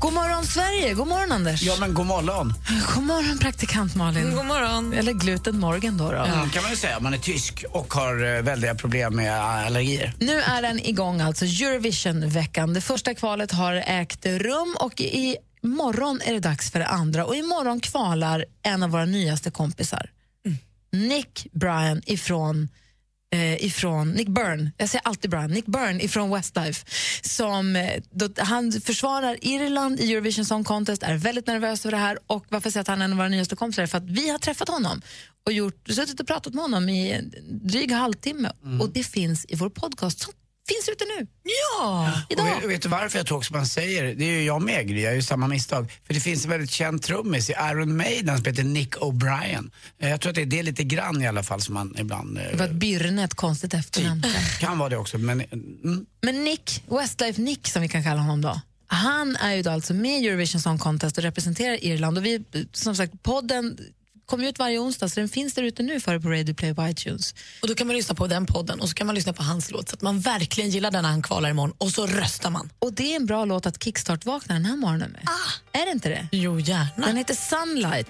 God morgon, Sverige! God morgon, Anders! Ja, men god morgon. God morgon, praktikant Malin. God morgon. Eller gluten Morgan. Då, då. kan man ju säga om man är tysk och har eh, väldiga problem med eh, allergier. Nu är den igång, alltså Eurovision-veckan. Det första kvalet har ägt rum och i morgon är det dags för det andra. Och imorgon kvalar en av våra nyaste kompisar. Nick Bryan ifrån eh, ifrån Nick Byrne, jag säger alltid Bryan, Nick Byrne ifrån Westlife. Som, eh, då, han försvarar Irland i Eurovision Song Contest, är väldigt nervös över det här och varför jag säger att han är en av våra nyaste kompisar är för att vi har träffat honom och gjort, suttit och pratat med honom i en dryg halvtimme och det finns i vår podcast som finns ute nu. Ja! Och Idag. vet, vet du varför jag tog som man säger? Det är ju jag med Gry, jag gör ju samma misstag. För det finns en väldigt känd trummis i Iron Maiden som heter Nick O'Brien. Eh, Jag tror att det är det lite grann i alla fall som man ibland... eh, Det var ett Byrne, ett konstigt efternamn. Kan vara det också, men... eh, Mm. Men Nick, Westlife Nick som vi kan kalla honom då. Han är ju då alltså med i Eurovision Song Contest och representerar Irland. Och vi, som sagt, podden kommer ut varje onsdag så den finns där ute nu före på Radio Play på iTunes. Och Då kan man lyssna på den podden och så kan man lyssna på hans låt så att man verkligen gillar den när han kvalar imorgon och så röstar man. Och det är en bra låt att kickstart-vakna den här morgonen med. Ah. Är det inte det? Jo, gärna. Den heter Sunlight.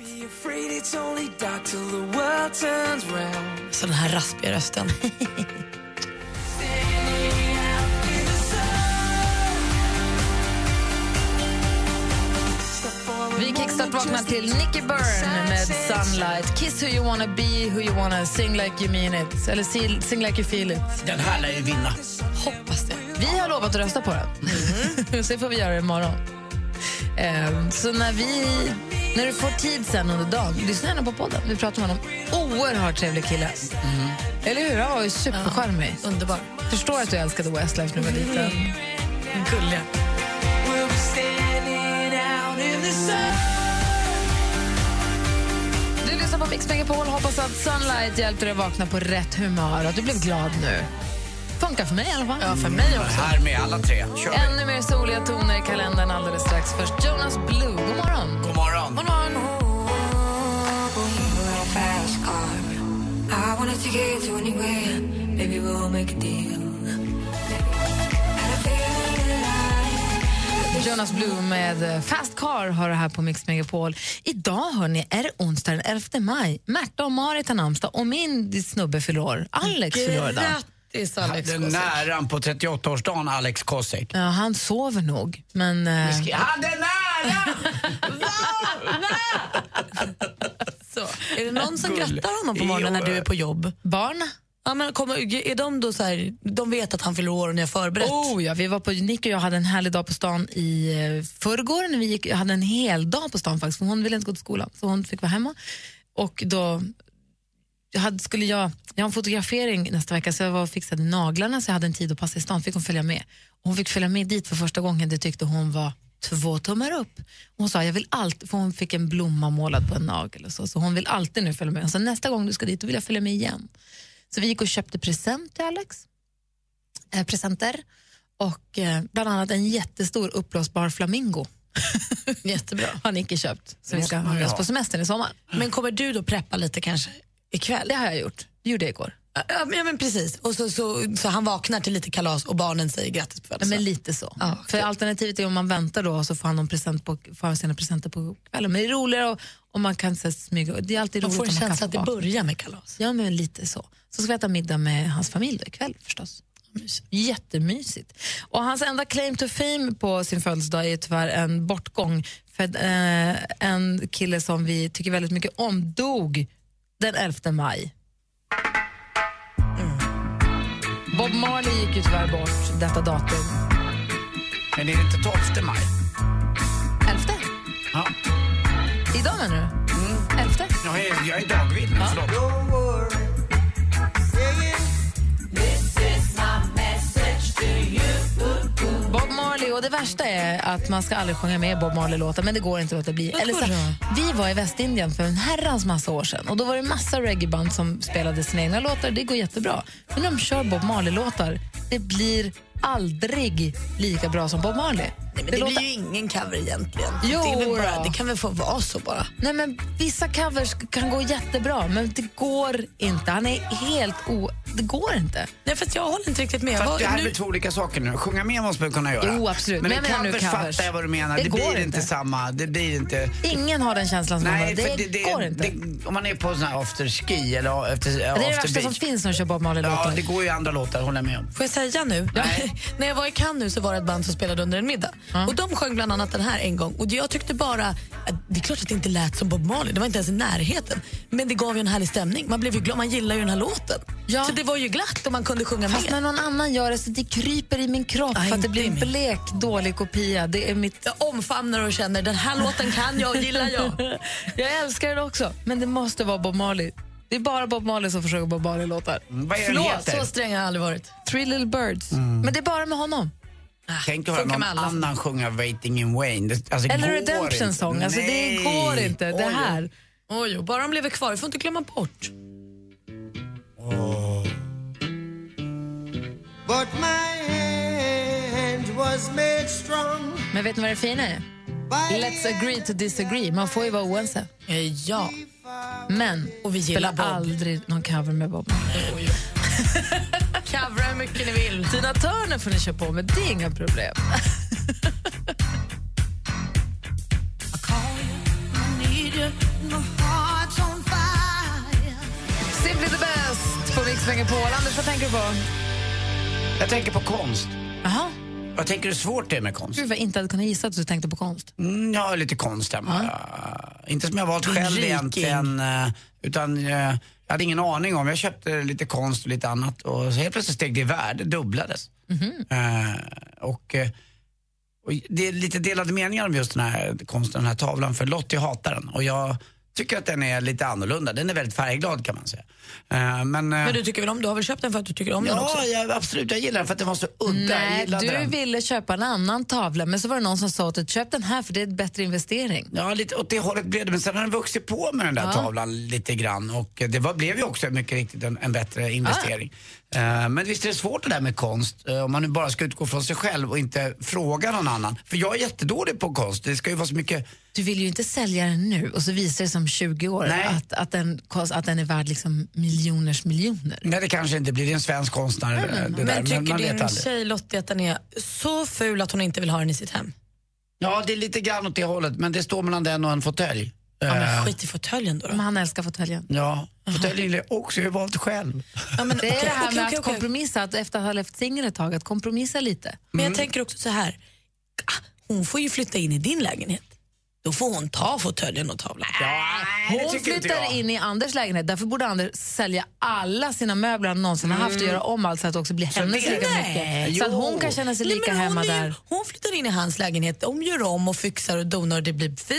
Så den här raspiga rösten. Vi kickstart-vaknar till Nicky Byrne med Sunlight. Kiss who you wanna be, who you wanna sing like you mean it. Eller sing, sing like you feel it. Den här lär ju vinna. Hoppas det. Vi har lovat att rösta på den. så får vi göra det imorgon. Ehm, så när vi... När du får tid sen under dagen, lyssna gärna på podden. Vi pratar med honom. Oerhört trevlig kille. Mm. Eller hur? Han var ju supercharmig. Underbar. Förstår att du älskade Westlife när du var liten. Gulliga. Du lyssnar på Mix Megapol. Hoppas att Sunlight hjälpte dig att vakna på rätt humör och att du blev glad nu. Funkar för mig i alla fall. Ja, för mig Mm. Här med alla tre. Kör vi. Ännu mer soliga toner i kalendern alldeles strax. Först Jonas Blue. God morgon. God morgon. Jonas Blue med eh, Fast Car har det här på Mix Megapol. Idag hörni, är det onsdag den 11 maj. Märta och Marit har namnsdag och min snubbe fyller år. Alex fyller år idag. Grattis, Alex. Den näran på 38-årsdagen, Alex Kosek. Ja, han sover nog, men... eh, Jag hade nära! Så. Är det någon som Gullig. grattar honom på morgonen när du är på jobb? barn? Ja, men kommer, är de då så här, de vet att han fyller år och ni har förberett? Oh, ja, vi var på, Nick och jag hade en härlig dag på stan i eh, förrgår. När vi gick, jag hade en hel dag på stan faktiskt, för hon ville inte gå till skolan, så hon fick vara hemma. Och då jag hade, skulle jag, jag har en fotografering nästa vecka så jag var och fixade naglarna så jag hade en tid att passa i stan, fick hon följa med. Och Hon fick följa med dit för första gången, det tyckte hon var två tummar upp. Hon sa jag vill alltid, för hon fick en blomma målad på en nagel och så, så hon vill alltid nu följa med. Hon sa nästa gång du ska dit då vill jag följa med igen. Så vi gick och köpte present till Alex, eh, presenter och eh, bland annat en jättestor uppblåsbar flamingo. Jättebra. Har Nicke köpt, så vi ska ha med oss på semestern i sommar. Men kommer du då preppa lite kanske ikväll? Det har jag gjort, det gjorde jag igår. Ja, men, ja, men precis. Och så, så, så han vaknar till lite kalas och barnen säger grattis på Ja, födelsedagen. men lite så. Ja, För alternativet är om man väntar då och så får han någon present på, får han sina presenter på kvällen. Men det är roligare och, om man kan så, här, smyga. Det är alltid man roligt får en om man kan känsla att få det bak- börjar med kalas. Ja, men lite så. Så ska vi äta middag med hans familj då, ikväll förstås. Jättemysigt. Och hans enda claim to fame på sin födelsedag är tyvärr en bortgång. För att, eh, en kille som vi tycker väldigt mycket om dog den 11 maj. Mm. Bob Marley gick ju tyvärr bort detta datum. Men det är inte 12 maj. 11? Ja. Idag menar du? Elfte? Jag är, jag är dagvild, förlåt. Bob Marley och det värsta är att man ska aldrig sjunga med Bob Marley-låtar, men det går inte att låta bli. Eller så, vi var i Västindien för en herrans massa år sedan och då var det massa reggaeband som spelade sina egna låtar. Det går jättebra. Men när de kör Bob Marley-låtar, det blir aldrig lika bra som Bob Marley. Nej, men Det det låter- blir ju ingen cover egentligen. Jo det, är väl då. bara, det kan väl få vara så bara. Nej, men vissa covers kan gå jättebra, men det går inte. Han är helt o... Det går inte. Nej, fast jag håller inte riktigt med. Fast Vad- det här nu- är väl två olika saker nu. Sjunga med måste man kunna göra. Jo, absolut. Men, Men i jag menar nu covers covers. fattar jag vad du menar. Det Det, går blir inte. inte samma. Det blir inte... Ingen har den känslan som han har. Nej, Det, för det går inte. Det, om man är på sån här afterski eller efter, det är det after värsta som beach. finns när de kör Bob Ja, Marley-låtar. det går ju andra låtar, håller jag med om. Får jag säga nu? När jag var i Cannes nu så var det ett band som spelade under en middag. Och De sjöng bland annat den här en gång. Och Jag tyckte bara att det är klart att det inte lät som Bob Marley. Det var inte ens i närheten. Men det gav ju en härlig stämning. Man blev ju glad. Man gillar ju den här låten. Ja. Så det var ju glatt och man kunde sjunga Fast när med. någon annan gör det så det kryper i min kropp Nej, för att det inte blir en min. blek, dålig kopia. Det är mitt... Jag omfamnar och känner den här låten kan jag och gillar jag. Jag älskar det också, men det måste vara Bob Marley. Det är bara Bob Marley som försöker Bob Marley-låtar. Mm, Vad är den Förlåt, heter? Mm. så sträng har jag aldrig varit. Three Little Birds. Men det är bara med honom. Ah, Tänk att höra Funkar någon med alla. annan sjunga Waiting in Wayne. Det, alltså, Eller går Redemption inte. Song. Alltså, det Nej. går inte. Det Oj, här. Oj, oj, bara de lever kvar. Vi får inte glömma bort. But my hand was made strong Men vet ni vad det fina är? by Let's agree to disagree. Man får ju vara oense. Eh, Ja. Men Och vi gillar spela Bob. aldrig någon cover med Bob. Covra hur mycket ni vill. Tina Turner får ni köra på med, det är inga problem. Simply the best på Mix Megapol. Anders, vad tänker du på? Jag tänker på konst. Jaha, Vad tänker du svårt det är med konst? gud vad jag inte hade kunnat gissa att du tänkte på konst. Mm, jag har lite konst hemma. Uh, inte som jag valt själv riking. egentligen. eh, Utan eh, jag hade ingen aning om. Jag köpte lite konst och lite annat och så helt plötsligt steg det i värde, dubblades. Mm-hmm. Eh, och, eh, och det är lite delade meningar om just den här konsten, den här tavlan. För Lottie hatar den och jag tycker att den är lite annorlunda. Den är väldigt färgglad kan man säga. Eh, men, eh, Men du tycker väl om Du har väl köpt den för att du tycker om den också? Ja, jag, absolut. Jag gillar den för att den var så udda. jag Nej, gillade du den. ville köpa en annan tavla men så var det någon som sa att köp den här för det är en bättre investering. Ja, lite åt det hållet blev det. Men sen har den vuxit på med den där tavlan lite grann. Och eh, det var, blev ju också mycket riktigt en, en bättre investering. Eh, men visst är det svårt det där med konst. eh, om man nu bara ska utgå från sig själv och inte fråga någon annan. För jag är jättedålig på konst. Det ska ju vara så mycket... Du vill ju inte sälja den nu och så visar det som 20 år Nej. att, att, den, kost- att den är värd liksom miljoners miljoner. Nej, det kanske inte blir. Det är en svensk konstnär. eh, det där. Men tycker man vet din aldrig. tjej Lottie att den är så ful att hon inte vill ha den i sitt hem? Ja, det är lite grann åt det hållet. Men det står mellan den och en fåtölj. Ja, Eh, men skit i fåtöljen då. då. Men han älskar fåtöljen. ja, fåtöljen är också. Jag har valt själv. Ja, men, Det är det här okej, med okej, att okej. kompromissa, att efter att ha levt singel ett tag, att kompromissa lite. Men jag tänker också så här. ah, Hon får ju flytta in i din lägenhet. Då får hon ta fåtöljen och tavlan. Nej, Hon flyttar in i Anders lägenhet, därför borde Anders sälja alla sina möbler han någonsin har haft och göra om allt så att det också blir hennes det- lika Mm. Nej. mycket. Så att hon Jo. kan känna sig Nej, lika men hon hemma är ju- där. Hon flyttar in i hans lägenhet, de gör om och fixar och donar och det blir fint.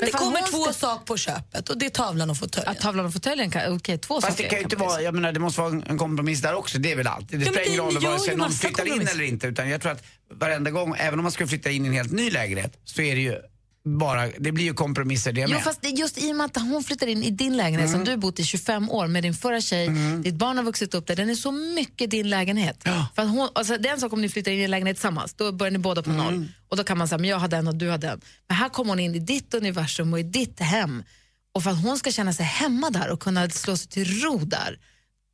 Men, Men det fan, kommer hon två ska- saker på köpet och det är tavlan och fåtöljen. Att tavlan och fåtöljen kan, okej två Fast det saker kan ju inte vara, jag menar det måste vara en- en kompromiss där också, det är väl alltid. Det Ja, men spelar det- ingen roll ni gör vare ju sig någon massa flyttar in kompromisser. eller inte utan jag tror att varenda gång, även om man skulle flytta in i en helt ny lägenhet så är det ju bara, det blir ju kompromisser det Jo, med. Mm. fast det är just i och med att hon flyttar in i din lägenhet som du bott i 25 år med din förra tjej, ditt barn har vuxit upp där, den är så mycket din lägenhet. För att hon, alltså, det är en sak om ni flyttar in i en lägenhet tillsammans, då börjar ni båda på Mm. noll. Och då kan man säga, men jag har den och du har den. Men här kommer hon in i ditt universum och i ditt hem. Och för att hon ska känna sig hemma där och kunna slå sig till ro där,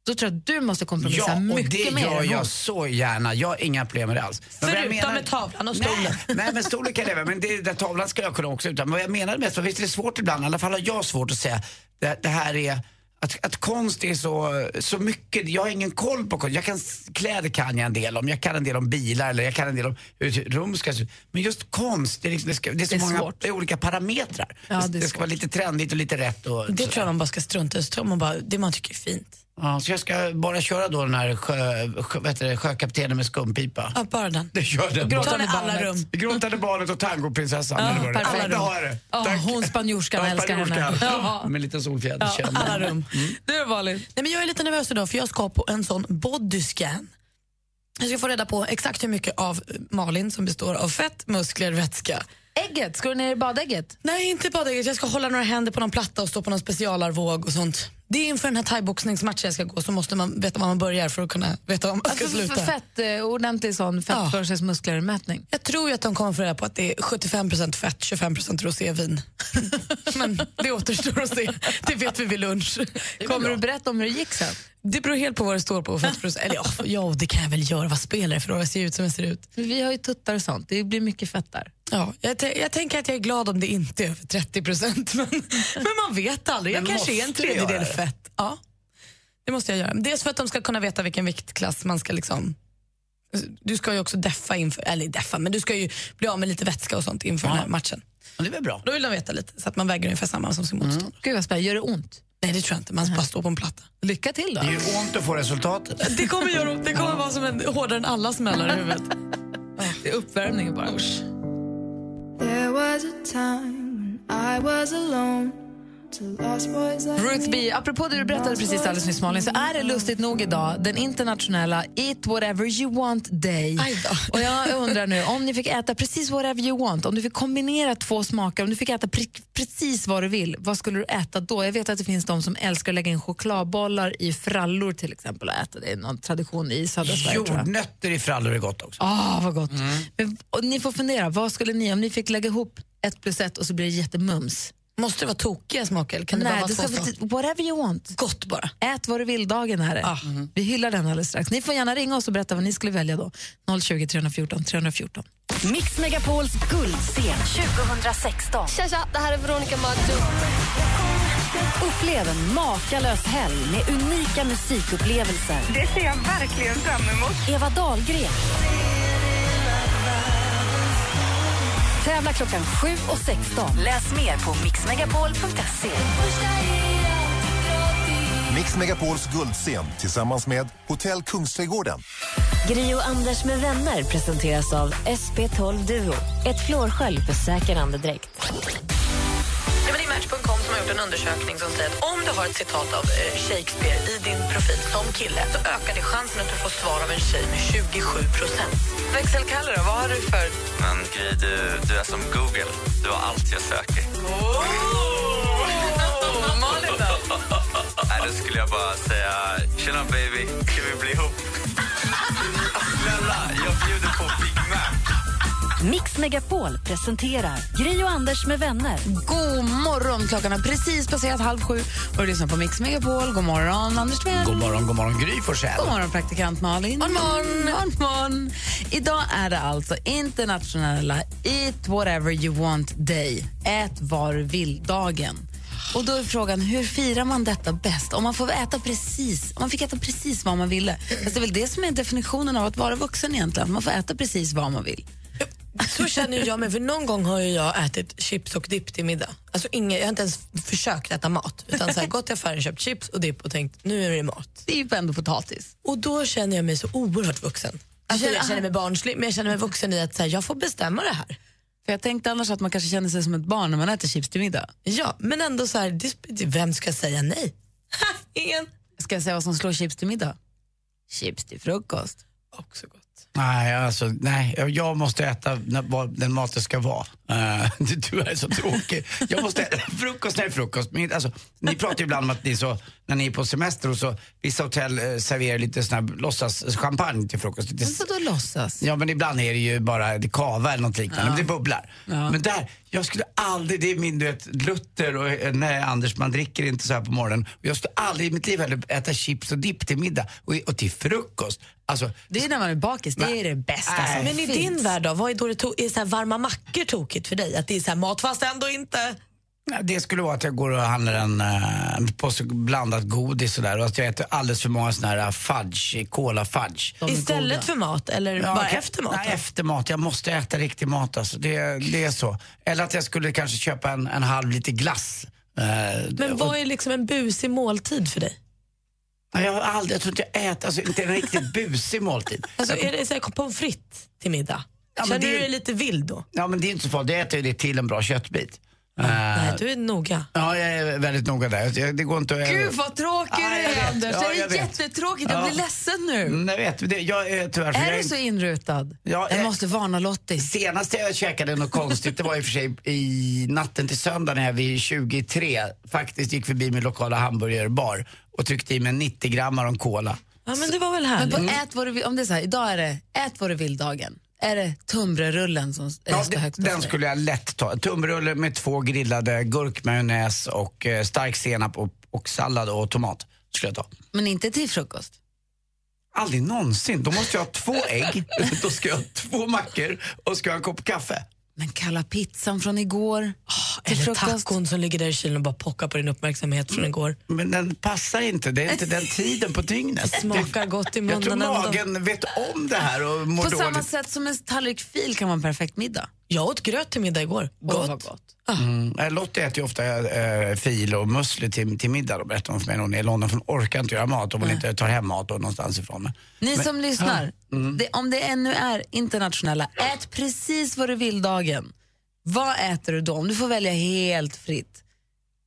då tror jag att du måste kompromissa Ja, och mycket det mer. gör än hon. jag så gärna. Jag har inga problem med det alls. Men vad jag Förutom med tavlan och stolen. Nej, nej men stolen kan jag leva men det, den tavlan ska jag kunna också utan. Men vad jag menade mest var, visst är det svårt ibland, i alla fall har jag svårt att säga, det, det här är att, att konst är så, så mycket, jag har ingen koll på konst. Jag kan, kläder kan jag en del om, jag kan en del om bilar eller jag kan en del om hur ett rum ska se ut. Men just konst, det är, liksom, det ska, det är så Det är många svårt. det är olika parametrar. Ja, det är det, ska svårt. vara lite trendigt och lite rätt. Och, Det tror jag man bara ska strunta i. Så tror man bara, det man tycker är fint. Ja, så jag ska bara köra då den här sjö, sjö, vad heter det, sjökaptenen med skumpipa. Ja, bara den. Det gör den. Ta den i med alla barnet. rum. Gråtande barnet och tangoprinsessan. eller vad det är. perfekt. Alla har det. Ja, Tack. hon spanjorskan, Ja, jag älskar henne. spanjorskan. Ja. Med en liten solfjäder. känner jag. Alla rum. Du är vanligt. Nej, men jag är lite nervös idag för jag ska på en sån bodyscan. Jag ska få reda på exakt hur mycket av Malin som består av fett, muskler, vätska. Ägget, ska du ner i badägget? Nej, inte baddräkt. Jag ska hålla några händer på någon platta och stå på någon specialarvåg och sånt. Det är inför den här thaiboxningsmatchen jag ska gå så måste man veta var man börjar för att kunna veta var man ska Alltså, sluta. f- fett, eh, ordentlig sån Ja. fettförselmusklermätning. Jag tror ju att de kommer få reda på att det är 75 fett, 25 rosévin. Men det återstår att se. Det vet vi vid lunch. Kommer du berätta om hur det gick sen? Det beror helt på vad det står på. fettprocent. Eller ja, ja, det kan jag väl göra. Vad spelar det för roll? Jag ser ju ut som jag ser ut. För Vi har ju tuttar och sånt, det blir mycket fett där. Ja, jag, tän- jag tänker att jag är glad om det inte är över 30 procent. Men, men man vet aldrig. Jag Men kanske är en måste du göra tredjedel det? fett. Ja, det måste jag göra. Dels för att de ska kunna veta vilken viktklass man ska liksom... Du ska ju också deffa inför, eller deffa, men du ska ju bli av med lite vätska och sånt inför den här matchen. Men det är väl bra. Mm. Då vill de veta lite, så att man väger ungefär samma som sin motståndare. Gud vad spännande, gör det ont? Nej, det tror jag inte. Man bara står på en platta. Lycka till då. Det är ju ont att få resultatet. Det kommer, göra, det kommer vara som en hårdare än alla smällar i huvudet. Det är uppvärmningen bara. There was a time when I was alone to lost boys like Ruth B, apropå det du berättade precis alldeles nyss Malin, så är det lustigt nog idag den internationella Eat whatever you want day. Aj då. Och jag undrar nu, om ni fick äta precis whatever you want, om du fick kombinera två smaker, om du fick äta pri- precis vad du vill, vad skulle du äta då? Jag vet att det finns de som älskar att lägga in chokladbollar i frallor till exempel och äta det. Det är någon tradition i södra Sverige tror jag. Jordnötter i frallor är gott också. Ah, vad gott. Men, och ni får fundera, vad skulle ni, om ni fick lägga ihop ett plus ett och så blir det jättemums? Måste det vara tokiga smaker? eller Kan det Nej, bara det vara ska, två smaker? whatever you want. Gott bara. Ät vad du vill-dagen här är. Mm. Vi hyllar den alldeles strax. Ni får gärna ringa oss och berätta vad ni skulle välja då. 020 314 314. Mix Megapols guldscen 2016. Tja, tja, det här är Veronica Maggio. Upplev en makalös helg med unika musikupplevelser. Det ser jag verkligen fram emot. Eva Dahlgren. Tävla klockan 7 och 16. Läs mer på mixmegapol.se. Mix Megapols guldscen tillsammans med Hotell Kungsträdgården. Gri och Anders med vänner presenteras av SP12 Duo. Ett flårskölj för säker andedräkt. Ja, men det är Match.com som har gjort en undersökning som säger att om du har ett citat av eh, Shakespeare i din profil som kille så ökar det chansen att du får svar av en tjej med 27 procent. Växelkalle då, vad har du för... Men Gry, du, du är som Google. Du har allt jag söker. Malin då? Nej, då skulle jag bara säga, tjena baby, ska vi bli ihop? Snälla, jag bjuder på Big Mac. Mix Megapol presenterar Gri och Anders med vänner. God morgon! Klockan har precis passerat halv sju och du lyssnar på Mix Megapol. God morgon, Anders Tvell. God morgon, god morgon Gry Forssell. God morgon, praktikant Malin. God morgon. God morgon. Idag är det alltså internationella Eat whatever you want day. Ät vad du vill-dagen. Och då är frågan, hur firar man detta bäst? Om man får äta precis, om man fick äta precis vad man ville. Fast det är väl det som är definitionen av att vara vuxen egentligen. Man får äta precis vad man vill. Så känner ju jag mig, för någon gång har ju jag ätit chips och dipp till middag. Alltså inga, jag har inte ens försökt äta mat. Utan så här, gått till affären, köpt chips och dipp och tänkt nu är det mat. Det är ju ändå potatis. Och då känner jag mig så oerhört vuxen. Alltså, jag känner mig barnslig, men jag känner mig vuxen i att så här, jag får bestämma det här. För jag tänkte annars att man kanske känner sig som ett barn när man äter chips till middag. Ja, men ändå så här, det, det- vem ska säga nej? Ha, ingen. Ska jag säga vad som slår chips till middag? Chips till frukost. Också gott. Nej, alltså, nej, jag- jag måste äta när- vad den maten ska vara. Eh, du är så tråkig. Jag måste äta frukost när det är frukost. Men, inte- alltså, ni pratar ju ibland om att ni så, när ni är på semester och så, vissa hotell eh, serverar lite sån här låtsas champagne till frukost. Lite, Så då låtsas? ja men ibland är det ju bara det kava eller något liknande, men det bubblar. Men där, jag skulle aldrig, det är min du vet, Luther och eh, nej, Anders, man dricker inte så här på morgonen. Jag skulle aldrig i mitt liv heller äta chips och dipp till middag och, och till frukost. Alltså, Det är när man är bakis, det är det bästa. Nej. som Men i finns. din värld då, vad är, då det to- är så här varma mackor tokigt för dig? Att det är så här mat fast ändå inte? Ja, Det skulle vara att jag går och handlar en, eh, en påse blandat godis och där och att jag äter alldeles för många såna här eh, fudge, cola fudge. är Istället goda. för mat eller Ja, bara okej. efter mat? Nej, efter mat. Jag måste äta riktig mat alltså. Det, det är så. Eller att jag skulle kanske köpa en, en halv liter glass. Eh, Men och- vad är liksom en busig måltid för dig? Nej, jag ah, har aldrig, jag tror inte jag äter, alltså inte en riktigt busig måltid. Alltså är det så här pommes frites till middag? Ja, men Känner det är du ju- dig lite vild då? Ja men det är inte så farligt, jag äter ju det till en bra köttbit. Mm. Eh, Nej, du är noga. Ja, jag är väldigt noga där. Jag- Det går inte att... Gud vad tråkig du Ja, jag är vet. Anders. Ja, det jag är vet. jättetråkigt, jag Ja. blir ledsen nu. Mm, Jag vet, det, jag är tyvärr... för Är jag du så inrutad? Ja, jag eh, måste varna Lottie. Senast jag käkade något konstigt, det var i och för sig i natten till söndag när jag vid 23 faktiskt gick förbi min lokala hamburgerbar och tryckte i mig 90 grammar om cola. Ja, men det var väl Men härligt. på ät vad du vill, om det är så här, idag är det ät vad du vill-dagen. Är det tunnbrödsrullen som är Ja, står det, högst upp för den dig? skulle jag lätt ta. Tumrulle med två grillade gurkmajonnäs och eh, stark senap och, och sallad och tomat skulle jag ta. Men inte till frukost? Aldrig någonsin. Då måste jag ha två ägg, då ska jag ha två mackor och ska jag ha en kopp kaffe. Men kalla pizzan från igår till Ah, Eller frukost. tacon som ligger där i kylen och bara pockar på din uppmärksamhet Mm. från igår. Men den passar inte, det är inte den tiden på dygnet. Det smakar gott i Jag tror munnen ändå. magen vet om det här och mår På dåligt. samma sätt som en tallrik fil kan vara en perfekt middag. Jag åt gröt till middag igår. Åh, Gott. vad gott. Ah. Mm. Eh, Lottie äter ju ofta eh, fil och musslor till, till middag, då, berättar hon för mig när hon är i London, för hon orkar inte göra mat om hon inte tar hem mat då, någonstans ifrån. Men, Ni men, Mm. som lyssnar, det, om det ännu är internationella, ät precis vad du vill-dagen. Vad äter du då? Om du får välja helt fritt.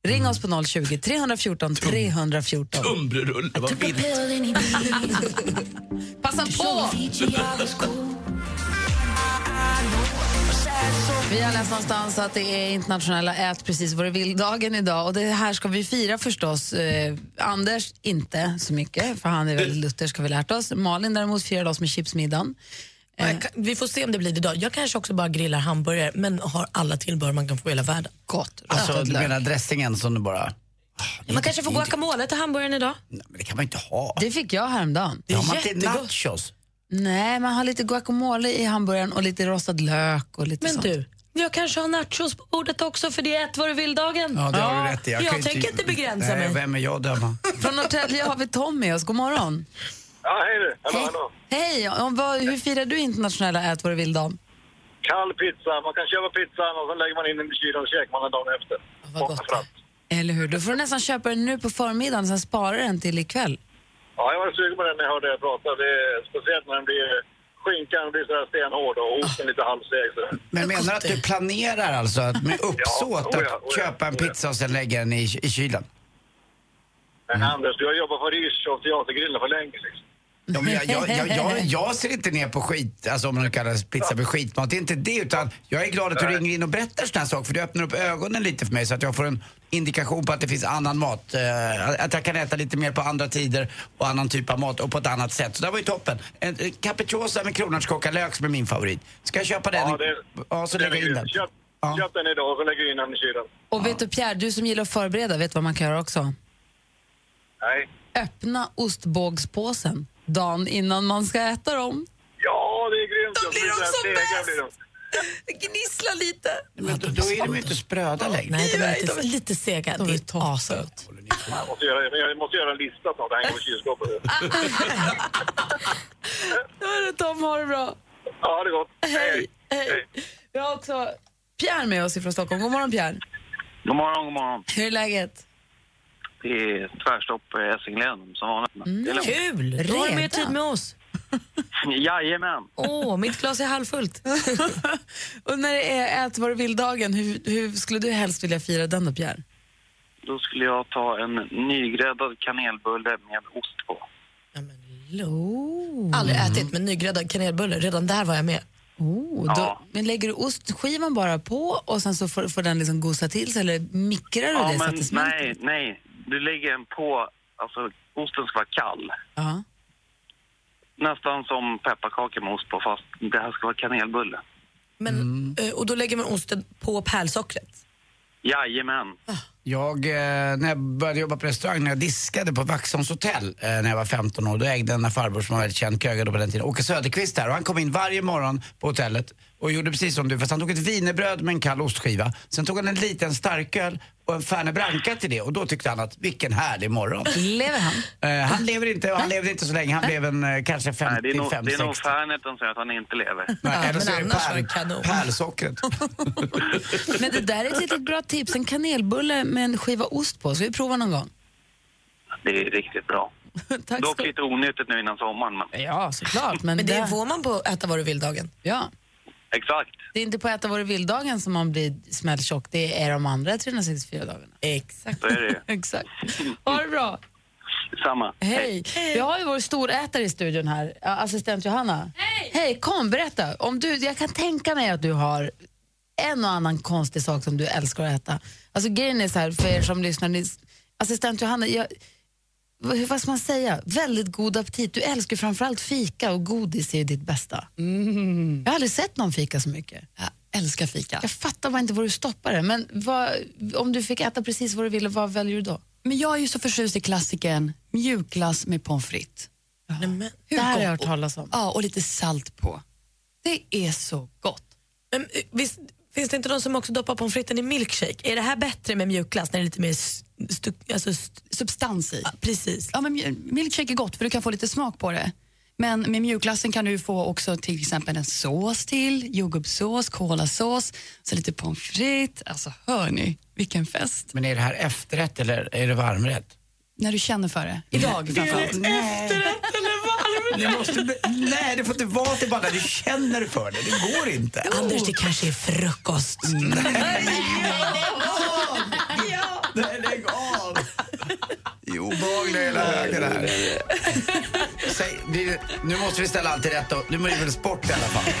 Ring Mm. oss på 020 314 314. Tumbrerulle, vad vill Passa på! Vi har läst någonstans att det är internationella ät precis vad du vill-dagen idag och det här ska vi fira förstås. Eh, Anders inte så mycket, för han är Eh. väldigt luthersk har vi lärt oss. Malin däremot firade oss med chipsmiddagen. Ja, jag kan- Vi får se om det blir det idag. Jag kanske också bara grillar hamburgare men har alla tillbehör man kan få i hela världen. Gott. Alltså, rötad du lök. menar dressingen som du bara... Man kanske får guacamole till hamburgaren idag. Nej, men det kan man inte ha. Det fick jag häromdagen. Det är har man inte jättegott. nachos. Nej, man har lite guacamole i hamburgaren och lite rostad lök och lite Men sånt. du, jag kanske har nachos på bordet också för det är ett vad du vill-dagen. Ja, det har du rätt i. Jag, kan ju tänker inte begränsa Nej, mig. Vem är jag att döma? Från Norrtälje har vi Tom med oss. God morgon. Ja, hej du. Hallå, hallå. Hej, om vad, hur firar du internationella ät vad du vill-dagen? Kall pizza. Man kan köpa pizzan och sen lägger man in den i kylen och käkar man den dagen efter. Vad gott. Eller hur? Då får du nästan köpa den nu på förmiddagen, sen spara den till ikväll. Ja, jag var sugen på den när jag hörde er prata. Det är, speciellt när den blir, skinkan blir så här stenhård och osten lite halvseg. Så. Men menar du att du planerar alltså att med uppsåt Ja, oja, att oja, köpa en oja. pizza och sen lägga den i, i kylen? Men Mm. Anders, du har jobbat på Riche och Teatergrillen för länge. Liksom. Ja, men jag, jag, jag, jag, jag ser inte ner på skit, alltså om man nu kallar pizza för skitmat. Det är inte det, utan jag är glad att du ringer in och berättar såna här saker för det öppnar upp ögonen lite för mig så att jag får en indikation på att det finns annan mat. eh, Att jag kan äta lite mer på andra tider och annan typ av mat och på ett annat sätt. Så det var ju toppen. En eh, capricciosa med kronärtskocka lök som är min favorit. Ska jag köpa den? Ja, det- ja så lägger jag in den. Köp, köp den idag och så lägger du in den i kylen. Och vet du Pierre, du som gillar att förbereda, vet vad man kan göra också? Nej. Öppna ostbågspåsen dagen innan man ska äta dem. Ja, det är grymt. De blir de som bäst. Blir de. Gnissla lite! Men då, då är de ju inte spröda längre. Nej, de är lite, lite sega. Det är asgott. Jag måste göra, jag måste göra en lista snart. Det hänger i kylskåpet. Hörru Tom, ha det bra. Ja, det är gott. Hej. Hej. Vi har också Pierre med oss ifrån Stockholm. God morgon Pierre. God morgon, god morgon. Hur är läget? Det är tvärstopp i Essingelän som vanligt. Mm, Det är lugnt. Mm. Kul! Då har du mer tid med oss. Jajamän. Åh, mitt glas är halvfullt. Och när det är ät vad du vill-dagen, hur, hur skulle du helst vilja fira den då Pierre? Då skulle jag ta en nygräddad kanelbulle med ost på. Aldrig ätit, men nygräddad kanelbulle. Redan där var jag med. Oh, då, Ja. Men lägger du ostskivan bara på och sen så får, får den liksom gosa till sig eller mikrar du Ja, det så att men det smälter? nej, nej. Du lägger en på. Alltså, osten ska vara kall. Ja. Nästan som pepparkakor med ost på, fast det här ska vara kanelbulle. Men, Mm. eh, Och då lägger man osten på pärlsockret. Jajamän. Jag, eh, när jag började jobba på restaurang, när jag diskade på Vaxholms hotell eh, när jag var 15 år, då ägde en farbror som var väldigt känd krögare då på den tiden, Åke Söderqvist där. Och han kom in varje morgon på hotellet och gjorde precis som du, fast han tog ett wienerbröd med en kall ostskiva. Sen tog han en liten starköl och en Fernet Branca till det och då tyckte han att vilken härlig morgon. Lever han? Eh, han lever inte, och han levde inte så länge, han blev en eh, kanske Nej, det är nog, 55, det är 60. nog Ferneten som gör att han inte lever. Nej, eller men så är det annars var det pärl, kanon. pärlsockret. Men det där är ett litet bra tips. En kanelbulle med en skiva ost på. Ska vi prova någon gång? Det är riktigt bra. Tack Dock ska lite onyttigt nu innan sommaren, men... Ja, såklart. Men, Men det där- får man på äta vad du vill-dagen. Ja. Exakt. Det är inte på äta vad du vill-dagen som man blir smälltjock, det är de andra 364 dagarna. Exakt. Så är det ju. Exakt. Ha det bra. Samma. Hej. Vi har ju vår storätare i studion här, Ja, assistent Johanna. Hej! Hej, kom, berätta. Om du, jag kan tänka mig att du har en och annan konstig sak som du älskar att äta. Alltså grejen är så här, för er som lyssnar, ni, assistent Johanna, jag, vad, hur- vad ska man säga? Väldigt god aptit. Du älskar ju framförallt fika och godis är ju ditt bästa. Jag har aldrig sett någon fika så mycket. Mm. Jag älskar fika. Jag fattar bara inte var du stoppar det. Men vad, om du fick äta precis vad du ville, vad väljer du då? Men jag är ju så förtjust i klassiken mjukglass med pommes frites. det här har jag gott? hört talas om. Ja, och lite salt på. Det är så gott. Men, eh, visst, finns det inte de som också doppar pommes fritesen i milkshake? Är det här bättre med mjukglass när det är lite mer stu, alltså substans i? precis. Ja, men mj- milkshake är gott för du kan få lite smak på det. Men med mjukglassen kan du få också till exempel en sås till, jordgubbssås, kolasås, så lite pommes frites. Alltså hör ni, vilken fest. Men är det här efterrätt eller är det varmrätt? När du känner för det. Idag framförallt. efterrätt eller varmrätt? Det måste, bli- nej, det får inte vara att det bara du känner för det. Det går inte. Anders, det kanske är frukost. Nej, lägg av! Det är obehagligt hela högen här. Säg, det, nu måste vi ställa allt till rätta. Nu blir det väl sport i alla fall.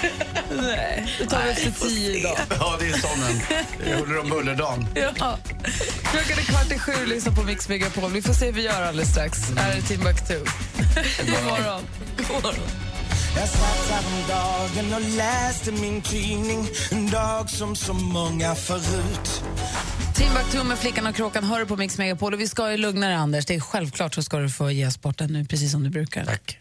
Nej, det tar vi efter tio idag. Ja, det är sån en. Det är huller om bullerdagen. Ja. Klockan är kvart i sju, lyssna på Mix Megapol. Vi får se hur vi gör alldeles strax. Här är Timbuktu. God morgon. God morgon. Jag svartar om dagen och läste min tidning En dag som så många förut Timbuktu med Flickan och Kråkan hör du på Mix Megapol. Och vi ska ju lugna dig, Anders. Det är självklart så ska du få ge sporten nu, precis som du brukar. Tack.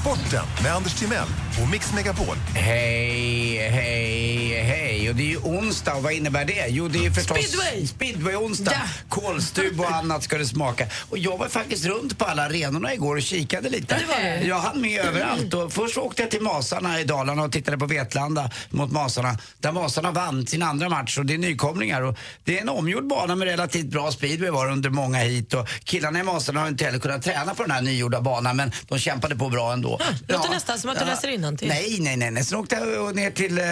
Sporten med Anders Timell och Mix Megapol. Hej, hej, hej. Och det är ju onsdag. Vad innebär det? Jo, det är ju förstås Speedway. Speedway-onsdag. Kolstub och annat ska det smaka. Och jag var faktiskt runt på alla arenorna igår och kikade lite. Ja, det var du. Jag hann med överallt. Och först åkte jag till Masarna i Dalarna och tittade på Vetlanda mot Masarna. Där Masarna vann sin andra match och det är nykomlingar. Och det är en omgjord bana med relativt bra speedway var det under många hit. Och killarna i Masarna har inte heller kunnat träna på den här nygjorda banan men de kämpade på bra ändå. låter nästan som att du läser innantill. Nej, nej, nej. nej. Sen åkte jag ner till eh,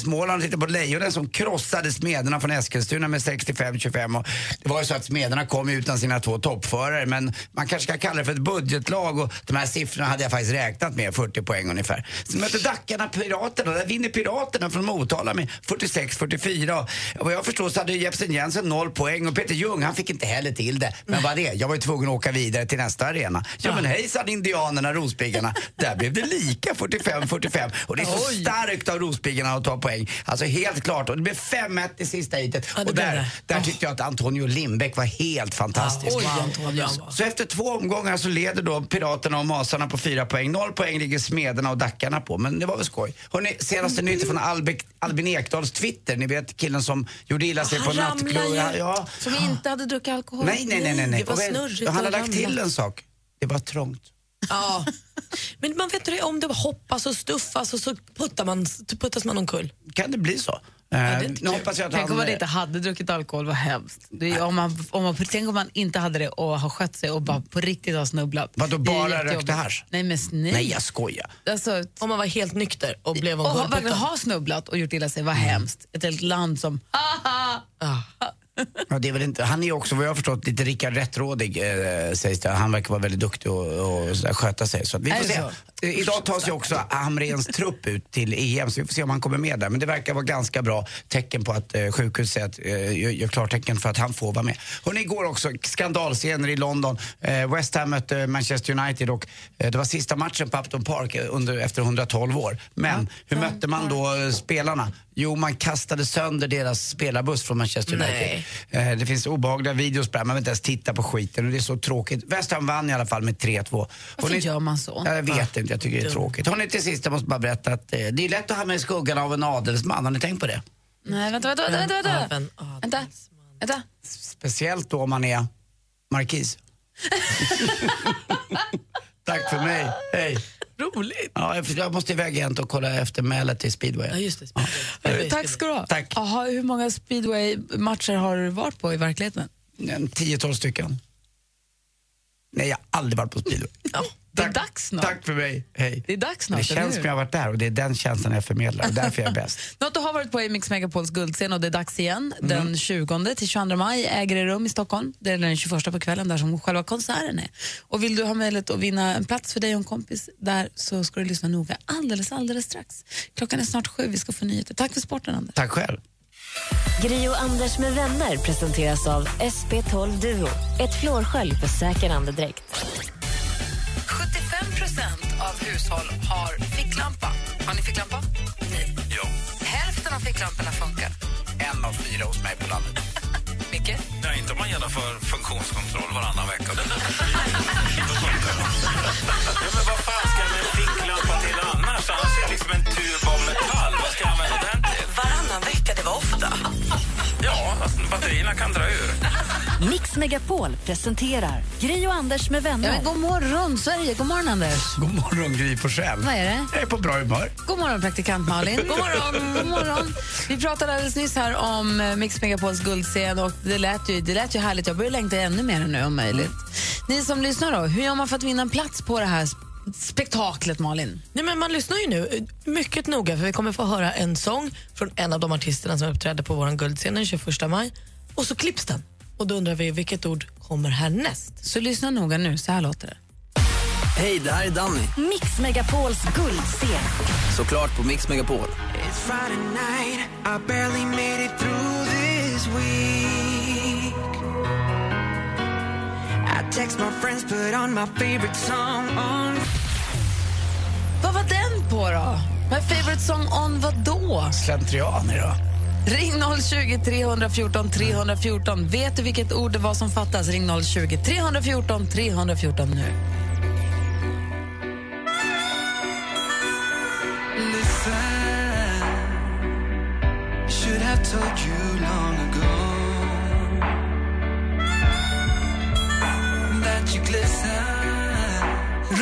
Småland och tittade på lejonen som krossade smederna från Eskilstuna med 65-25. Och Det var ju så att smederna kom utan sina två toppförare men man kanske ska kalla det för ett budgetlag och de här siffrorna hade jag faktiskt räknat med, 40 poäng ungefär. Sen mötte Dackarna Piraterna, där vinner Piraterna från Motala med 46-44. Och vad jag förstår så hade Jepsen Jensen noll poäng och Peter Ljung han fick inte heller till det. Men vad det, jag var ju tvungen att åka vidare till nästa arena. Ja men hejsan Indianerna, Rospiggarna. Där blev det lika 45-45 och det är så starkt av Rospiggarna att ta poäng. Alltså helt klart och det blev 5-1 i sista heatet. och där, där tyckte jag att Antonio Lindbäck var helt fantastisk. Oj, Antonio. Alltså, Så efter två omgångar så leder då Piraterna och Masarna på fyra poäng. Noll poäng ligger Smederna och Dackarna på, men det var väl skoj. Hörrni, Mm. senaste nytt från Albe- Albin Ekdals Twitter. Ni vet killen som gjorde illa Ah, sig på nattklubb. Ja, ja. Som inte hade druckit alkohol. Nej, nej, nej. nej, nej. Det var Och vet- snurrigt Han har och lagt till ramlat. en sak. Det var trångt. Ja. Men man vet inte om det hoppas och stuffas och så puttar man, puttas man omkull. Kan det bli så? Eh, nu hoppas jag att Tänk om han... eh, man inte hade druckit alkohol, vad hemskt. Det är, om man, om man, tänk om man inte hade det och har skött sig och bara på riktigt har snubblat. Vadå, Det är bara jättejobbigt. rökte hasch? Nej, men nej. Nej, jag skojar. Alltså, om man var helt nykter och blev Och omkull. har- verkligen har snubblat och gjort illa sig, Mm. vad hemskt. Ett helt land som... Ah. Ja, det är väl inte, han är ju också, vad jag har förstått, lite Rickard Rättrådig eh, sägs det. Han verkar vara väldigt duktig och, och sådär, sköta sig. Så att vi Är det får se. Eh, Idag tas ju också Hamrens trupp ut till EM, så vi får se om han kommer med där. Men det verkar vara ganska bra tecken på att eh, sjukhuset eh, gör, gör klartecken för att han får vara med. Hörrni, igår också skandalscener i London. Eh, West Ham mötte Manchester United och eh, det var sista matchen på Upton Park eh, under, efter 112 år. Men hur mötte man då eh, spelarna? Jo, man kastade sönder deras spelarbuss från Manchester United. Nej. Eh, Det finns obehagliga videos på det här. Man vill inte ens titta på skiten och det är så tråkigt. West Ham vann i alla fall med 3-2. Varför gör man så? Jag vet inte, jag tycker det är tråkigt. Hörni, till sist, jag måste bara berätta att eh, det är lätt att hamna i skuggan av en adelsman. Har ni tänkt på det? Nej, vänta, vänta, vänta. Vänta, vänta. vänta. vänta. Speciellt då om man är markis. Tack för mig, hej. Roligt. Ja, jag- jag måste iväg igen och kolla efter mälet till speedway. Ja, just det. Tack ska du ha. Tack. Aha, hur många speedway-matcher har du varit på i verkligheten? En tiotal stycken. Nej, jag har aldrig varit på speedway. Det är dags snart. Tack för mig, hej. Det är dags snart, Det eller känns hur? som jag har varit där och det är den känslan jag förmedlar och därför är jag bäst. Något du har varit på är Mix Megapols guldscen och det är dags igen. Mm. Den 20 till 22 maj äger det rum i Stockholm. Det är den 21 på kvällen där som själva konserten är. Och vill du ha möjlighet att vinna en plats för dig och en kompis där så ska du lyssna noga alldeles, alldeles strax. Klockan är snart sju, vi ska få nyheter. Tack för sporten, Anders. Tack själv. Gri och Anders med vänner presenteras av SP12 Duo. Ett flårskölj för säker andedräkt. 75 procent av hushåll har ficklampa. Har ni ficklampa? Nej. Ja. Hälften av ficklamporna funkar. En av fyra hos mig på landet. Micke? Nej, inte om man genomför funktionskontroll varannan vecka. ja, men vad fan ska jag med en ficklampa till annars? Annars är det liksom en tub av metall. Vad ska jag använda den till? Varannan vecka, det var ofta. ja, alltså, batterierna kan dra ur. Mix Megapol presenterar Gri och Anders med Ja, vänner. men god morgon, Sverige. God morgon, Anders. God morgon Gry Forssell. Vad är det? Jag är på bra humör. God morgon, praktikant Malin. God morgon. God morgon. Vi pratade alldeles nyss här om eh, Mix Megapols guldscen och det lät, ju, det lät ju härligt. Jag börjar längta ännu mer nu om möjligt. Ni som lyssnar, då, hur gör man för att vinna en plats på det här sp- spektaklet, Malin? Nej, men man lyssnar ju nu eh, mycket noga för vi kommer få höra en sång från en av de artisterna som uppträdde på vår guldscen den 21 maj och så klipps den. Och då undrar vi vilket ord kommer härnäst? Så lyssna noga nu, så här låter det. Hej, det här är Danny. Mix Megapols guldscen. Såklart på Mix Megapol. It's Friday night, I barely made it through this week. I text my friends, put on my favorite song on. Vad var den på då? My favorite song on vad då? Slentrian idag. Ring 020 314 314. Vet du vilket ord det var som fattas? Ring 020 314 314 nu. Listen, should have told you long ago that you glisten.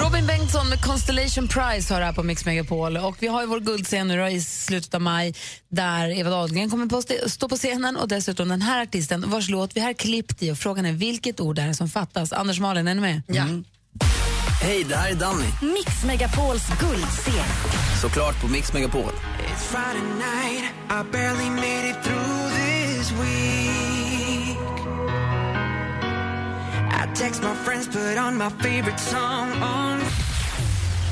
Robin Bengtsson med Constellation Prize hör här på Mix Megapol. Och vi har ju vår guldscen nu då i slutet av maj där Eva Dahlgren kommer på st- stå på scenen och dessutom den här artisten vars låt vi har klippt i. Och frågan är vilket ord det är som fattas. Anders Malin, är ni med? Ja. Hej, det här är Danny. Mix Megapols guldscen. Såklart på Mix Megapol. It's Friday night, I barely made it through this week. I text my friends, put on my favorite song on.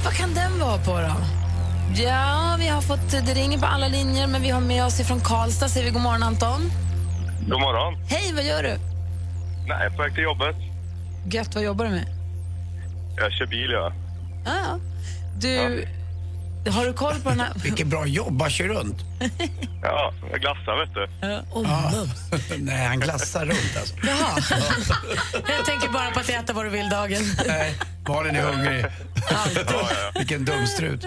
Vad kan den vara på då? Ja, vi har fått, det ringer på alla linjer men vi har med oss ifrån Karlstad. Säger vi god morgon Anton. God morgon. Hej, vad gör du? Nej, på väg till jobbet. Gött, vad jobbar du med? Jag kör bil, ja. Ah, ja. du, har du koll på den här? Vilket bra jobb, bara kör runt. Ja, jag glassar, vet du. Ja. Nej, han glassar runt alltså. Jaha. Jag tänker bara på att äta vad du vill dagen. Nej, Malin är hungrig. Vilken dumstrut.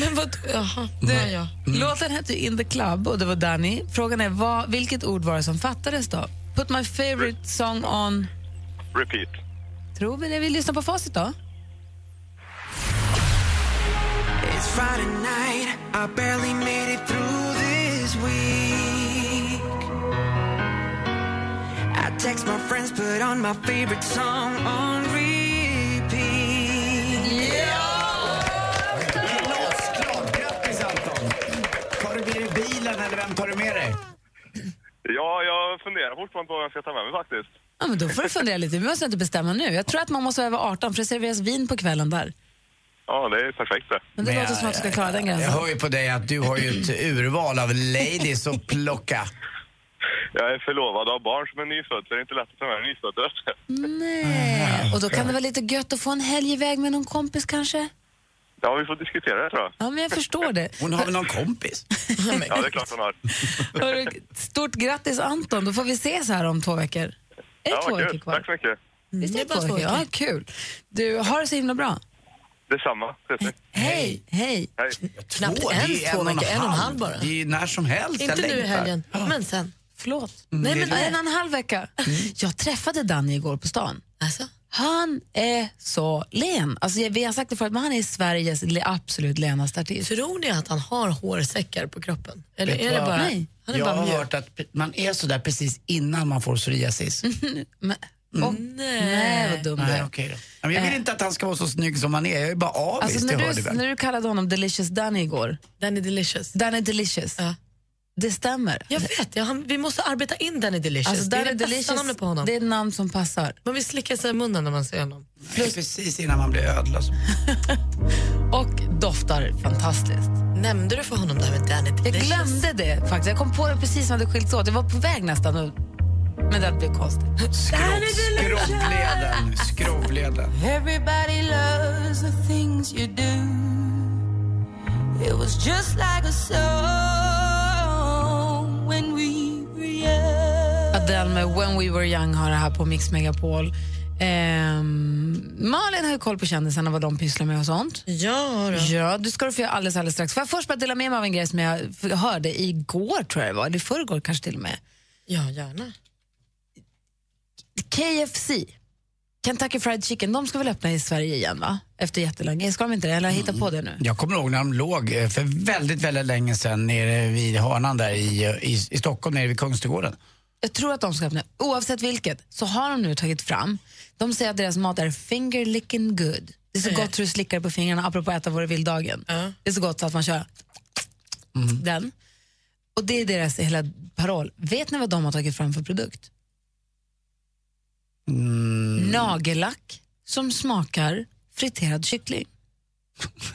Men vad... Jaha, det är jag. Låten hette ju In the Club och det var Danny. Frågan är vad, vilket ord var det som fattades då? Put my favorite song on... Repeat. Tror vi det? Vi lyssnar på facit då. It's Friday night, I barely made it through this week. I text my friends, put on my favorite song on repeat. Glasklart! Grattis Anton! Tar du med dig bilen eller vem tar du med dig? Ja, jag funderar fortfarande på vad jag ska ta med mig faktiskt. Ja, men då får du fundera lite. Vi måste inte bestämma nu. Jag tror att man måste vara över 18 för det serveras vin på kvällen där. Ja, det är perfekt det. Men det låter som att du ska klara den Jag gränsen. hör ju på dig att du har ju ett urval av ladies att plocka. Jag är förlovad och har barn som är nyfödd, så det är inte lätt att ta med en nyfödd. vet du. Nej. Och då kan det vara lite gött att få en helg iväg med någon kompis kanske? Ja, vi får diskutera det tror jag. Ja, men jag förstår det. Hon har väl någon kompis? Ja, det är klart hon har. Hörru, stort grattis Anton, då får vi ses här om två veckor. Är det Ja, två vad veckor kul. kvar? Tack så mycket. Visst är det två veckor? Ja, kul. Du, har det så himla bra. Detsamma. Ses ni. Hej! Hej! Hej. Knappt Två, det ens är två veckor, en och en halv bara. Det är ju när som helst. Inte jag nu i längtar. helgen, men sen. Förlåt. Mm, Nej, det är men det. en och en halv vecka. Jag träffade Danny igår på stan. Mm. Alltså? Han är så len. Alltså, jag- vi har sagt det förut, men han är Sveriges le- absolut lenaste artist. Tror ni att han har hårsäckar på kroppen? Eller Vet du är det vad? bara... Nej. Han är jag bara har mjuk. hört att man är sådär precis innan man får psoriasis. Men, Och, nej. vad dum du Nej, är. okej då. Men Eh. jag vill inte att han ska vara så snygg som han är. Jag är bara avis, Alltså när det hör du du, väl? när du kallade honom Delicious Danny igår. Danny Delicious. Danny Delicious. Det stämmer. Jag vet, jag, han, vi måste arbeta in Danny Delicious. Alltså, det är Danny det bästa Delicious, namnet på honom. det är ett namn som passar. Man vill slicka sig i munnen när man ser honom. Nej, Precis innan man blir ödlös. Och doftar fantastiskt. Nämnde du för honom det här med Danny Jag Delicious? glömde det faktiskt. Jag kom på det precis när det skilts åt. Jag var på väg nästan. Och, men det blev konstigt. Skrovleden, skrovleden. Everybody loves the things you do. It was just like a song when we were young. Adele med When We Were Young har det här på Mix Megapol. Ehm, Malin har ju koll på kändisarna, vad de pysslar med och sånt. Ja, då. ja Du ska du få göra alldeles, alldeles strax. Får jag först bara dela med mig av en grej som jag f- hörde igår, tror jag det var, eller i förrgår kanske till och med. Ja, gärna. KFC, Kentucky Fried Chicken, de ska väl öppna i Sverige igen, va? Efter jättelänge. Ska de inte det? Eller har jag hittat på det nu? Jag kommer ihåg när de låg eh, för väldigt, väldigt länge sedan nere vid hörnan där i, eh, i, i Stockholm, nere vid Kungsträdgården. Jag tror att de ska öppna. Oavsett vilket så har de nu tagit fram. De säger att deras mat är finger licking good. Det är så Mm. gott så du slickar på fingrarna, apropå äta vad du vill-dagen. Det är så gott så att man kör den. Och det är deras hela paroll. Vet ni vad de har tagit fram för produkt? Mm. Nagellack som smakar friterad kyckling.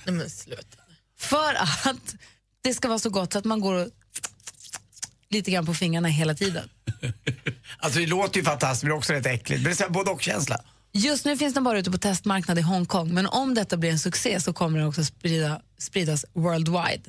Nej, men sluta. För att det ska vara så gott så att man går och lite grann på fingrarna hela tiden. Alltså det låter ju fantastiskt men det är också rätt äckligt. Men det är så här både och-känsla. Just nu finns den bara ute på testmarknad i Hongkong, men om detta blir en succé så kommer den också sprida, spridas worldwide.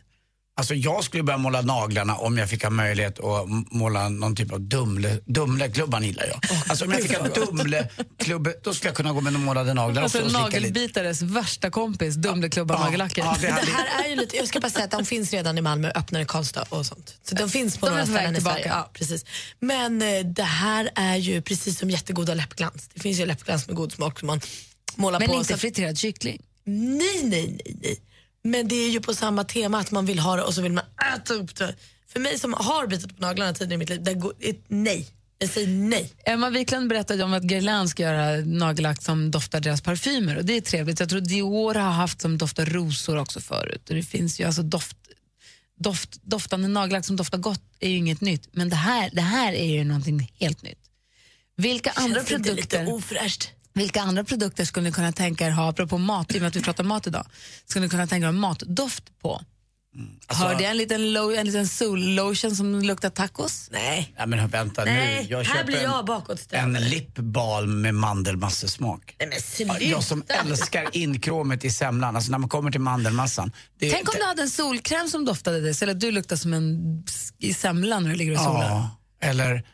Alltså jag skulle börja måla naglarna om jag fick ha möjlighet att m- måla någon typ av Dumle, Dumleklubban gillar jag. Alltså om jag fick ha Dumleklubb, då skulle jag kunna gå med och målade naglar Alltså också och slicka lite. nagelbitares värsta kompis, Dumleklubban Ja, Nagellacken. ja, Det, här är ju lite, jag ska bara säga att de finns redan i Malmö, öppnar i Karlstad och sånt. Så de finns på De är några på väg ställen i tillbaka. Sverige. Ja, precis. Men eh, det här är ju precis som jättegoda läppglans. Det finns ju läppglans med god smak som man målar Men på. inte så att- friterad kyckling. Nej, nej, nej, nej. Men det är ju på samma tema att man vill ha det och så vill man äta upp det. För mig som har bitit på naglarna tidigare i mitt liv, det går ett nej. Jag säger nej. Emma Wiklund berättade om att Guerlain ska göra nagellack som doftar deras parfymer och det är trevligt. Jag tror Dior har haft som doftar rosor också förut. Och det finns ju alltså doft, doft, doftande nagellack som doftar gott är ju inget nytt, men det här, det här är ju någonting helt nytt. Vilka andra Känns inte produkter... lite ofräscht? Vilka andra produkter skulle ni kunna tänka er ha, apropå mat, i och med att vi pratar mat idag, skulle ni kunna tänka er ha matdoft på? Mm. Alltså- Hörde jag en liten, lo- en liten sol-lotion som luktar tacos? Nej. Ja, men vänta Nej, nu. här Jag köper blir jag en, bakåtsträvare. en lipbalm med mandelmassesmak. Nej, men Ja, sluta. Jag som älskar inkråmet i semlan, alltså när man kommer till mandelmassan. Det- Tänk om du hade en solkräm som doftade dig, så eller att du luktar som en s- i semla när du ligger och solar. Ja, eller,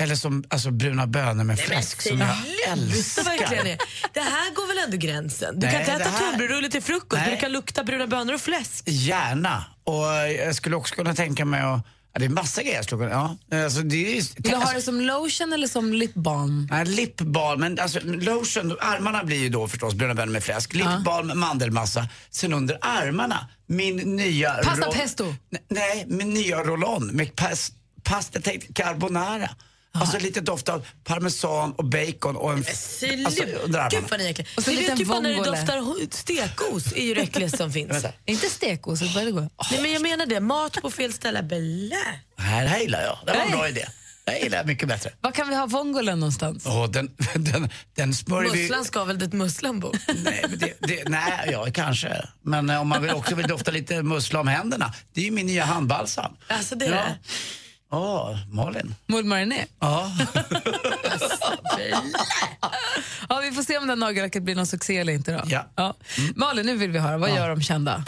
eller som alltså, bruna bönor med fläsk som jag Sluta verkligen älskar. det. Det här går väl ändå gränsen? Du Nej, kan inte det äta här- tunnbrödsrulle till frukost, men du kan lukta bruna bönor och fläsk. Gärna. Och jag skulle också kunna tänka mig att... Ja, det är massa grejer jag skulle kunna... Ja. Alltså, det är ju, Vill du ha det som lotion eller som lip balm? Nej, lipbalm, men alltså lotion, armarna blir ju då förstås bruna bönor med fläsk, lipbalm, mandelmassa, sen under armarna, min nya... Pasta roll- pesto. Ne- Nej, min nya roll-on med pas, pasta te- carbonara. Alltså lite doft av parmesan och bacon och en... Alltså, under Gud armarna. vad ni är äckliga. Och så Ni en vet liten ju bara när det vongole. doftar ho- stekos är ju det äckligaste som finns. Vänta. Inte stekos, det börjar gå. Oh. Nej, men jag menar det, mat på fel ställe, belä. Det här, det här gillar jag. Det var en bra idé. Det här gillar jag mycket bättre. Var kan vi ha vongolen någonstans? Åh, den, den, den smörjer vi... Musslan ska väl dit musslan bor? Det, nej, ja, kanske. Men eh, om man vill också vill dofta lite mussla om händerna. Det är ju min nya handbalsam. Alltså det är Ja. det. Åh, Malin. Mullmariné? Ja. ja, vi får se om den nagellacket blir någon succé eller inte. Då. Ja. Mm. Malin, nu vill vi höra. Vad gör de kända?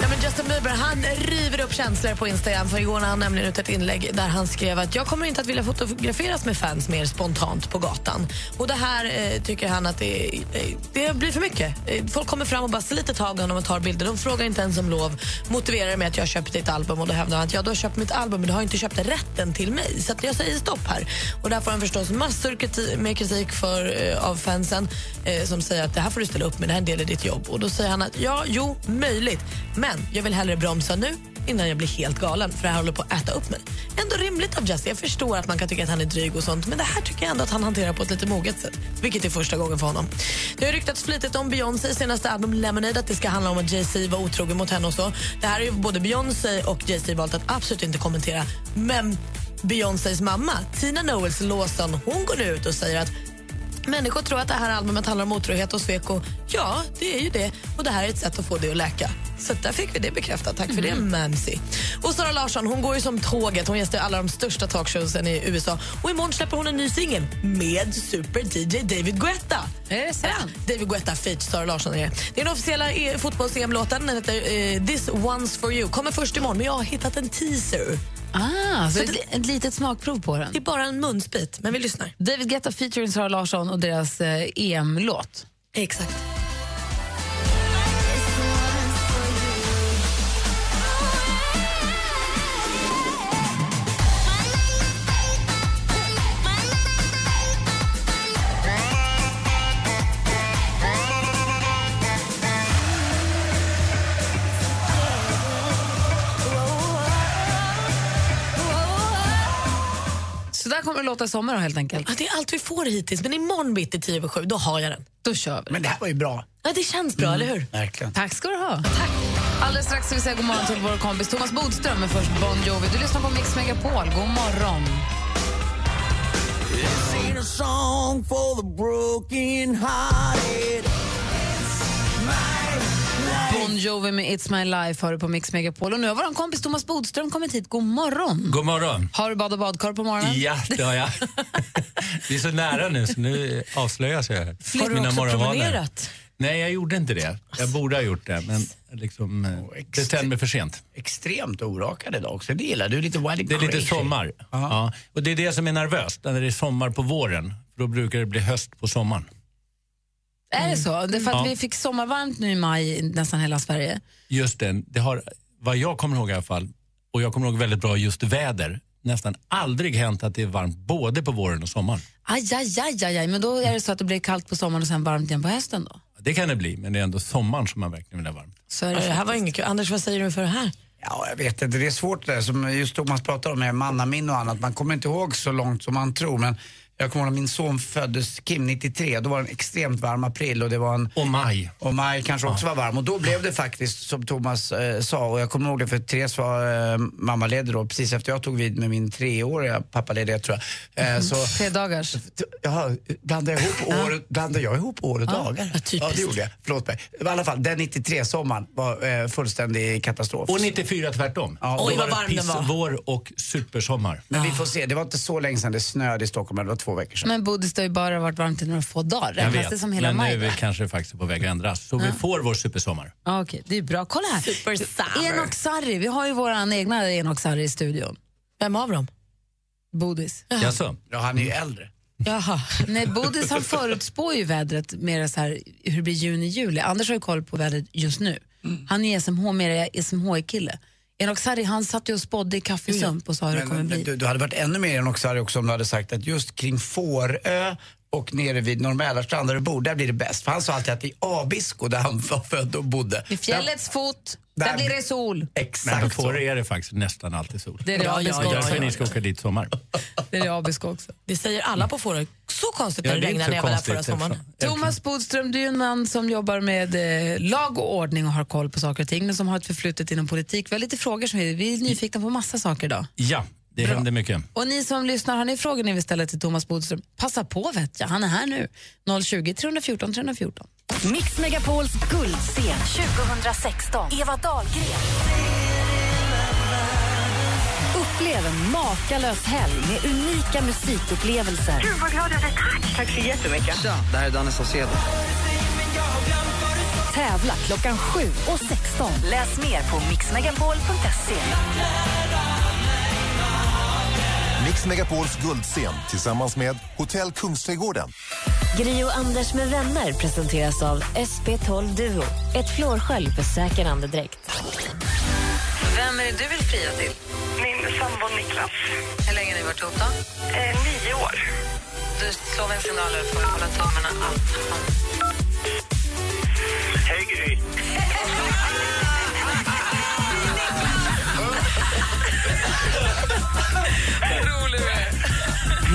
Ja, men Justin Bieber han river upp känslor på Instagram. För Igår la han nämligen ut ett inlägg där han skrev att jag kommer inte att vilja fotograferas med fans mer spontant på gatan. Och Det här eh, tycker han att det, eh, det blir för mycket. Eh, folk kommer fram och bara ser lite tag i honom och tar bilder. De frågar inte ens om lov. Motiverar det med att jag har köpt ditt album och då hävdar han att jag har köpt mitt album men du har inte köpt rätten till mig. Så att jag säger stopp här. Och Där får han förstås massor kriti- med kritik för, eh, av fansen eh, som säger att det här får du ställa upp med, det här är en del i ditt jobb. Och Då säger han att ja, jo, möjligt, men jag vill hellre bromsa nu innan jag blir helt galen för det här håller på att äta upp mig. Ändå rimligt av Jesse. Jag förstår att man kan tycka att han är dryg och sånt men det här tycker jag ändå att han hanterar på ett lite moget sätt. Vilket är första gången för honom. Det har ryktats flitigt om Beyoncé senaste album Lemonade att det ska handla om att Jay-Z var otrogen mot henne och så. Det här har ju både Beyoncé och Jay-Z valt att absolut inte kommentera. Men Beyoncés mamma, Tina Knowles Lawson, hon går nu ut och säger att Människor tror att det här albumet handlar om otrohet och svek och ja, det är ju det. Och det här är ett sätt att få det att läka. Så där fick vi det bekräftat. Tack för Mm. det, Mamsi. Och Sara Larsson, hon går ju som tåget. Hon gästar alla de största talkshowsen i USA. Och imorgon släpper hon en ny singel med super-DJ David Guetta. Är det sant? Ja, David Guetta feat. Sara Larsson är det. Det är den officiella eh, fotbolls-EM-låten. Den heter eh, This One's For You. Kommer först imorgon, men jag har hittat en teaser. Ah, så, Så ett, det- ett litet smakprov på den. Det är bara en munsbit, men vi lyssnar. David Guetta featuring Sara Larsson och deras eh, EM-låt. Exakt. Så där kommer det låta i sommar då, helt enkelt. Ja, det är allt vi får hittills, men imorgon bitti 10 över 7, då har jag den. Då kör vi. Men det här var ju bra. Ja, det känns bra, eller hur? Verkligen. Tack ska du ha. Tack. Alldeles strax ska vi säga god morgon till vår kompis Thomas Bodström, men först Bon Jovi. Du lyssnar på Mix Megapol. God morgon. Eh, Sing Mm. a song for the broken hearted. Bon Jovi med It's My Life har du på Mix Megapol. Och nu har vår kompis Thomas Bodström kommit hit. God morgon. God morgon. Har du bad och badkar på morgonen? Ja, det har jag. Det är så nära nu så nu avslöjas jag. här. Har du också morgonvanor. promenerat? Nej, jag gjorde inte det. Jag borde ha gjort det, men liksom, eh, bestämde mig för sent. Extremt orakad idag också. Det gillar du. Lite wild Det är lite crazy. sommar. Ja. Och det är det som är nervöst, när det är sommar på våren. För då brukar det bli höst på sommaren. Är det så? Det är för att Mm. Ja. vi fick sommarvarmt nu i maj i nästan hela Sverige. Just det, det har, vad jag kommer ihåg i alla fall, och jag kommer ihåg väldigt bra just väder, nästan aldrig hänt att det är varmt både på våren och sommaren. Aj, aj, aj, aj, aj. Men då är det så att det blir kallt på sommaren och sen varmt igen på hösten då? Det kan det bli, men det är ändå sommaren som man verkligen vill ha varmt. Så är det, här var inget kul. Anders, vad säger du för det här? Ja, jag vet inte. Det är svårt det där som just Thomas pratar om med mannaminne och annat. Man kommer inte ihåg så långt som man tror. Men jag kommer ihåg när min son föddes, Kim 93, då var det en extremt varm april och det var en... Och maj. Och maj kanske också var varm. Och då blev det faktiskt som Thomas eh, sa, och jag kommer ihåg det för Therese var eh, mammaledig då, precis efter jag tog vid med min treåriga pappaledighet tror jag. Eh, så, Tre dagars. Jaha, blandade jag ihop år, blandade jag ihop år och Ja, dagar? Ja, det gjorde jag. Förlåt mig. I alla fall, den 93-sommaren var eh, fullständig katastrof. Och 94 tvärtom. Ja, Då Oj, var vad varm det den piss var. vår och supersommar. Men vi får se, det var inte så länge sedan det snöade i Stockholm, det var två veckor sedan. Men Bodis det har ju bara varit varmt i några få dagar. Jag Räknas det som hela men maj? nu då? är vi kanske faktiskt på väg att ändras. Så Ja. vi får vår supersommar. Ja, Okej, det är bra. Kolla här. Enok Sarri. Vi har ju våran egna Enok Sarri i studion. Vem av dem? Bodis. Jaså? Ja, han är ju äldre. Jaha. Nej, Bodis han förutspår ju vädret mer så här, hur det blir juni, juli. Anders har ju koll på vädret just nu. Han är SMH, mer SMH-kille. Enok Sarri han satt ju och spådde i kaffesump och sa hur det kommer Men, bli. men, du, du hade varit ännu mer än också, Harry, också om du hade sagt att just kring Fårö och nere vid Norr Mälarstrand där du bor, där blir det bäst. För han sa alltid att i Abisko, där han var född och bodde. Vid fjällets fot, där Där- blir det sol. Men Exakt på så. Fårö är det faktiskt nästan alltid sol. Det är det Ja, Abisko ja, ja, därför ja. ni ska åka dit i sommar. Det är det Abisko också. Det säger alla på Fårö. Så konstigt Ja, när det, det är inte regnade när jag så var där konstigt förra sommaren. eftersom- Thomas Bodström, du är ju en man som jobbar med eh, lag och ordning och har koll på saker och ting, men som har ett förflutet inom politik. Vi har lite frågor som vi, vi är nyfikna på massa saker idag. Ja, det händer mycket. Och ni som lyssnar, har ni frågor ni vill ställa till Thomas Bodström, passa på vet jag, han är här nu. 020 314 314. Mix Megapols guldscen 2016. Eva Dahlgren. Upplev en makalös helg med unika musikupplevelser. Gud, vad glad jag blev. Tack! Tack så jättemycket. Tja, det här är Danne Saucedo. Tävla klockan 7 och 16. Läs mer på mixmegapol.se. Mix Megapols guldscen tillsammans med Hotell Kungsträdgården. Gri och Anders med vänner presenteras av SP12 Duo. Ett flårskölj för säker andedräkt. Vem är det du vill fria till? Min sambo Niklas. Hur länge har ni varit ihop då? Eh, nio år. Du slår mig en signal och får hålla tummarna allt. Hej, Gry.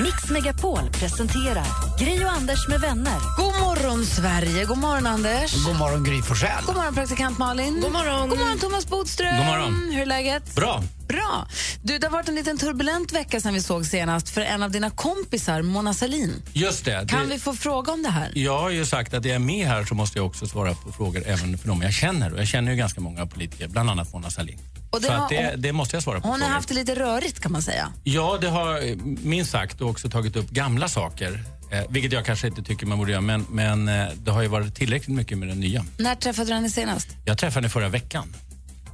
Mix Megapol presenterar Gri och Anders med vänner. God morgon, Sverige. God morgon, Anders. God morgon, Gry Forssell. God morgon, praktikant Malin. God morgon, God morgon Thomas Bodström. God morgon. Hur är läget? Bra. Bra. Du, det har varit en liten turbulent vecka sen vi såg senast för en av dina kompisar, Mona Sahlin. Just det. Kan det... vi få fråga om det här? Jag har ju sagt att är jag med här så måste jag också svara på frågor även för dem jag känner. Och jag känner ju ganska många politiker, bland annat Mona Sahlin. Och det så har- att det, hon- det måste jag svara på. Hon har frågor. haft det lite rörigt kan man säga. Ja, det har eh, minst sagt och också tagit upp gamla saker. Eh, vilket jag kanske inte tycker man borde göra, men, men eh, det har ju varit tillräckligt mycket med det nya. När träffade du henne senast? Jag träffade henne förra veckan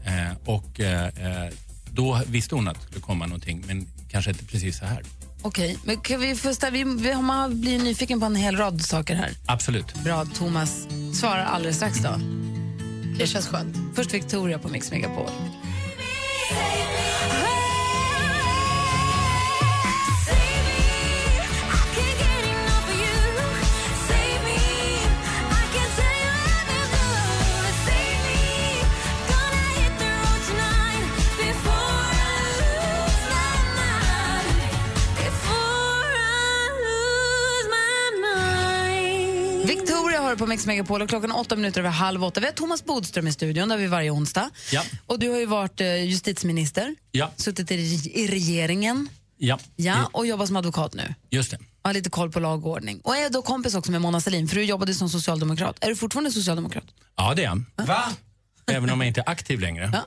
eh, och eh, eh, då visste hon att det skulle komma någonting, men kanske inte precis så här. Okej, men kan vi få ställa, vi, vi, man blir nyfiken på en hel rad saker här. Absolut. Bra, Thomas svarar alldeles strax då. Det känns skönt. Först Victoria på Mix Megapol. Victoria har du på Mix Megapol och klockan åtta minuter över halv åtta. Vi har Thomas Bodström i studion, där vi är varje onsdag. Ja. Och du har ju varit eh, justitieminister, Ja. suttit i, reg- i regeringen Ja. ja, och jobbar som advokat nu. Just det. Har lite koll på lag och ordning. Och är då kompis också med Mona Sahlin, för du jobbade som socialdemokrat. Är du fortfarande socialdemokrat? Ja, det är han. Va? Även om jag inte är aktiv längre. Eh,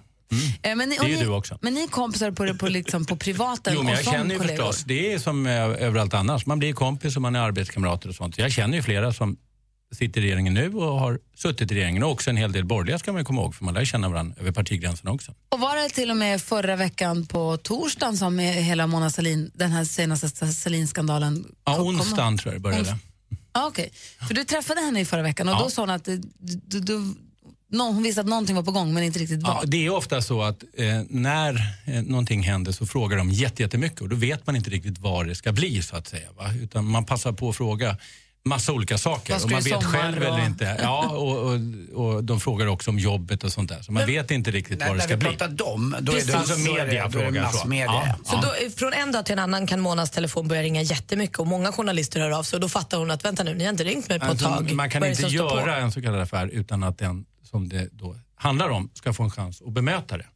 Men ni, Det är och ju ni, du också. Men ni är kompisar på, det- på, liksom, på privaten Jo, men och jag som känner ju kollegor. förstås. Det är som eh, överallt annars. Man blir kompis och man är arbetskamrater och sånt. Jag känner ju flera som sitter i regeringen nu och har suttit i regeringen och också en hel del borgerliga ska man ju komma ihåg för man lär ju känna varandra över partigränserna också. Och var det till och med förra veckan på torsdagen som eh, hela Mona Sahlin, den här senaste Sahlin-skandalen Ja, kom- kom onsdagen upp? tror jag det började. Ja, okej. För du träffade henne i förra veckan och Ja. då sa hon att eh, du, du, nå- hon visste att någonting var på gång men inte riktigt vad. Ja, det är ofta så att eh, när eh, någonting händer så frågar de jätte- jättemycket och då vet man inte riktigt vad det ska bli så att säga. Va? Utan man passar på att fråga massa olika saker Vad ska och man du i vet sommar själv och- eller inte. Ja, och, och, och de frågar också om jobbet och sånt där. Så man vet inte riktigt när- vad det när ska vi bli. pratar dem, då är det- alltså då är det- media då är det frågar så. massmedia. Ja, Så ja. då, eh, från en dag till en annan kan Monas telefon börja ringa jättemycket och många journalister hör av sig och då fattar hon att vänta nu, ni har inte ringt mig på ett Alltså, tag. Man kan Vad är det inte som står på? göra en så kallad affär utan att den som det då handlar om ska få en chans att bemöta det.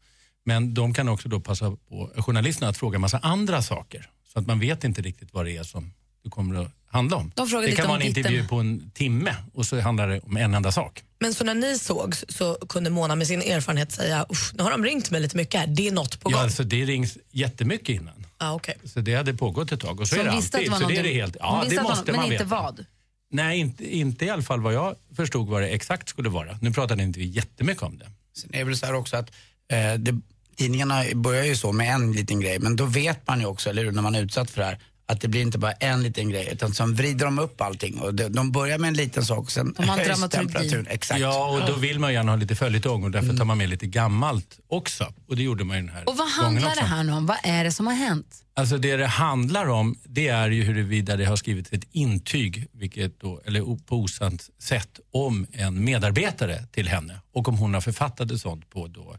Men de kan också då passa på journalisterna att fråga massa andra saker så att man vet inte riktigt vad det är som det kommer att handla om. De frågar det lite kan om vara en ditten. intervju på en timme och så handlar det om en enda sak. Men så när ni sågs så kunde Mona med sin erfarenhet säga "Uff, nu har de ringt mig lite mycket här, det är något på gång. Ja, alltså det rings jättemycket innan. Ah, okay. Så det hade pågått ett tag och så, Så är det hon visste alltid. att det var så det är någonting- det helt, hon ja, visste det att det var- måste men man inte veta. vad? Nej, inte, inte i alla fall vad jag förstod vad det exakt skulle vara. Nu pratade inte vi jättemycket om det. Sen är det väl så här också att eh, det, tidningarna börjar ju så med en liten grej, men då vet man ju också, eller hur, när man är utsatt för det här, att det blir inte bara en liten grej, utan sen vrider de upp allting. Och de, de börjar med en liten sak och sen De har en höjs dramaturgi. temperaturen. Exakt. Ja, och då vill man gärna ha lite följetong och därför tar man med lite gammalt också. Och det gjorde man ju den här Och vad gången handlar också. det här nu om? Vad är det som har hänt? Alltså det det handlar om, det är ju huruvida det har skrivits ett intyg, vilket då, eller o- på osant sätt, om en medarbetare till henne. Och om hon har författat ett sånt på då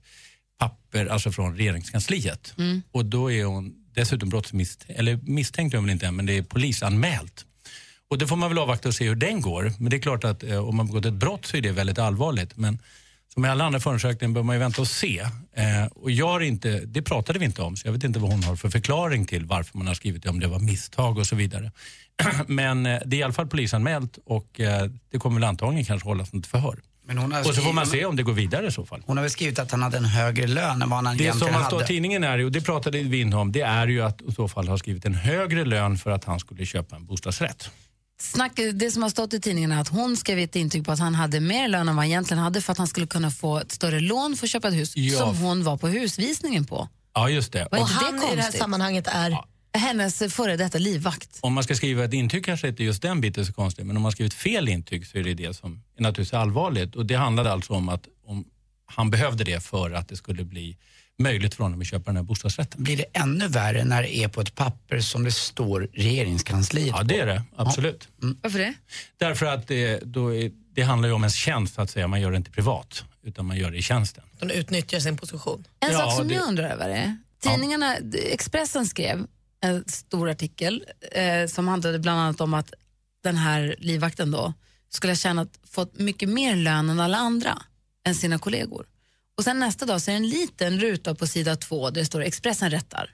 papper, alltså från regeringskansliet. Mm. Och då är hon dessutom brottsmisstänkt, eller misstänkt är hon väl inte än, men det är polisanmält. Och det får man väl avvakta och se hur den går. Men det är klart att eh, om man begått ett brott så är det väldigt allvarligt. Men som i alla andra förundersökningar bör man ju vänta och se. Eh, och jag har inte, det pratade vi inte om, så jag vet inte vad hon har för förklaring till varför man har skrivit det, om det var misstag och så vidare. Men eh, det är i alla fall polisanmält och eh, det kommer väl antagligen kanske hållas något förhör. Men hon har Och så får man skrivit- se om det går vidare i så fall. Hon har väl skrivit att han hade en högre lön än vad Det han som egentligen har stått i hade. tidningen är, ju- och det pratade vi inte om, det är ju att i så fall har skrivit en högre lön för att han skulle köpa en bostadsrätt. Snack, det som har stått i tidningen är att hon skrev ett intyg på att han hade mer lön än vad han egentligen hade för att han skulle kunna få ett större lån för att köpa ett hus Ja. som hon var på husvisningen på. Ja, just det. Var Och- inte han i det här sammanhanget är hennes före detta livvakt. Om man ska skriva ett intyg kanske inte just den biten är så konstigt, men om man skrivit fel intyg så är det det som är naturligtvis allvarligt. Och det handlade alltså om att om han behövde det för att det skulle bli möjligt för honom att köpa den här bostadsrätten. Blir det ännu värre när det är på ett papper som det står regeringskansliet Ja, det är det. Absolut. Mm. Varför det? Därför att det, då är, det handlar ju om ens tjänst, så att säga. Man gör det inte privat, utan man gör det i tjänsten. De utnyttjar sin position. En Ja, sak som det- jag undrar över är, Tidningarna, Expressen skrev en stor artikel eh, som handlade bland annat om att den här livvakten då skulle ha tjänat, fått mycket mer lön än alla andra, än sina kollegor. Och sen nästa dag så är det en liten ruta på sida två där det står Expressen rättar.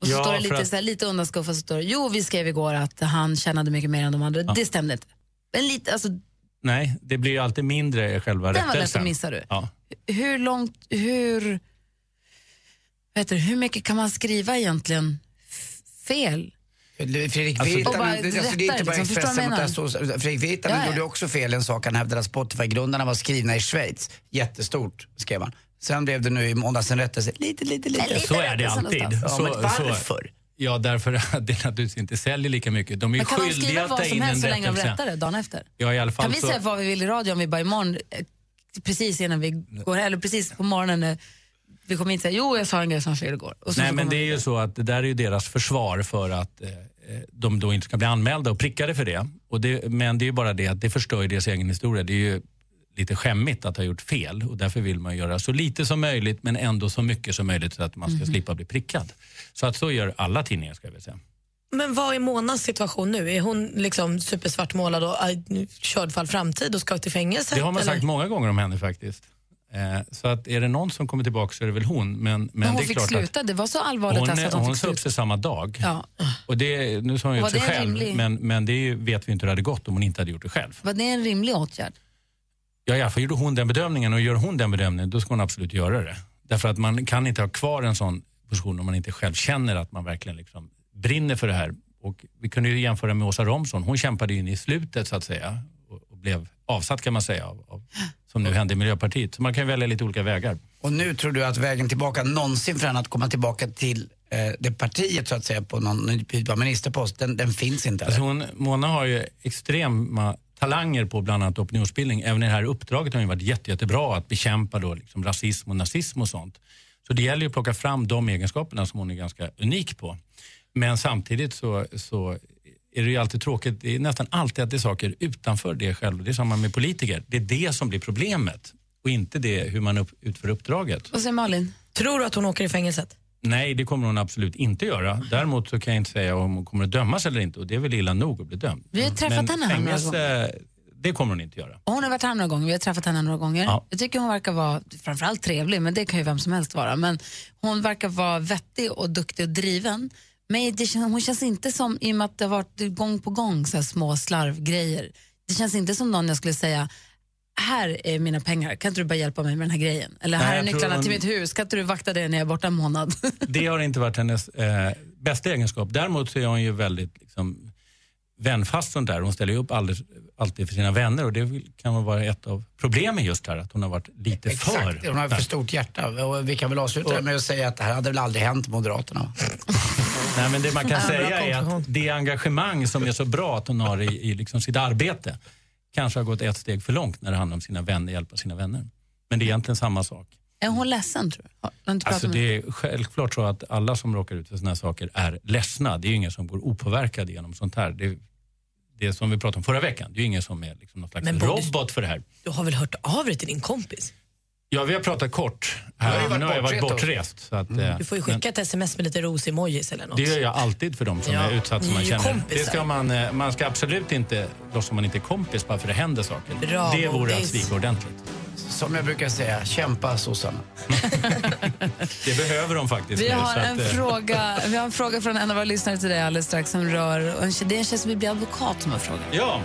Och så Ja, står det för lite, att- så här, lite undanskuffat så står det, jo vi skrev igår att han tjänade mycket mer än de andra. Det stämde inte. Men lite, alltså, Nej, det blir ju alltid mindre själva Den var lätt att rättelsen. missa, du. Ja. hur långt, hur, vet du, hur mycket kan man skriva egentligen f- fel? Fredrik Alltså, Virtanen, och bara alltså, det är rätta inte det, bara liksom. Förstår du vad Expressen jag mot menar? Östros- Fredrik Virtanen Ja, ja. gjorde också fel en sak. Han hävdade att Spotify-grundarna var skrivna i Schweiz. Jättestort, skrev han. Sen blev det nu i måndags en rättelse. Lite, lite, lite. Så är det alltid. Ja, Så, men så- varför? Ja, därför att det naturligtvis inte säljer lika mycket. De är ju Men kan man skyldiga skriva att ta vad som in en helst så länge de rättelse. rättar det dagen efter? Ja, i alla fall Kan vi så- säga vad vi vill i radio om vi bara imorgon, eh, precis innan vi går, eller precis på morgonen när vi kommer in och säger jo jag sa en grej som var fel igår. Och så, Nej, så men kommer- det är ju så att det där är ju deras försvar för att eh, de då inte ska bli anmälda och prickade för det. Och det. Men det är ju bara det att det förstör ju deras egen historia. Det är ju lite skämmigt att ha gjort fel och därför vill man göra så lite som möjligt men ändå så mycket som möjligt så att man ska Mhm. slippa bli prickad. Så att så gör alla tidningar ska jag väl säga. Men vad är Monas situation nu? Är hon liksom supersvartmålad och eh, nu körd för all framtid och ska till fängelset? Det har man eller? sagt många gånger om henne faktiskt. Eh, så att är det någon som kommer tillbaka så är det väl hon. Men, men, men hon det är fick klart sluta, det var så att allvarligt hon, alltså att hon, hon fick sa upp sluta. sig samma dag. Ja. Och det, nu sa hon ju Var upp sig det en själv, rimlig- men, men det är ju, vet vi inte hur det hade gått om hon inte hade gjort det själv. Var det en rimlig åtgärd? Ja, i alla fall gjorde hon den bedömningen och gör hon den bedömningen då ska hon absolut göra det. Därför att man kan inte ha kvar en sån position om man inte själv känner att man verkligen liksom brinner för det här. Och vi kunde ju jämföra med Åsa Romson, hon kämpade ju in i slutet så att säga och, och blev avsatt kan man säga, av, av, som nu hände i Miljöpartiet. Så man kan ju välja lite olika vägar. Och nu tror du att vägen tillbaka någonsin för henne att komma tillbaka till eh, det partiet så att säga på någon ny typ av ministerpost, den, den finns inte. Alltså hon, Mona har ju extrema talanger på bland annat opinionsbildning. Även i det här uppdraget har hon ju varit jätte, jättebra att bekämpa då liksom rasism och nazism och sånt. Så det gäller ju att plocka fram de egenskaperna som hon är ganska unik på. Men samtidigt så, så är det ju alltid tråkigt. Det är nästan alltid att det är saker utanför det själv. Det är samma med politiker. Det är det som blir problemet och inte det hur man upp, utför uppdraget. Vad säger Malin? Tror du att hon åker i fängelset? Nej, det kommer hon absolut inte göra. Däremot så kan jag inte säga om hon kommer att dömas eller inte och det är väl illa nog att bli dömd. Vi har träffat Mm. Men henne alltså? här några fängelse, det kommer hon inte göra. Och Hon har varit här några gånger, vi har träffat henne några gånger. Ja. Jag tycker hon verkar vara, framförallt trevlig, men det kan ju vem som helst vara, men hon verkar vara vettig och duktig och driven. Men det känns, hon känns inte som, i och med att det har varit gång på gång så här små slarvgrejer, det känns inte som någon jag skulle säga här är mina pengar, kan inte du bara hjälpa mig med den här grejen? Eller Nej, här är jag tror nycklarna hon- till mitt hus, kan inte du vakta det när jag är borta en månad? Det har inte varit hennes eh, bästa egenskap. Däremot så är hon ju väldigt liksom, vänfast sånt där. Hon ställer ju upp alldeles, alltid för sina vänner och det kan väl vara ett av problemen just här, att hon har varit lite Exakt, för... hon har för stort hjärta. Och vi kan väl avsluta det med att säga att det här hade väl aldrig hänt Moderaterna. va? Nej, men det man kan Ja, bra säga är att det engagemang som är så bra att hon har i, i liksom sitt arbete kanske har gått ett steg för långt när det handlar om sina vänner, hjälpa sina vänner. Men det är egentligen samma sak. är hon ledsen tror du? Har- har du inte pratat Alltså med henne? det är självklart så att alla som råkar ut för såna här saker är ledsna. Det är ju ingen som går opåverkad genom sånt här. Det, det som vi pratade om förra veckan, det är ju ingen som är liksom någon slags Men borde- robot för det här. Du har väl hört av dig till din kompis? Ja, vi har pratat kort. har Här, ju men varit nu har jag varit bortrest då. bortrest. Så att, eh, Mm. Du får ju skicka ett sms med lite ros-emojis eller men något. det gör jag alltid för de som Ja, är utsatta som ni är man ju känner. kompisar. Det ska man, eh, man ska absolut inte låtsas som man inte är kompis bara för det händer saker. Bra, det vore att Bodis. svika ordentligt. Som jag brukar säga, kämpa sossarna. Det behöver de faktiskt Vi nu. har, så en att, eh, fråga, vi har en fråga från en av våra lyssnare till dig alldeles strax som rör, och en tjej- det är en tjej som vill bli advokat som har frågat. Ja.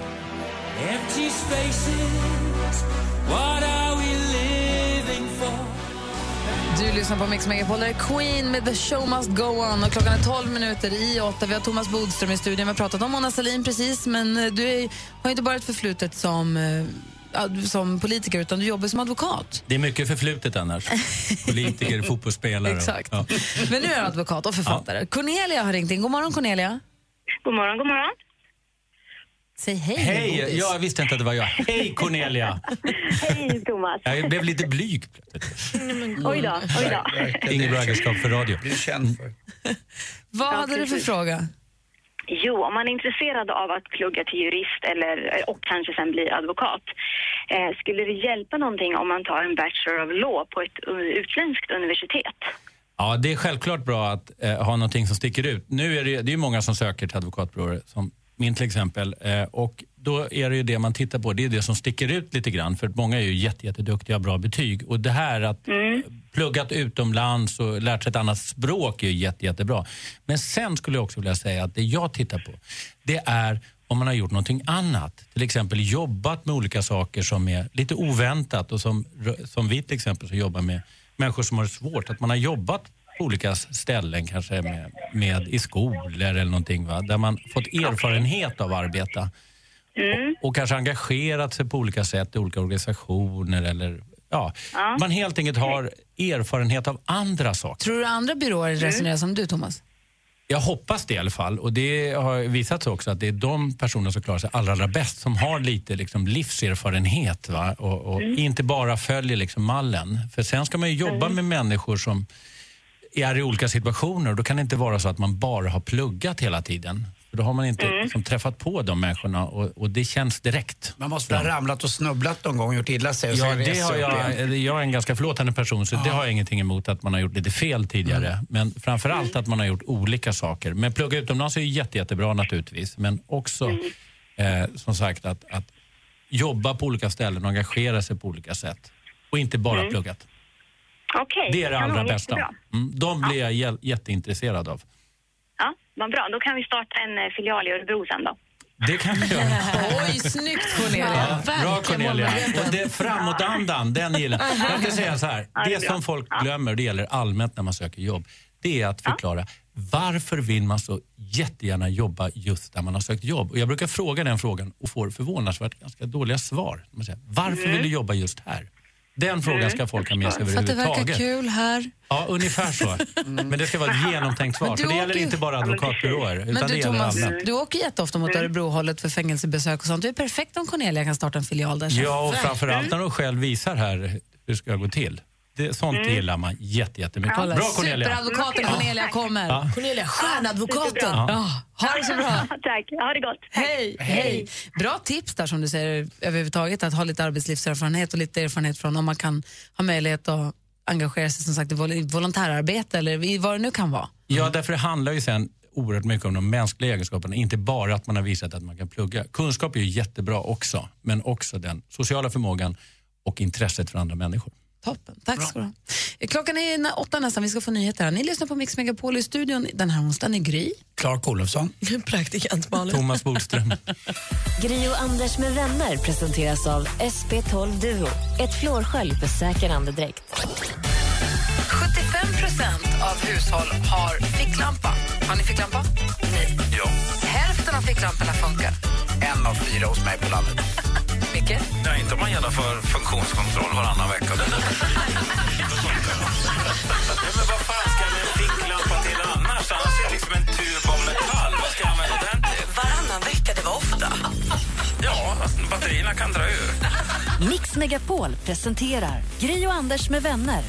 Empty spaces, what are we living for? Du lyssnar på Mix Megapol. Där är Queen med The Show Must Go On. Och klockan är 12 minuter i åtta. Vi har Thomas Bodström i studion. Vi har pratat om Mona Sahlin precis, men eh, du är, har ju inte bara ett förflutet som, eh, ad- som politiker, utan du jobbar som advokat. det är mycket förflutet annars. Politiker, fotbollsspelare. Exakt. Ja. Men nu är du advokat och författare. Cornelia har ringt in. God morgon, Cornelia. God morgon, god morgon. Säg hej. Hej! Bodis. Jag visste inte att det var jag. Hej Cornelia! Hej Thomas. Jag blev lite blyg. Oj då, oj då. Inget bra egenskap för radio. Blir känd för. Vad hade du för precis. fråga? Jo, om man är intresserad av att plugga till jurist eller, och kanske sen bli advokat, eh, skulle det hjälpa någonting om man tar en Bachelor of Law på ett eh, utländskt universitet? Ja, det är självklart bra att eh, ha någonting som sticker ut. Nu är det, ju- det är ju många som söker till advokatbyråer, som min till exempel. Eh, och då är det ju det man tittar på, det är det som sticker ut lite grann. För att många är ju jätte- jätteduktiga och har bra betyg. Och det här att pluggat utomlands och lärt sig ett annat språk är ju jätte, jättebra. Men sen skulle jag också vilja säga att det jag tittar på, det är om man har gjort någonting annat. Till exempel jobbat med olika saker som är lite oväntat och som, som vi till exempel som jobbar med människor som har det svårt. Att man har jobbat på olika ställen, kanske med, med i skolor eller någonting, va? där man fått erfarenhet av att arbeta och, och kanske engagerat sig på olika sätt i olika organisationer eller ja, man helt enkelt har erfarenhet av andra saker. Tror du andra byråer Mm. resonerar som du, Thomas? Jag hoppas det i alla fall och det har visat sig också att det är de personer som klarar sig allra, allra bäst som har lite liksom, livserfarenhet va? och, och Mm. inte bara följer liksom, mallen. För sen ska man ju jobba med människor som är i olika situationer och då kan det inte vara så att man bara har pluggat hela tiden. För då har man inte liksom, träffat på de människorna och, och det känns direkt. Man måste ha ramlat och snubblat någon gång och gjort illa sig. Och Ja, sen det resa har upp igen. jag, jag är en ganska förlåtande person så det har jag ingenting emot att man har gjort lite fel tidigare. Mm. Men framför allt att man har gjort olika saker. Men plugga utomlands är ju jätte, jättebra naturligtvis. Men också eh, som sagt att, att jobba på olika ställen och engagera sig på olika sätt. Och inte bara Mm. pluggat. Okej, Det är det kanon, allra bästa. jättebra. Mm, de blir jag jä- jätteintresserad av. Ja, vad bra. Då kan vi starta en eh, filial i Örebro sen då. Det kan vi göra. Oj, snyggt Ja, Cornelia. bra Cornelia. Och det är framåtandan, den gillar jag. Jag kan säga så här, Ja, det är det bra. som folk glömmer, och det gäller allmänt när man söker jobb, det är att förklara varför vill man så jättegärna jobba just där man har sökt jobb? Och jag brukar fråga den frågan och får förvånansvärt ganska dåliga svar. Man säger, varför Mm. vill du jobba just här? Den Mm, frågan ska folk ha med sig För att det verkar överhuvudtaget. kul här. Ja, ungefär så. Men det ska vara ett genomtänkt svar. Men du För det åker gäller ju- inte bara advokatbyråer, Men utan det du gäller Thomas, alla. du åker jätteofta Mm. mot Örebrohållet för fängelsebesök och sånt. Det är perfekt om Cornelia kan starta en filial där. sen. Mm. Ja, och framförallt när de själv visar här hur det ska gå till. Det, sånt Mm. gillar man jätte, jättemycket. Kolla, Bra Cornelia! Superadvokaten Ja. Cornelia kommer. Ja. Cornelia, stjärnadvokaten. Ja. Ja. Ha det så bra. Tack, ha det gott. Hej, hej. Bra tips där som du säger överhuvudtaget, att ha lite arbetslivserfarenhet och lite erfarenhet från om man kan ha möjlighet att engagera sig som sagt i vol- i volontärarbete eller i vad det nu kan vara. Ja, därför det handlar ju sen oerhört mycket om de mänskliga egenskaperna, inte bara att man har visat att man kan plugga. Kunskap är ju jättebra också, men också den sociala förmågan och intresset för andra människor. Tack ska du ha. Klockan är nä- åtta nästan, vi ska få nyheter. här. Ni lyssnar på Mix Megapol i studion den här onsdagen i Gry. Clark Olofsson. Praktikant Malin. Thomas Bodström. Gri och Anders med vänner presenteras av SP12 Duo. Ett flårskölj för säker andedräkt. 75 procent av hushåll har ficklampa. Har ni ficklampa? Nej. Ja. Hälften av ficklamporna funkar. En av fyra hos mig på landet. Mycket. Nej, inte om man genomför funktionskontroll varannan vecka. Det där. Ja, men vad fan ska en ficklampa till annars? Annars är det liksom en tub av metall. Vad ska jag använda den till? Varannan vecka, det var ofta. Ja, alltså, batterierna kan dra ur. Mix Megapol presenterar Gri och Anders med vänner.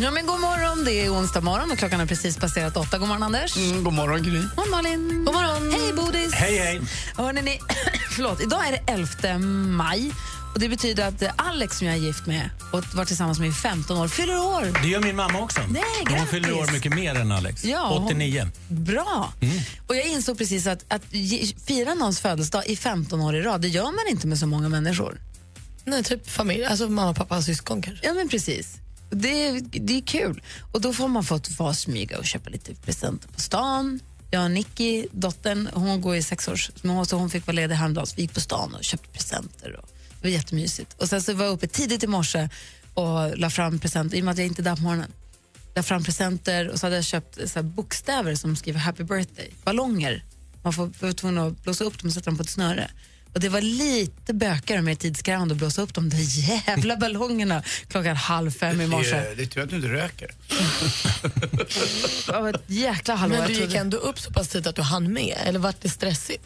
Ja, men god morgon, det är onsdag morgon och klockan har precis passerat åtta. God morgon Anders. Mm, god morgon Gry. God morgon Malin. God morgon. Hej Bodis. Hej, hej. Hörrni, ni, förlåt, idag är det 11 maj och det betyder att eh, Alex som jag är gift med och varit tillsammans med i 15 år fyller år. Det gör min mamma också. Nej, Hon grattis. fyller år mycket mer än Alex. Ja, hon- 89. Bra! Och jag insåg precis att, att ge- fira någons födelsedag i 15 år i rad, det gör man inte med så många människor. Nej, typ familj, alltså mamma, pappa och syskon kanske. Ja, men precis. Det, är- det är kul. Och då får man fått vara smyga och köpa lite presenter på stan. Jag och Nicky, dottern, hon går i sexårs, så hon fick vara ledig häromdagen. Så vi gick på stan och köpte presenter. Och det var jättemysigt. Och sen så var jag uppe tidigt i morse och la fram presenter, i och med att jag inte är där på morgonen. La fram presenter och så hade jag köpt så här bokstäver som skriver happy birthday, ballonger. Man får, var tvungen att blåsa upp dem och sätta dem på ett snöre. Och det var lite bökigare och mer tidskrävande att blåsa upp de där jävla ballongerna klockan halv fem i morse. eh, Det är tur att du inte röker. Det var ett jäkla hallå. Men jag du gick trodde- ändå upp så pass tidigt att du hann med, eller vart det stressigt?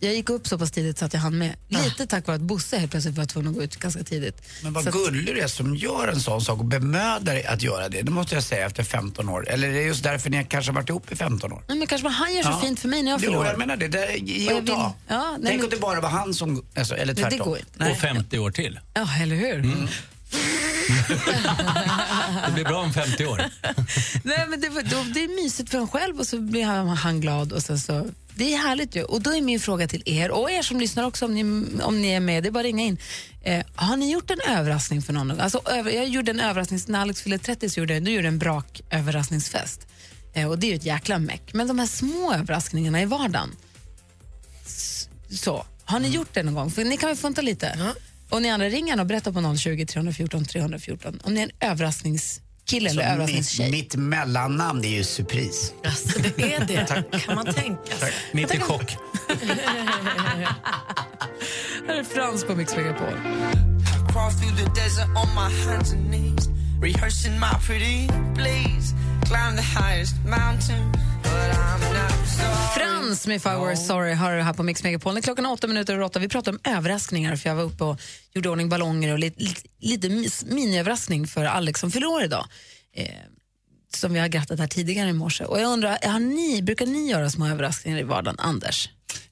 Jag gick upp så pass tidigt så att jag hann med. Ah. Lite tack vare att Bosse helt plötsligt var tvungen att gå ut ganska tidigt. Men Så vad att- gullig du är som gör en sån sak och bemödar dig att göra det. Det måste jag säga efter 15 år. Eller är det just därför ni kanske har varit ihop i 15 år? Nej, men kanske var han gör så Ja. fint för mig när jag Jo, fyller jag menar det. det är, ge och, Och jag ta. vill- Ja, nej, Tänk men- om det bara var han som... Alltså, eller Nej, det tvärtom. går inte. Och 50 år till. Ja, eller hur? Mm. Det blir bra om 50 år. Nej, men det, var- då, det är mysigt för en själv och så blir han, han glad. Och sen så, det är härligt ju. Och då är min fråga till er och er som lyssnar också om ni, om ni är med, det är bara att ringa in. Eh, har ni gjort en överraskning för någon? Alltså, över, jag gjorde en överraskning, när Alex fyllde 30 så gjorde jag, då gjorde jag en braköverraskningsfest. Eh, och det är ju ett jäkla meck. Men de här små överraskningarna i vardagen. S- Så, har ni gjort det någon gång? För ni kan väl funta lite? Och ni andra ringer och berätta på 020 314 314 om ni är en överraskningskille eller Så överraskningstjej. Alltså, mitt, mitt mellannamn det är ju surpris. Alltså, det är det. Kan man tänka sig. Mitt i chock. Här är Frans på Mix Megapol. Crawl through the desert on my hands and knees, rehearsing my pretty please. Climb the highest mountain, but I'm not sorry. Frans med If I Were Sorry har du här på Mix Megapol. Det är Klockan är åtta minuter över åtta. Vi pratar om överraskningar för jag var uppe och gjorde i ordning ballonger och lite, lite, lite mis- miniöverraskning för Alex som fyller år idag. Eh, som vi har grattat här tidigare i morse. Och jag undrar, har ni, brukar ni göra små överraskningar i vardagen, Anders?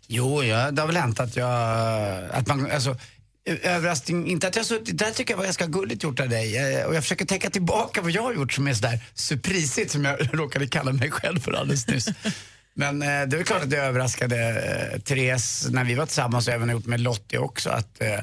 Jo, ja, det har väl hänt att jag... Att man, alltså, ö- överraskning, inte att jag suttit... Där tycker jag var ganska gulligt gjort av dig. Eh, Och jag försöker tänka tillbaka vad jag har gjort som är sådär surprisigt som jag råkade kalla mig själv för alldeles nyss. Men eh, det är väl klart att jag överraskade eh, Therese när vi var tillsammans och även gjort med Lottie också. Att, eh,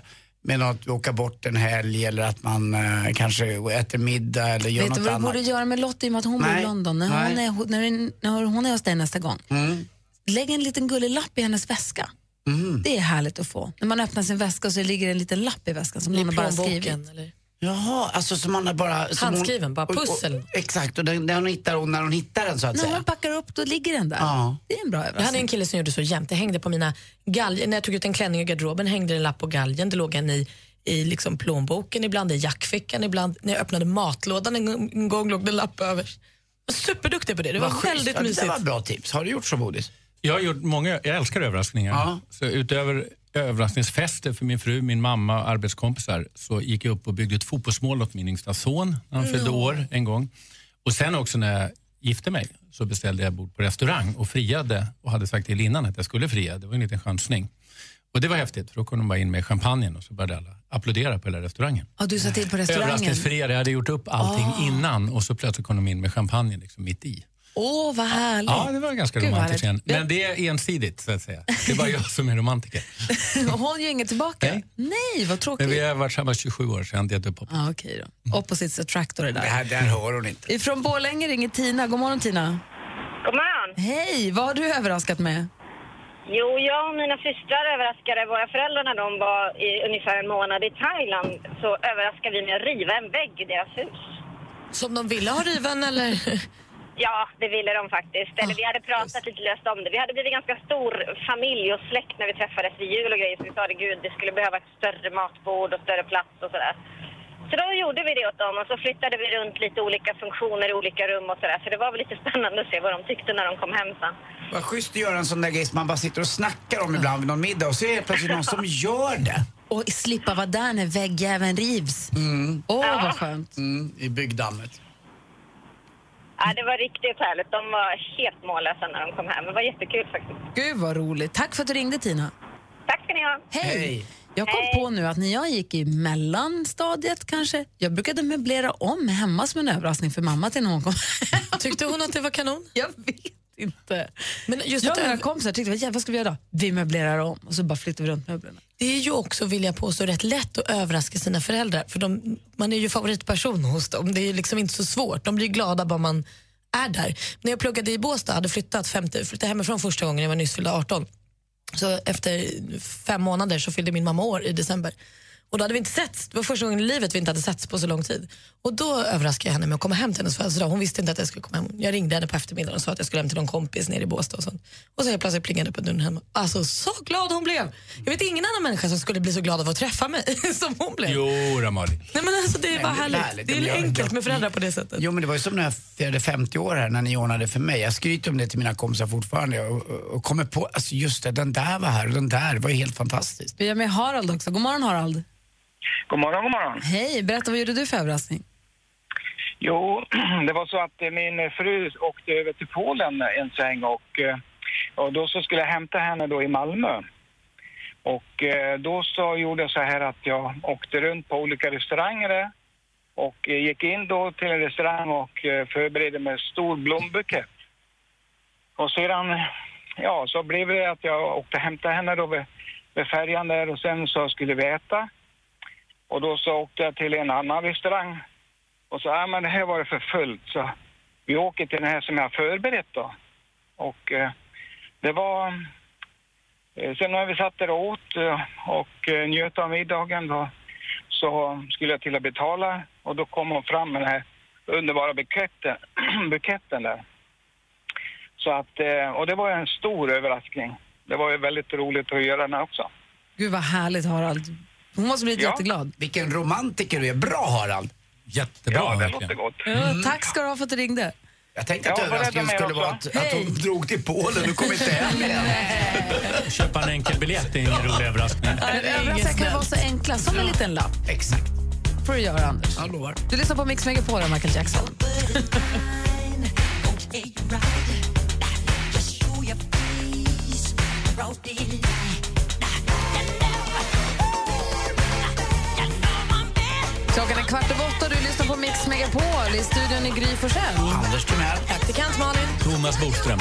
med att åka bort en helg eller att man eh, kanske äter middag eller gör Vet du något vad du annat. borde göra med Lottie i och med att hon bor i Nej. London? När hon, Nej. är, när, när hon är hos dig nästa gång, Mm. lägg en liten gullig lapp i hennes väska. Mm. Det är härligt att få. När man öppnar sin väska så ligger det en liten lapp i väskan som I någon har bara plånboken, skrivit. Eller? Jaha, alltså som man har bara... som Handskriven, bara och- och- pussel. Exakt, och den, den hittar hon när hon hittar den så att När säga. hon packar upp då ligger den där. Ja. Det är en bra Jag hade överraskning. en kille som gjorde så jämt. Det hängde på mina galgen. När jag tog ut en klänning ur garderoben hängde det en lapp på galgen. Det låg en i, i liksom plånboken, ibland i jackfickan, ibland när jag öppnade matlådan en, gång- en gång låg det en lapp över. Jag var Superduktig på det. Det var Vad schysst. väldigt Ja, mysigt. Det där var ett bra tips. Har du gjort så, Bodis? Jag har gjort många, jag älskar överraskningar. Så utöver överraskningsfester för min fru, min mamma och arbetskompisar så gick jag upp och byggde ett fotbollsmål åt min yngsta son när han fyllde Nå. år en gång. Och sen också när jag gifte mig så beställde jag bord på restaurang och friade och hade sagt till innan att jag skulle fria. Det var en liten chansning. Och det var häftigt för då kom de bara in med champagnen och så började alla applådera på hela restaurangen. Ja, du sa till på restaurangen. Ah. Överraskningsfriare, jag hade gjort upp allting innan och så plötsligt kom de in med champagne liksom mitt i. Åh, vad härligt. Ja, det var ganska Gud, vad romantiskt igen. härligt. Men det är ensidigt, så att säga. Det är bara jag som är romantiker. Hon gör inget tillbaka. Nej, vad Men tråkigt. vi har varit samma 27 år sedan det dök upp. Ja, okej då. Opposites attract och det där. Det här, där hör hon inte. Från Borlänge ringer Tina. God morgon Tina. God morgon. Hej, vad har du överraskat med? Jo, jag och mina systrar överraskade våra föräldrar när de var i ungefär en månad i Thailand. Så överraskade vi med att riva en vägg i deras hus. Som de ville ha riven eller? Ja, det ville de faktiskt. Eller vi hade pratat lite löst om det. Vi hade blivit ganska stor familj och släkt när vi träffades vid jul och grejer. Så vi sa det, gud, vi skulle behöva ett större matbord och större plats och sådär. Så då gjorde vi det åt dem och så flyttade vi runt lite olika funktioner i olika rum och sådär. Så det var väl lite spännande att se vad de tyckte när de kom hem sen. Vad schysst att göra en sån där grej som man bara sitter och snackar om ibland vid någon middag och så är det plötsligt någon som gör det. Och slippa vara där när väggjäveln rivs. Åh, vad skönt. Mm, I byggdammet. Ja, det var riktigt härligt. De var helt mållösa när de kom hem. Det var jättekul faktiskt. Gud vad roligt. Tack för att du ringde Tina. Tack ska ni ha. Hej! Jag kom på nu att när jag gick i mellanstadiet kanske, jag brukade möblera om hemma som en överraskning för mamma till när hon kom Tyckte hon att det var kanon? Jag vet inte. Men just jag att och mina över- kompisar tyckte, "Vad jävlar, vad ska vi göra då? Vi möblerar om och så bara flyttar vi runt möblerna. Det är ju också, vill jag påstå, rätt lätt att överraska sina föräldrar. För de, man är ju favoritperson hos dem. Det är ju liksom inte så svårt. De blir ju glada bara man är där. När jag pluggade i Båstad, hade flyttat, femte, flyttade hemifrån första gången, jag var nyss fyllda 18. Så efter fem månader så fyllde min mamma år i december. Och då hade vi inte setts. Det var första gången i livet vi inte hade setts på så lång tid. Och då överraskade jag henne med att komma hem till hennes födelsedag. Hon visste inte att jag skulle komma hem. Jag ringde henne på eftermiddagen och sa att jag skulle hem till någon kompis nere i Båstad och sånt. Och så helt plötsligt plingade det på dörren hemma. Alltså så glad hon blev. Jag vet ingen annan människa som skulle bli så glad av att träffa mig som hon blev. Jo, Ramali. Nej men alltså det är bara härligt. Det är enkelt med föräldrar på det sättet. Jo, men det var ju som när jag firade 50 år här, när ni ordnade för mig. Jag skryter om det till mina kompisar fortfarande och, och, och kommer på, alltså just det, den där var här och den där, det var ju helt fantastiskt. Vi är med Harald också. God morgon Harald. God morgon, god morgon. Hej, berätta vad gjorde du för överraskning? Jo, det var så att eh, min fru åkte över till Polen en sväng och, eh, och då så skulle jag hämta henne då i Malmö. Och eh, då så gjorde jag så här att jag åkte runt på olika restauranger där Och eh, gick in då till en restaurang och eh, förberedde mig en stor blombukett. Och sedan, ja, så blev det att jag åkte och hämtade henne då vid, vid färjan där och sen så skulle vi äta. Och då så åkte jag till en annan restaurang och sa, ja men här var det för fullt så vi åker till den här som jag har förberett då. Och eh, det var... Eh, sen när vi satt där och åt eh, och eh, njöt av middagen då så skulle jag till att betala och då kom hon fram med den här underbara buketten, buketten där. Så att, eh, och det var en stor överraskning. Det var ju väldigt roligt att göra den här också. Gud vad härligt Harald. Hon måste bli Ja. jätteglad. Vilken romantiker du är. Bra Harald! Jättebra. Ja, det låter gott. Mm. Mm. Ja, tack ska du ha för att du ringde. Jag Mm. tänkte att Ja, vad rädd överraskningen de är skulle vara att, också. att hon drog till Polen och kom inte hem igen. Köpa en enkel biljett är ingen rolig överraskning. Överraskningar kan ju vara så enkla, som en liten lapp. Exakt. får du göra, Anders. Jag lovar. Du lyssnar på Mix Megapol och Michael Jackson. Klockan är kvart över åtta och du lyssnar på Mix Megapol. I studion är Gry Forssell. Anders Timell. Praktikant Malin. Thomas Bodström.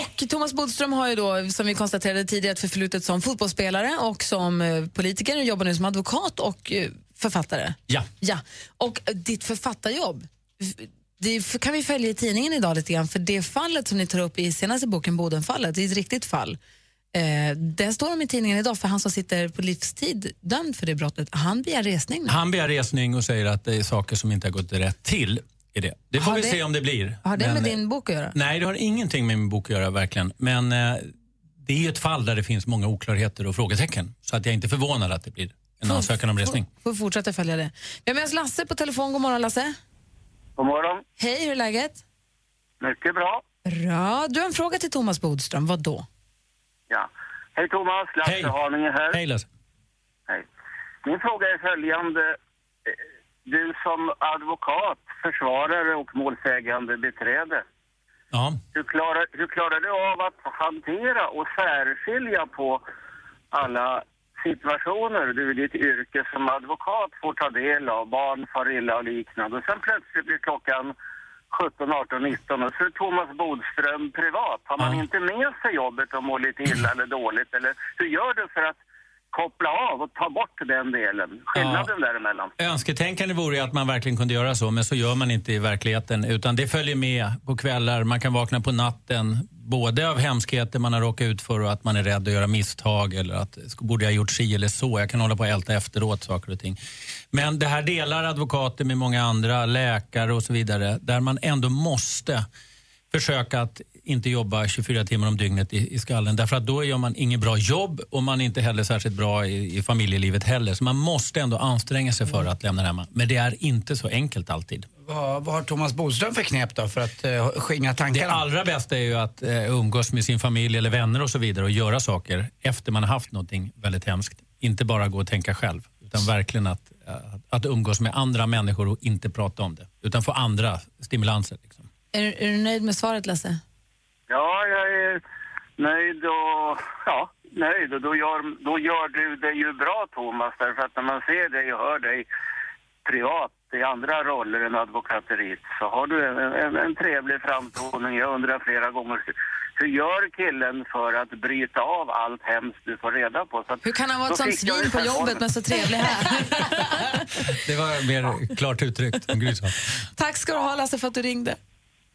Och Thomas Bodström har ju då, som vi konstaterade tidigare, ett förflutet som fotbollsspelare och som eh, politiker och jobbar nu som advokat och eh, författare. Ja. Ja, och eh, ditt författarjobb, f- det f- kan vi följa i tidningen idag lite grann, för det fallet som ni tar upp i senaste boken, Bodenfallet, det är ett riktigt fall. Eh, den står om i tidningen idag, för han som sitter på livstid dömd för det brottet, han begär resning nu. Han begär resning och säger att det är saker som inte har gått rätt till. i det. det får Har vi det- se om det blir. Har det Men- eh, med din bok att göra? Nej, det har ingenting med min bok att göra verkligen. Men eh, det är ju ett fall där det finns många oklarheter och frågetecken. Så att jag är inte förvånad att det blir en ansökan om resning. Får vi fortsätta följa det. Vi har med oss Lasse på telefon. God morgon Lasse. God morgon. Hej, hur är läget? Mycket bra. Bra. Du har en fråga till Thomas Bodström. Vad då? Ja. Hej Thomas, Lasse Haninge här. Hej Lasse. Hej. Min fråga är följande. Eh, Du som advokat, försvarare och målsägande beträde. Ja. Hur klarar, hur klarar du av att hantera och särskilja på alla situationer du i ditt yrke som advokat får ta del av, barn far illa och liknande. Och sen plötsligt blir klockan 17, 18, 19 och så är Thomas Bodström privat. Har man inte med sig jobbet och mår lite illa eller dåligt? Eller hur gör du för att koppla av och ta bort den delen? Skillnaden däremellan. Önsketänkande vore ju att man verkligen kunde göra så, men så gör man inte i verkligheten. Utan det följer med på kvällar, man kan vakna på natten. Både av hemskheter man har råkat ut för och att man är rädd att göra misstag eller att "Sk- borde jag gjort si eller så. Jag kan hålla på och älta efteråt saker och ting. Men det här delar advokater med många andra, läkare och så vidare, där man ändå måste försöka att inte jobba 24 timmar om dygnet i, i skallen. Därför att då gör man inget bra jobb och man är inte heller särskilt bra i, i familjelivet heller. Så man måste ändå anstränga sig för att lämna det hemma. Men det är inte så enkelt alltid. Vad, vad har Thomas Bodström för knep då för att eh, skingra Det tankarna? allra bästa är ju att eh, umgås med sin familj eller vänner och så vidare och göra saker efter man har haft någonting väldigt hemskt. Inte bara gå och tänka själv, utan verkligen att, eh, att umgås med andra människor och inte prata om det. Utan få andra stimulanser. Liksom. Är, du- är du nöjd med svaret, Lasse? Ja, jag är nöjd och... Ja, nöjd. Och då gör, då gör du det ju bra, Thomas. Därför att när man ser dig och hör dig privat i andra roller än advokateriet så har du en, en, en trevlig framtoning. Jag undrar flera gånger, hur gör killen för att bryta av allt hemskt du får reda på? Så att- Hur kan han vara då ett sånt fick jag ju svin på den jobbet formen. men så trevlig här? Det var mer klart uttryckt än Gry sa. Tack ska du ha, Lasse, för att du ringde.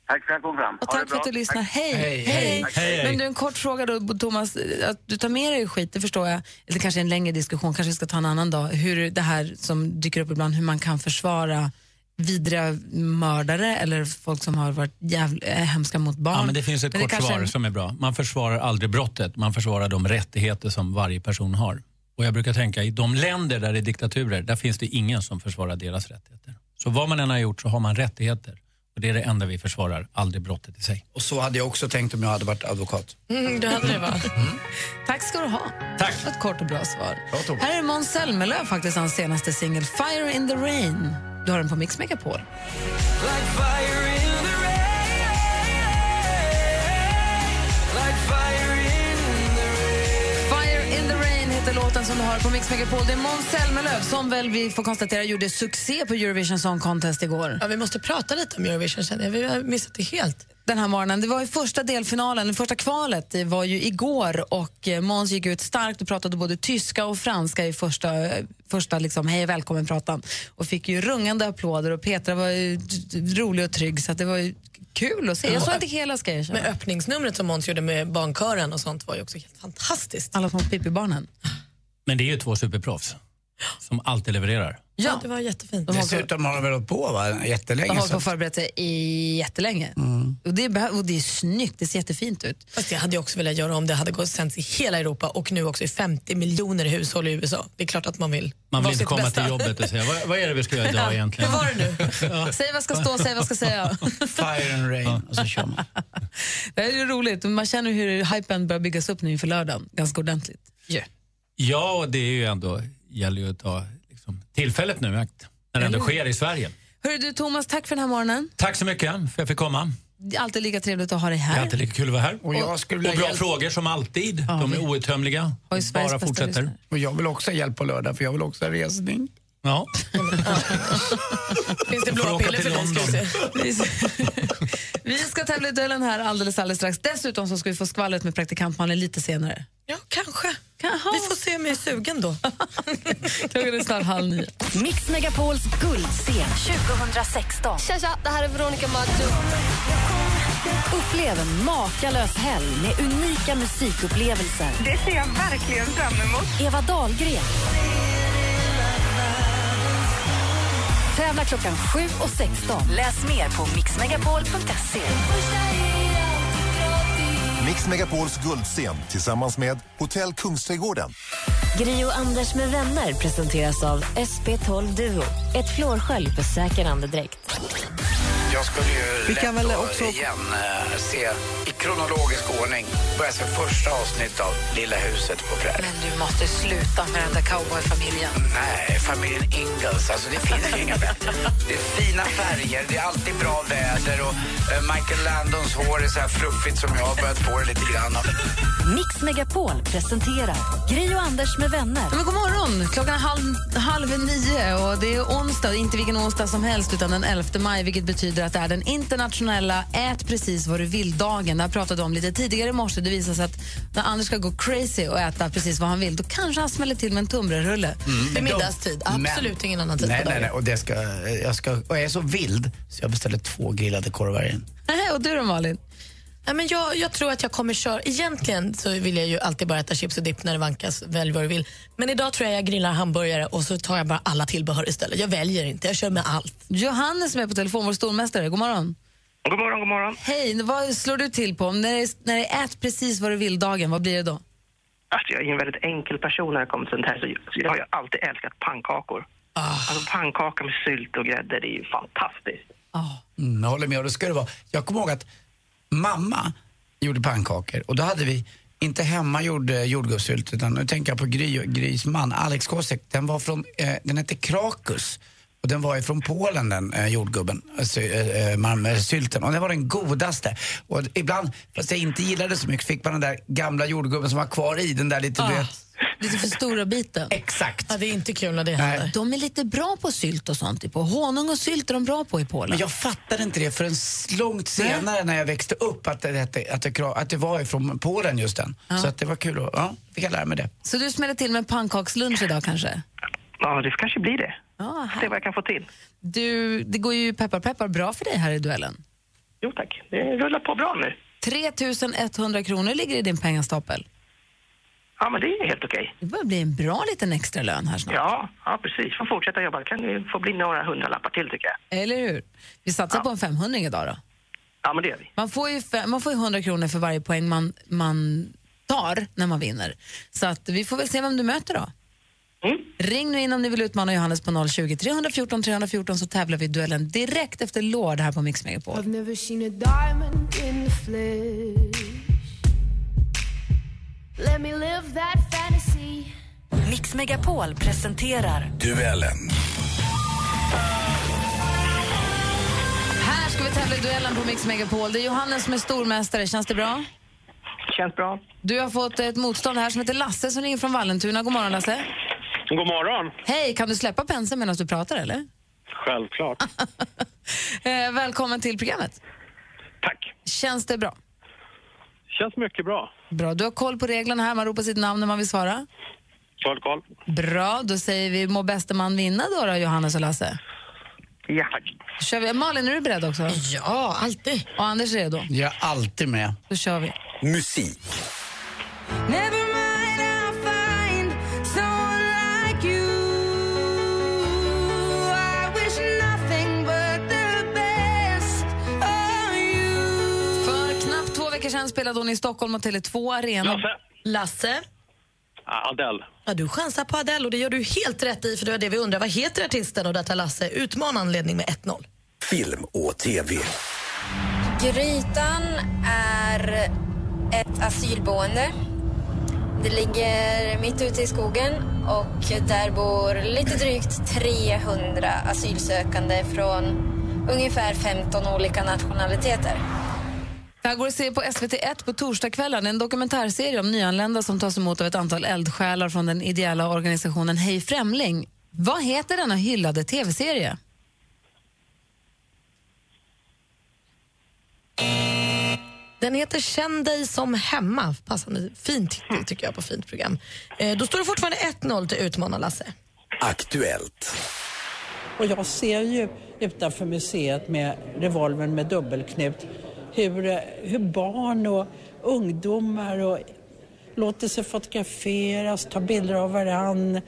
Tack för att jag kom fram. Och Ha det tack för att du bra. lyssnar. Tack. Hej. Hej, hej. Hej, hej. Men du, en kort fråga då, Thomas. Att du tar med dig skit, det förstår jag. Eller kanske en längre diskussion, kanske vi ska ta en annan dag. Hur det här som dyker upp ibland, hur man kan försvara vidriga mördare eller folk som har varit jävla, äh, hemska mot barn. Ja, men det finns ett kort kanske svar en- som är bra. Man försvarar aldrig brottet, man försvarar de rättigheter som varje person har. Och jag brukar tänka, i de länder där det är diktaturer, där finns det ingen som försvarar deras rättigheter. Så vad man än har gjort så har man rättigheter. Och det är det enda vi försvarar, aldrig brottet i sig. Och så hade jag också tänkt om jag hade varit advokat. Mm, det hade det, va? Tack ska du ha. Tack. För ett kort och bra svar. Här är Måns Zelmerlöw, faktiskt hans senaste singel Fire in the rain. Du har den på Mix Megapol. Like fire in the rain. Like fire in the rain. Fire in the rain heter låten som som du har på Mix Megapol. Det är Måns Zelmerlöw som väl vi får konstatera gjorde succé på Eurovision Song Contest igår. Ja, vi måste prata lite om Eurovision sen. Vi har missat det helt. Den här morgonen. Det var ju första delfinalen, det första kvalet, det var ju igår och eh, Måns gick ut starkt och pratade både tyska och franska i första, eh, första liksom, hej och välkommen-pratan och fick ju rungande applåder och Petra var ju d- d- rolig och trygg så att det var ju kul att se. Jag såg inte hela ska jag erkänna. Men öppningsnumret som Måns gjorde med barnkören och sånt var ju också helt fantastiskt. Alla små Pippi-barnen. Men det är ju två superproffs som alltid levererar. Ja, det var jättefint. Dessutom har de väl hållit på va? De har jättelänge. hållit på och Så. förberett sig i jättelänge. Och, det är, behö- och det är snyggt, det ser jättefint ut. Fast jag hade ju också velat göra om det hade gått sänds i hela Europa och nu också i 50 miljoner hushåll i USA. Det är klart att man vill Man vara vill inte sitt komma bästa. till jobbet och säga vad, vad är det vi ska göra idag egentligen? Hur var det nu? Säg vad ska stå, säg vad ska säga. Fire and rain och så kör man. Det här är ju roligt, man känner hur hypen börjar byggas upp nu inför lördagen ganska ordentligt. Ja. Ja, och det är ju ändå, gäller ju att ta liksom, tillfället nu i akt, när det ändå sker i Sverige. Hörru du Thomas, tack för den här morgonen. Tack så mycket för att jag fick komma. Det är alltid lika trevligt att ha dig Det är här. alltid lika kul att vara här. Och jag skulle vilja och bra hjälp- frågor som alltid. Ja, De är vi- outtömliga. Har ju Sveriges Bara bästa fortsätter. lyssnare. Och jag vill också ha hjälp på lördag för jag vill också ha resning. Ja. Finns det Får blåa åka piller för till det? Ska vi se. Vi ska tävla i duellen här alldeles, alldeles strax. Dessutom så ska vi få skvallret med praktikantmannen lite senare. Ja, kanske. Vi får se om jag är sugen då. Klockan är snart halv nio. Mix Megapols guldscen 2016. Tja, tja, det här är Veronica Maggio. Upplev en makalös helg med unika musikupplevelser. Det ser jag verkligen fram emot. Eva Dahlgren. Tävla klockan 7 och 16. Läs mer på mixmegapol.se. Mix Megapols guldscen tillsammans med Hotell Kungsträdgården. Gri och Anders med vänner presenteras av SP12 Duo. Ett flårskölj för säker andedräkt. Jag skulle ju Vi kan lätt väl då också- igen eh, se i kronologisk ordning börja se första avsnittet av Lilla huset på prärien. Du måste sluta med den där cowboyfamiljen. Nej, familjen Ingalls. Alltså det finns ju inga bättre. Det är fina färger, det är alltid bra väder och eh, Michael Landons hår är så här fluffigt som jag har börjat få det lite grann av. Mm. Mix Megapol presenterar Gri och Anders med vänner. Ja, Men god morgon! Klockan är halv, halv nio och det är onsdag, och inte vilken onsdag som helst utan den 11 maj vilket betyder att det är den internationella ät precis vad du vill-dagen. Det här pratade vi om lite tidigare i morse. Det visar sig att när Anders ska gå crazy och äta precis vad han vill då kanske han smäller till med en tunnbrödsrulle. Mm. Vid middagstid. Men- Absolut ingen annan tid Nej, på nej, dagen. nej. Och, det ska, eh, jag ska, och jag är så vild så jag beställer två grillade korvar igen. Nej, och du då Malin? Nej, men jag, jag tror att jag kommer köra... Egentligen så vill jag ju alltid bara äta chips och dipp när det vankas. Välj vad du vill. Men idag tror jag jag grillar hamburgare och så tar jag bara alla tillbehör istället. Jag väljer inte, jag kör med allt. Johannes som är på telefon, vår stormästare. God morgon! God morgon, god morgon. Hej! Vad slår du till på? När det, när det är ät precis vad du vill-dagen, vad blir det då? Alltså, jag är en väldigt enkel person när det kommer till sånt här. Så jag- så jag har ju alltid älskat pannkakor. Ah. Alltså pannkaka med sylt och grädde, det är ju fantastiskt. Mm, jag håller med. Och det ska det vara. Jag kommer ihåg att mamma gjorde pannkakor och då hade vi inte hemma gjorde jordgubbssylt utan nu tänker jag på Gry, Grys man Alex Kosek. Den var från, eh, den hette Krakus och den var ifrån Polen den eh, jordgubben, alltså, eh, eh, man, eh, sylten. Och den var den godaste. Och ibland, fast jag inte gillade så mycket, fick man den där gamla jordgubben som var kvar i, den där lite du Ah. vet, Lite för stora biten. Exakt. Ja, det är inte kul när det händer. De är lite bra på sylt och sånt. Typ. Och honung och sylt är de bra på i Polen. Men jag fattade inte det förrän långt senare när jag växte upp att det, hette- att det, kra- att det var ifrån Polen just den. Ja. Så att det var kul att, ja, fick jag lära mig det. Så du smäller till med en pannkakslunch idag kanske? Ja, det kanske blir det. Ja, Se vad jag kan få till. Ah, Du, det går ju peppar peppar bra för dig här i duellen. Jo tack, det rullar på bra nu. 3 100 kronor ligger i din pengastapel. Ja, men det är helt okej. Det börjar bli en bra liten extra lön här snart. Ja, ja, precis. Får fortsätta jobba. Det kan ju få bli några hundralappar till tycker jag. Eller hur? Vi satsar på en 500 idag då. Ja, men det gör vi. Man får ju, fe- man får ju 100 kronor för varje poäng man, man tar när man vinner. Så att vi får väl se vem du möter då. Mm. Ring nu in om ni vill utmana Johannes på 020 314 314 så tävlar vi i duellen direkt efter Lord här på Mix Megapol. I've never seen a diamond in the flesh. Let me live that fantasy. Mix Megapol presenterar Duellen. Här ska vi tävla i duellen på Mix Megapol. Det är Johannes som är stormästare. Känns det bra? känns bra. Du har fått ett motstånd här som heter Lasse som ringer från Vallentuna. God morgon Lasse. God morgon. Hej, kan du släppa penseln medan du pratar eller? Självklart. Eh, välkommen till programmet. Tack. Känns det bra? Känns mycket bra. Bra, du har koll på reglerna här. Man ropar sitt namn när man vill svara. Full koll. Bra, då säger vi må bäste man vinna då, då Johannes och Lasse. Ja, tack. Då kör vi. Malin, är du beredd också? Ja, alltid. Och Anders är redo? Jag är alltid med. Då kör vi. Musik. Never mind, I'll find someone like you. I wish nothing but the best of you. För knappt två veckor sedan spelade hon i Stockholm och Tele2 Arena. Lasse. Lasse? Adele. Ja, du chansar på Adele och det gör du helt rätt i för det var det vi undrar. Vad heter artisten? Och där tar Lasse utmanande ledning med 1-0. Film och TV. Grytan är ett asylboende. Det ligger mitt ute i skogen och där bor lite drygt 300 asylsökande från ungefär 15 olika nationaliteter. Det här går att se på SVT1 på torsdagskvällen. En dokumentärserie om nyanlända som tas emot av ett antal eldsjälar från den ideella organisationen Hej Främling. Vad heter denna hyllade tv-serie? Den heter Känn dig som hemma. Passande fin titel tycker jag på fint program. Eh, då står det fortfarande 1-0 till utmanar Lasse. Aktuellt. Och jag ser ju utanför museet med revolvern med dubbelknut hur, eh, hur barn och ungdomar och låter sig fotograferas, tar bilder av varann.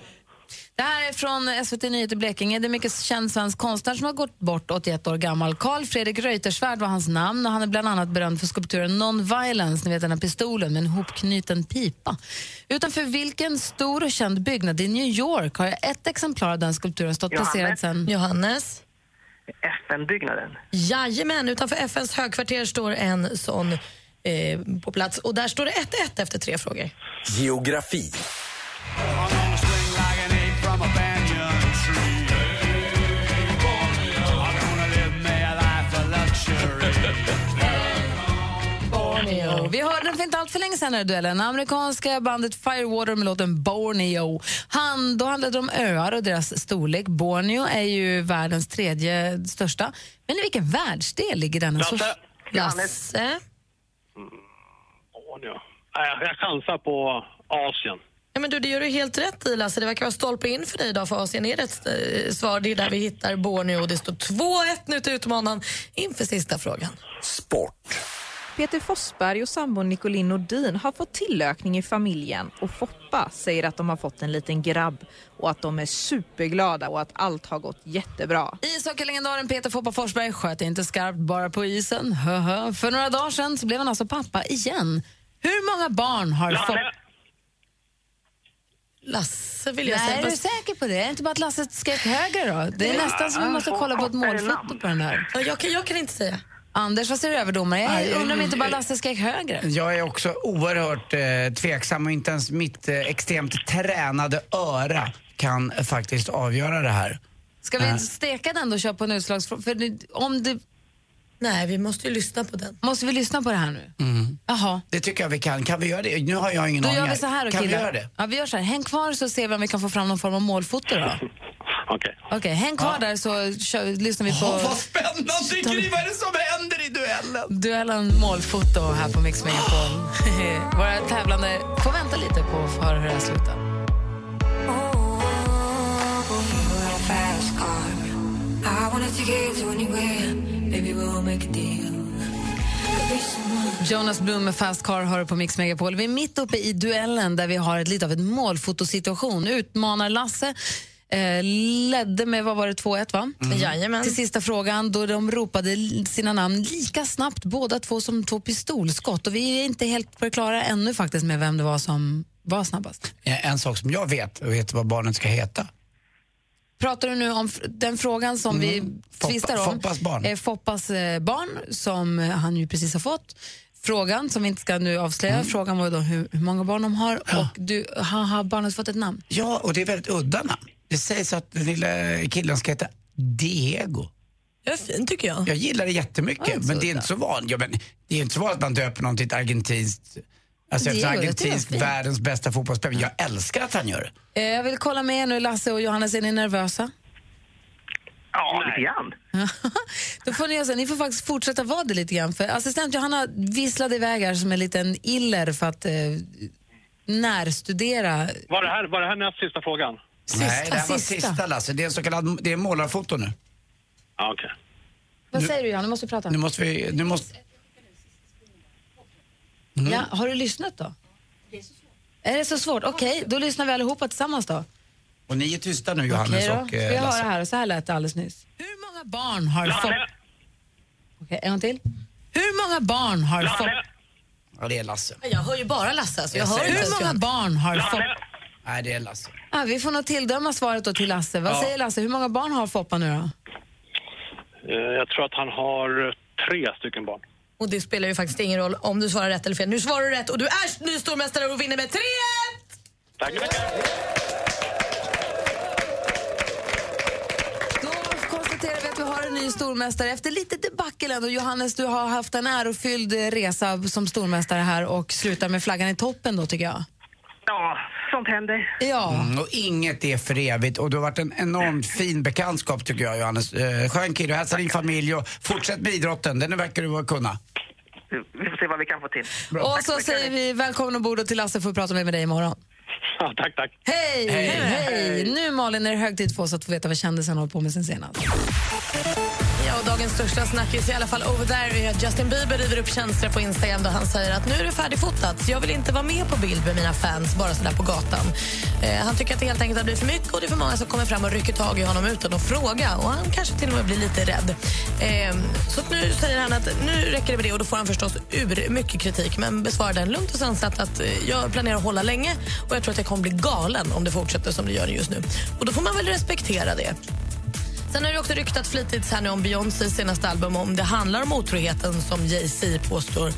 Det här är från SVT Nyheter Blekinge. Det är mycket känd svensk konstnär som har gått bort, 81 år gammal. Carl Fredrik Reuterswärd var hans namn och han är bland annat berömd för skulpturen Non-Violence, ni vet den här pistolen med en hopknuten pipa. Utanför vilken stor och känd byggnad i New York har ett exemplar av den skulpturen stått Johannes. placerad sen... Johannes? FN-byggnaden. Jajamän, utanför FNs högkvarter står en sån eh, på plats. Och där står det 1-1 efter tre frågor. Geografi. Borneo. Vi hörde den för inte allt för länge sedan i duellen. Amerikanska bandet Firewater med låten Borneo. Han, då handlade det om öar och deras storlek. Borneo är ju världens tredje största. Men i vilken världsdel ligger denna? Lasse. så- Lasse. Åh, ja. Nej, Jag chansar på Asien. Ja, men du, det gör du helt rätt i Lasse. Det verkar vara stolpe in för dig idag för Asien är rätt eh, svar. Det är där vi hittar Borneo och det står 2-1 nu till utmanaren inför sista frågan. Peter Forsberg och sambon Nicolin Nordin har fått tillökning i familjen och Foppa säger att de har fått en liten grabb och att de är superglada och att allt har gått jättebra. Ishockeylegendaren Peter Foppa Forsberg sköt inte skarpt bara på isen. Höhö. För några dagar sedan så blev han alltså pappa igen. Hur många barn har Foppa... Lasse vill jag Nej, säga. Är du säker på det? Är det inte bara att Lasse skrek högre då? Det är Ja, nästan som vi han måste får kolla på ett kortare målfoto namn. på den här. Jag kan, jag kan inte säga. Anders, vad säger du överdomare? Nej, Jag undrar om eh, inte bara eh, Lasse skrek högre. Jag är också oerhört eh, tveksam och inte ens mitt eh, extremt tränade öra kan eh, faktiskt avgöra det här. Ska Eh, vi steka den då och köra på en utslagsfråga? För det- om det... Nej, vi måste ju lyssna på den. Måste vi lyssna på det här nu? Mm. Jaha. Det tycker jag vi kan. Kan vi göra det? Nu har jag ingen Då aning gör vi här. så här då, Kan vi killar. göra det? Ja, vi gör så här. Häng kvar så ser vi om vi kan få fram någon form av målfoto då. Okej. Okej, häng kvar där så kör, lyssnar vi på... Åh, vad spännande! Gry, vad är det som händer i duellen? Duellen målfoto här på Mix Megapol. Våra tävlande får vänta lite på att få höra hur det här slutar. Jonas Blum med Fast Car hör på Mix Megapol. Vi är mitt uppe i duellen där vi har ett, lite av ett målfotosituation. Utmanar Lasse eh, ledde med, vad var det, 2-1 va? Mm. Jajamän. Till sista frågan då de ropade l- sina namn lika snabbt båda två som två pistolskott. Och vi är inte helt på det klara ännu faktiskt med vem det var som var snabbast. Eh, En sak som jag vet, och vet vad barnet ska heta. Pratar du nu om fr- den frågan som vi Mm. Foppa- tvistar om? Foppas barn. Eh, Foppas eh, barn som eh, han ju precis har fått. Frågan som vi inte ska nu avslöja, Mm. frågan var ju då hur, hur många barn de har och du, har, har barnet fått ett namn? Ja, och det är väldigt udda namn. Det sägs att den lilla killen ska heta Diego. Ja, fin tycker jag. Jag gillar det jättemycket, men det är inte så vanligt. Ja, men det är inte så vanligt att man döper någon till ett argentinskt Alltså Diego, eftersom det är argentinsk fint. världens bästa fotbollsspelare. Jag älskar att han gör det. Eh, Jag vill kolla med er nu, Lasse och Johannes, är ni nervösa? Ja, lite grann. Då får ni, göra så här, ni får faktiskt fortsätta vara det lite grann, för assistent Johanna visslade iväg här som en liten iller för att eh, närstudera. Var det här, var det här näst sista frågan? Sista, Nej, det här var sista. sista Lasse. Det är en så kallad det är målarfoto nu. Ja, okej. Vad säger du Johanna, nu måste vi prata. Nu måste vi... Eh, Nu måste... Mm. Ja, har du lyssnat då? Är det så svårt? Okej, då lyssnar vi allihopa tillsammans då. Och ni är tysta nu Okej Johannes då, och ska eh, vi höra Lasse. här. Och Så här lät det alldeles nyss. Hur många barn har fått... Okej, en gång till. Hur många barn har fått... Ja, det är Lasse. Jag hör ju bara Lasse. Alltså. Jag, hör inte ens Hur många Johanna. barn har fått... Nej, det är Lasse. Ah, vi får nog tilldöma svaret då till Lasse. Vad Ja. säger Lasse? Hur många barn har Foppa nu då? Eh, Jag tror att han har eh, tre stycken barn. Och det spelar ju faktiskt ingen roll om du svarar rätt eller fel. Nu svarar du rätt och du är ny stormästare och vinner med 3 Tack, Då konstaterar vi att vi har en ny stormästare efter lite debacle ändå. Johannes, du har haft en ärofylld eh, resa som stormästare här och slutar med flaggan i toppen då tycker jag. Ja, sånt händer. Ja. Mm, och inget är för evigt. Och du har varit en enormt fin bekantskap tycker jag Johannes. Eh, skön kille, hälsa din familj och fortsätt med idrotten. Den verkar du kunna. Vi får se vad vi kan få till. Och så säger vi välkommen ombord och till Lasse får vi prata mer med dig imorgon. Ja, tack, tack. Hej! Hej! Hej. Nu Malin är det hög tid för oss att få veta vad kändisen håller på med sen senast. Ja, och dagens största snackis, i alla fall over there, är att Justin Bieber river upp känslor på Instagram då han säger att nu är det färdigfotat. Jag vill inte vara med på bild med mina fans bara sådär på gatan. Eh, han tycker att det helt enkelt har blivit för mycket och det är för många som kommer fram och rycker tag i honom utan att fråga och han kanske till och med blir lite rädd. Eh, så att nu säger han att nu räcker det med det och då får han förstås ur mycket kritik men besvarar den lugnt och sansat att eh, jag planerar att hålla länge och jag tror att jag kommer bli galen om det fortsätter som det gör just nu. Och då får man väl respektera det. Sen har det också ryktat flitigt här nu om Beyoncés senaste album om det handlar om otroheten som Jay-Z påstår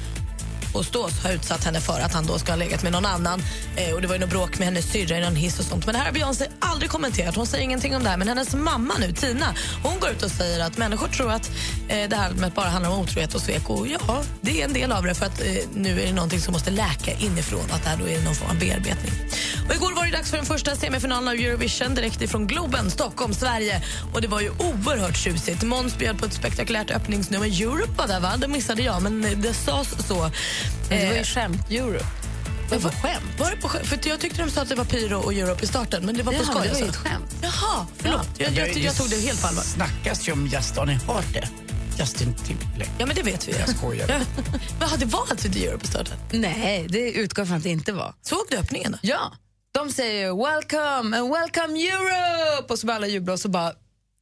påstås ha utsatt henne för att han då ska ha legat med någon annan. Eh, och Det var ju något bråk med hennes syrra i någon hiss och sånt. Men det här har Beyoncé aldrig kommenterat. Hon säger ingenting om det här. Men hennes mamma nu, Tina, hon går ut och säger att människor tror att eh, det här albumet bara handlar om otrohet och svek. Och ja, det är en del av det för att eh, nu är det någonting som måste läka inifrån. Att det här då är någon form av bearbetning. Och igår var det dags för den första semifinalen av Eurovision direkt ifrån Globen, Stockholm, Sverige. Och det var ju oerhört tjusigt. Måns bjöd på ett spektakulärt öppningsnummer. Europe var där, va? Det missade jag, men det sades så. Men det var ju skämt, Europe. Det var skämt? Var det på skämt? För jag tyckte de sa att det var pyro och Europe i starten, men det var på Jaha, skoj. det var ju alltså. ett skämt. Jaha, förlåt. Jag, jag, jag tog det helt på allvar. snackas ju om Justin. Har ni hört det? Justin Timberlake. Ja, men det vet vi ju. Jag skojar. Jaha, det var alltså The Europe i starten? Nej, det utgår från att det inte var. Såg du öppningen då? Ja. De säger ju “Welcome” and “Welcome Europe” och så börjar alla jubla och så bara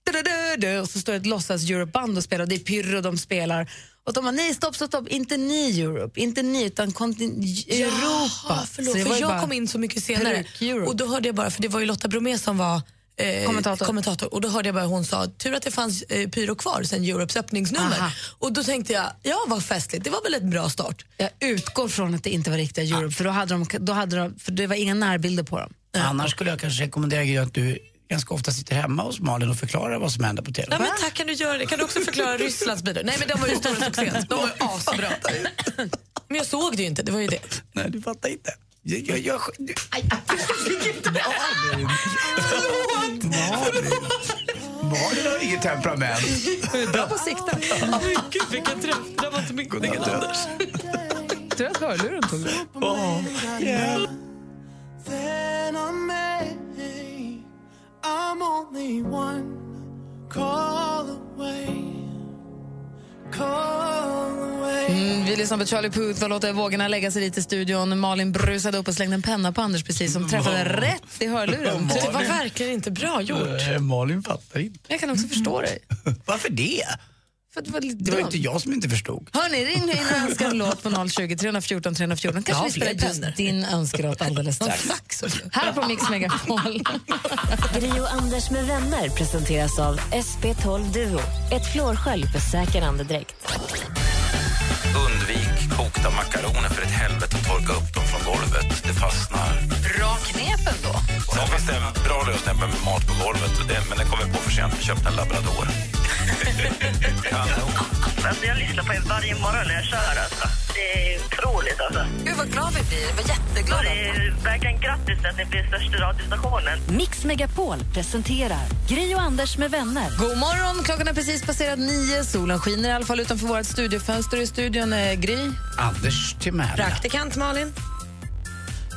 du-du-du-du, och så står ett låtsas Europe-band och spelar och det är pyrr och de spelar. Och de bara “Nej, stopp, stopp, stopp, inte ni Europe, inte ni utan kontin- Europa”. Jaha, förlåt. Så det var För ju jag bara- kom in så mycket senare. Peruk-Europe. Och då hörde jag bara, för det var ju Lotta Bromé som var eh, Kommentator. Och då hörde jag bara hon sa, tur att det fanns eh, pyro kvar sen Europes öppningsnummer. Aha. Och då tänkte jag, ja vad festligt, det var väl ett bra start. Jag utgår från att det inte var riktiga Europe, för, då hade de, då hade de, för det var inga närbilder på dem. Annars skulle jag kanske rekommendera Gry att du ganska ofta sitter hemma hos Malin och förklarar vad som händer på TV. Ja, men tack, kan du göra det? Kan du också förklara Rysslands bidrag? Nej men de var ju stora succén, de var ju asbra. Men jag såg det ju inte, det var ju det. Nej, du fattar inte. Jag, jag, jag, du, aj, Malin! Malin! Malin har inget temperament. Bra på sikten. Gud, vilken träff. Det var inte min kollega Anders. Tur att hörluren tog Then I may I'm only one call away. Call away. Mm, vi lyssnar på Charlie Puth och låter vågorna lägga sig lite i studion. Malin brusade upp och slängde en penna på Anders precis som träffade Wow. rätt i hörluren. Malin. Det var verkligen inte bra gjort. Nej, Eh, Malin fattar inte. Jag kan också förstå dig. Varför det? För att det var lite Det var dumt. inte jag som inte förstod. Hörni, ring nu in och önska en låt på 020 314 314. Jag Kanske har vi spelar fler just din önskelåt alldeles strax. Här på Mix Megapol. Gri och Anders med vänner presenteras av SP12 Duo. Ett flårskölj för säker andedräkt. Undvik kokta makaroner för ett helvete och torka upp dem från golvet. Det fastnar. Bra knep ändå. Sen finns det en bra lösning med mat på golvet, och det, men den kom vi på för sent. Vi köpte en labrador. Kanon. Alltså jag lyssnar på er varje morgon när jag kör. Alltså. det är otroligt alltså. Gud vad glad vi blir. Vi var jätteglada. Det är verkligen grattis till att ni blir största radiostationen. Mix Megapol presenterar Gri och Anders med vänner. God morgon! Klockan är precis passerat nio. Solen skiner i alla fall utanför vårt studiofönster. I studion är Gry. Anders Timell. Praktikant Malin.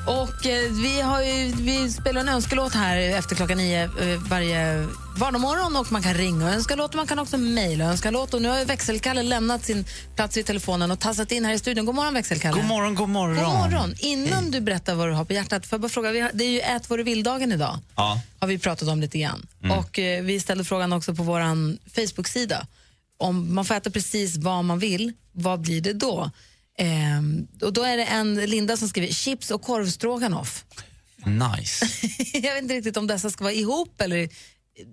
Och eh, vi, har ju, vi spelar en önskelåt här efter klockan nio eh, varje vardagsmorgon och man kan ringa och önska låt och man kan också mejla och önska låt. Och nu har ju växelkalle lämnat sin plats vid telefonen och tassat in här i studion. God morgon växelkalle. God morgon, god morgon. God morgon. Innan du berättar vad du har på hjärtat, får jag bara fråga, vi har, det är ju ät vad du vill-dagen idag. Ja. har vi pratat om lite grann. Mm. Och eh, vi ställde frågan också på vår Facebook-sida. Om man får äta precis vad man vill, vad blir det då? Ehm, och då är det en Linda som skriver chips och korvstroganoff. Nice. Jag vet inte riktigt om dessa ska vara ihop eller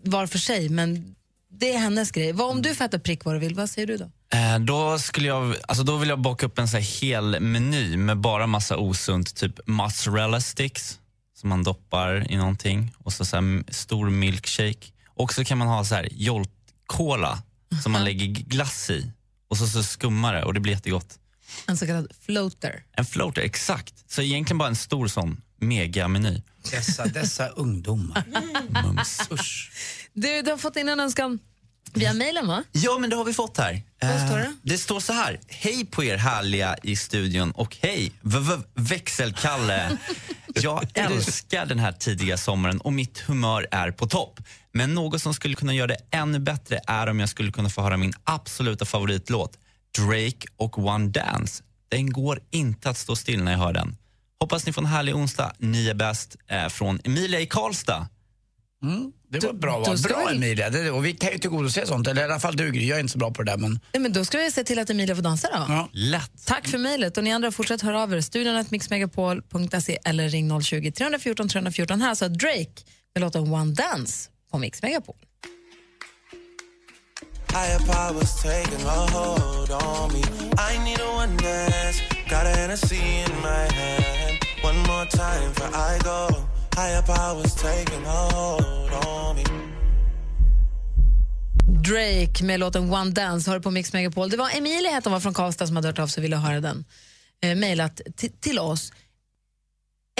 var för sig, men det är hennes grej. Vad, om du får äta prick vad du vill, vad säger du då? Eh, Då, skulle jag, alltså då vill jag baka upp en så här hel meny med bara massa osunt, typ mozzarella sticks som man doppar i någonting och så, så här m- stor milkshake. Och så kan man ha så här jolt-cola som man lägger g- glass i och så, så skummar det och det blir jättegott. En så kallad floater. En floater, exakt. Så egentligen bara en stor sån megameny. Dessa, dessa ungdomar. Du, du har fått in en önskan via mejlen va? Ja, men det har vi fått här. Vad står Eh, det? det står så här. Hej på er härliga i studion och hej v- v- växelkalle. Jag älskar den här tidiga sommaren och mitt humör är på topp. Men något som skulle kunna göra det ännu bättre är om jag skulle kunna få höra min absoluta favoritlåt Drake och One Dance. Den går inte att stå still när jag hör den. Hoppas ni får en härlig onsdag. Ni är bäst eh, från Emilia i Karlstad. Det var bra, då va? ska bra vi- Emilia. Det, och vi kan ju tillgodose sånt. Eller i alla fall du Gry, jag är inte så bra på det där. Men... Nej, men då ska vi se till att Emilia får dansa då. Lätt. Tack för mejlet. Och ni andra, fortsätt höra av er. Studion at mixmegapol.se eller ring 020-314 314. Här så Drake med låten One Dance på Mix Megapol. Higher powers taking a hold on me. I need a one dance. Got a Hennessy in my hand. One more time for I go. Higher powers taking a hold on me. Drake med låten One Dance har du på Mix Megapol. Det var Emilia hette hon var från Karlstad som hade hört av sig och ville höra den. Eh, mejlat ti- till oss.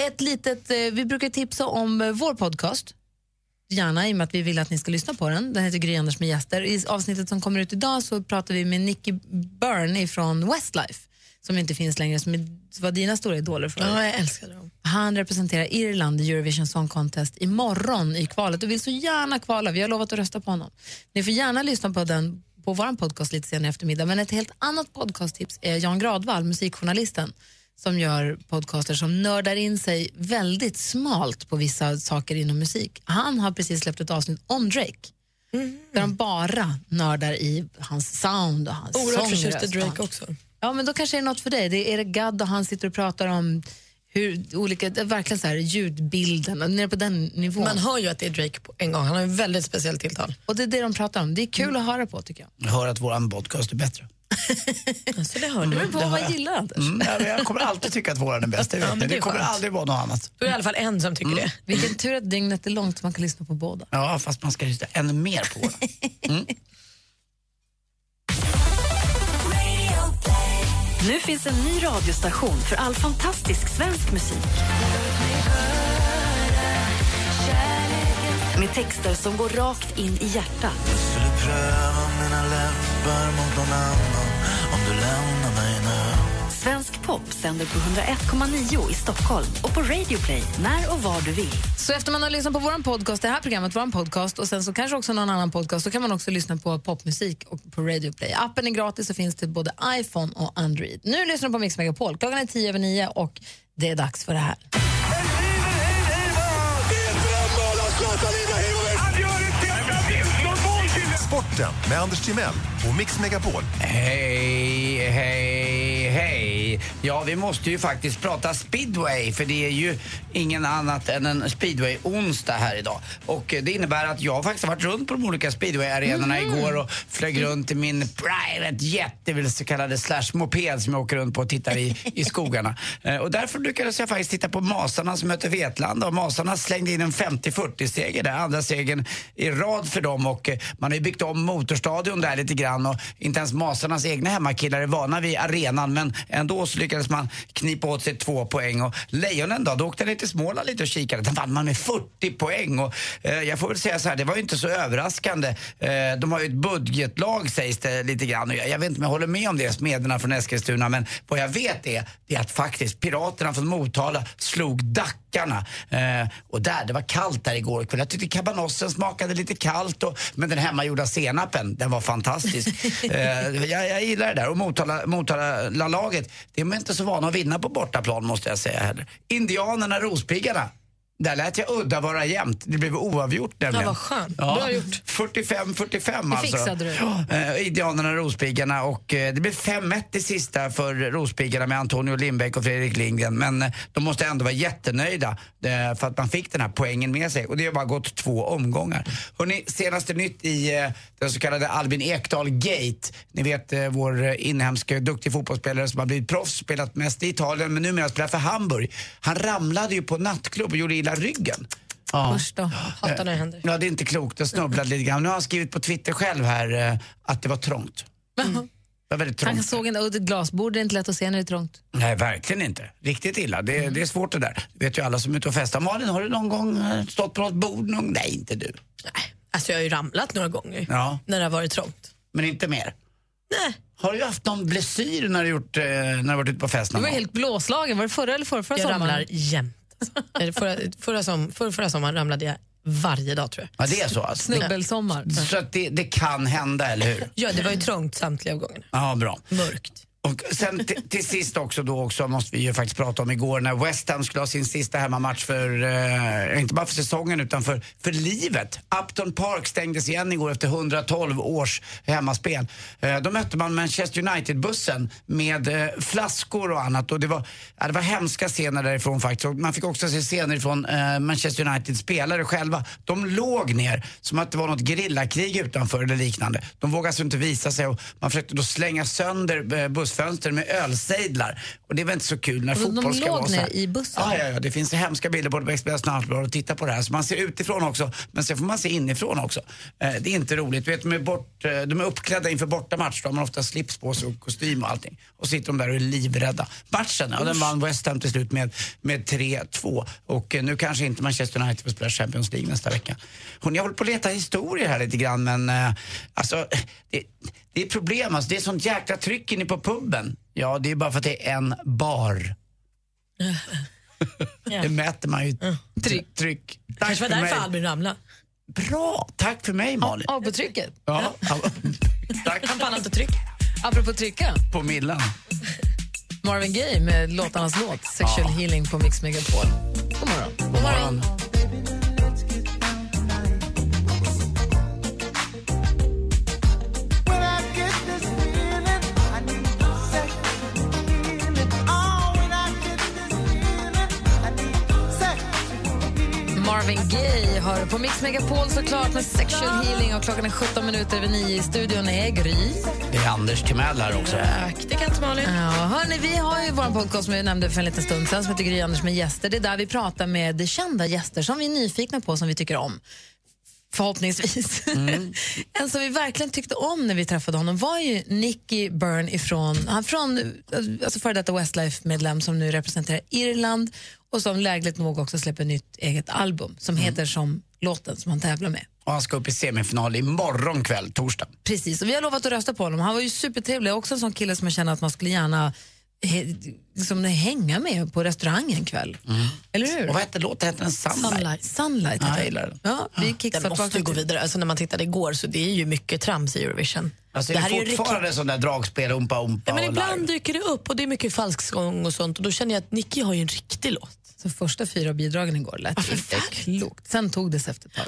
Ett litet, eh, vi brukar tipsa om eh, vår podcast. Gärna i och med att vi vill att ni ska lyssna på den. Den heter Gry Anders med gäster. I avsnittet som kommer ut idag så pratar vi med Nicky Byrne från Westlife som inte finns längre, som är- var dina stora idoler förut. Ja, jag älskade dem. Han representerar Irland i Eurovision Song Contest imorgon i kvalet och vill så gärna kvala. Vi har lovat att rösta på honom. Ni får gärna lyssna på den på vår podcast lite senare i eftermiddag. Men ett helt annat podcasttips är Jan Gradvall, musikjournalisten som gör podcaster som nördar in sig väldigt smalt på vissa saker inom musik. Han har precis släppt ett avsnitt om Drake där de bara nördar i hans sound och hans Oerhört sångröst förtjust i och Drake hans- också. Ja, men då kanske det är något för dig. Det är Eric Gadd och han sitter och pratar om hur olika, det är verkligen så här ljudbilden, och nere på den nivån. Man hör ju att det är Drake på en gång. Han har ju väldigt speciellt tilltal. Mm. Och det är det de pratar om. Det är kul att höra på tycker jag. Jag hör att vår podcast är bättre. Så det hörde Mm, du på vad det hör jag jag. gillar Anders. Mm, ja, men jag kommer alltid tycka att våran är bäst. Det, Ja, vet men ni. det det, är kommer skönt. aldrig vara något annat. Du är i alla fall en som tycker det. Mm. Vilken tur att dygnet är långt så man kan lyssna på båda. Ja, fast man ska lyssna ännu mer på våran. Nu finns en ny radiostation för all fantastisk svensk musik. Med texter som går rakt in i hjärtat. Skulle pröva mina läppar mot någon annan om du lämnar mig nu. Svensk pop sänder på 101,9 i Stockholm och på Radio Play när och var du vill. Så efter man har lyssnat på vår podcast, det här programmet, vår podcast och sen så kanske också någon annan podcast, så kan man också lyssna på popmusik och på Radio Play. Appen är gratis och finns till både iPhone och Android. Nu lyssnar du på Mix Megapol. Klockan är tio över nio och det är dags för det här. Sporten med Anders Timell och Mix Megapol. Hej, hej, hej. speedway. Ja, vi måste ju faktiskt prata speedway för det är ju ingen annat än en speedway-onsdag här idag. Och eh, det innebär att jag faktiskt har varit runt på de olika speedway-arenorna igår och flög runt i min private jet, det vill så kallade slash moped som jag åker runt på och tittar i, i skogarna. Eh, Och därför lyckades jag faktiskt titta på Masarna som mötte Vetlanda och Masarna slängde in en 50-40-seger där, andra segern i rad för dem och eh, man har ju byggt om motorstadion där lite grann och inte ens Masarnas egna hemmakillar är vana vid arenan men ändå så lyckades man knipa åt sig två poäng och Lejonen då, då åkte jag ner till Småland lite och kikade, där vann man med 40 poäng och eh, jag får väl säga så här, det var ju inte så överraskande. Eh, de har ju ett budgetlag sägs det lite grann och jag, jag vet inte om jag håller med om det, smederna från Eskilstuna, men vad jag vet är, det är att faktiskt piraterna från Motala slog Dackarna. Eh, och där, det var kallt där igår kväll. Jag tyckte kabanossen smakade lite kallt, och, men den hemmagjorda senapen, den var fantastisk. eh, jag, jag gillar det där. Och Motala, Motala laget, det är man inte så vana att vinna på bortaplan måste jag säga heller. Indianerna, Rospiggarna. Där lät jag udda vara jämnt. Det blev oavgjort nämligen. vad skönt. Bra gjort. 45-45 Det alltså. fixade du. Ja, eh, Indianerna och Rospiggarna och eh, det blev 5-1 i sista för Rospiggarna med Antonio Lindbäck och Fredrik Lindgren. Men eh, de måste ändå vara jättenöjda eh, för att man fick den här poängen med sig och det har bara gått två omgångar. Hörrni, senaste nytt i eh, den så kallade Albin Ekdal-gate. Ni vet eh, vår eh, inhemska duktig fotbollsspelare som har blivit proffs, spelat mest i Italien men numera spelar för Hamburg. Han ramlade ju på nattklubb och gjorde illa ryggen. Ja. Usch då. Hatar när det händer. Ja, det är inte klokt. Jag snubblade lite grann. Nu har han skrivit på Twitter själv här eh, att det var trångt. Mm. Det var väldigt Han trångt. såg en udd glasbord, det är inte lätt att se när det är trångt. Nej, verkligen inte. Riktigt illa. Det, Mm. det är svårt det där. Det vet ju alla som är ute och festar. Malin, har du någon gång eh, stått på något bord? Någon? Nej, inte du. Alltså jag har ju ramlat några gånger Ja. när det har varit trångt. Men inte mer? Nej. Har du haft någon blessyr när du, gjort, eh, när du varit ute på fest Du någon var gång? helt blåslagen, var det förra eller förra, förra Jag sommaren? ramlar jämt. Alltså. Eller Förra, förra, som, förra, förra sommaren ramlade jag varje dag tror Ja, jag. det är så alltså. Snubbelsommar. Så att det, det kan hända, eller hur? Ja, det var ju trångt samtliga gånger. Ja, bra. Mörkt. Och sen t- till sist också då också måste vi ju faktiskt prata om igår när West Ham skulle ha sin sista hemmamatch för, eh, inte bara för säsongen utan för, för livet. Upton Park stängdes igen igår efter 112 års hemmaspel. Eh, då mötte man Manchester United-bussen med eh, flaskor och annat och det var, ja, det var hemska scener därifrån faktiskt. Och man fick också se scener från eh, Manchester United-spelare själva. De låg ner som att det var något gerillakrig utanför eller liknande. De vågade alltså inte visa sig och man försökte då slänga sönder eh, bussfönster med ölsejdlar. Och det var inte så kul när Och de fotboll ska låg vara så här. ner i bussen? Ja, ja, ja, det finns hemska bilder på Expressen och Aftonbladet att titta på det här. Så man ser utifrån också, men sen får man se inifrån också. Eh, det är inte roligt. Vet, de, är bort, eh, de är uppklädda inför bortamatch, då har man ofta slips på sig och kostym och allting. Och sitter de där och är livrädda. Matchen, ja, den vann West Ham till slut med, med 3-2. Och eh, nu kanske inte Manchester United får spela Champions League nästa vecka. Hon, jag håller på att leta historier här lite grann, men eh, alltså, det, det är problem. Alltså, det är sånt jäkla tryck inne på puben. Ja, det är bara för att det är en bar. Det mäter man ju. Tryck. tryck. Det kanske för var därför mig. Albin ramlade. Bra! Tack för mig, Malin. Av på trycket. Ja. Tack. Han pallar inte tryck. Apropå trycka, På Millan. Marvin Gaye med låtarnas låt Sexual Healing på Mix Megapol. God morgon. God morgon. Marvin Gaye hör på Mix Megapol såklart med Sexual Healing och klockan är 17 minuter över 9 i studion är Gry. Det är Anders Timell här också. Praktikant Malin. Ja, hörni, vi har ju vår podcast som vi nämnde för en liten stund sedan som heter Gry Anders med gäster. Det är där vi pratar med kända gäster som vi är nyfikna på som vi tycker om. Förhoppningsvis. en som vi verkligen tyckte om när vi träffade honom var ju Nicky Byrne ifrån, han från alltså före detta Westlife-medlem som nu representerar Irland och som lägligt nog också släpper nytt eget album som heter som låten som han tävlar med. Och han ska upp i semifinal imorgon kväll, torsdag. Precis, och vi har lovat att rösta på honom. Han var ju supertrevlig, också en sån kille som jag känner att man skulle gärna he, liksom, hänga med på restaurang en kväll. Eller hur? Och vad hette låten? Hette den Sunlight? Sunlight. Sunlight Ja, heter jag den. gillar den. Ja, vi Den måste ju gå vidare. Alltså när man tittade igår så det är ju mycket trams i Eurovision. Alltså, det, är det fortfarande sån där dragspel, umpa umpa Ja, men och larv? ibland dyker det upp och det är mycket falsksång och sånt och då känner jag att Nicky har ju en riktig låt. Så första fyra bidragen igår lät ju inte klokt. Sen tog det sig efter ett tag.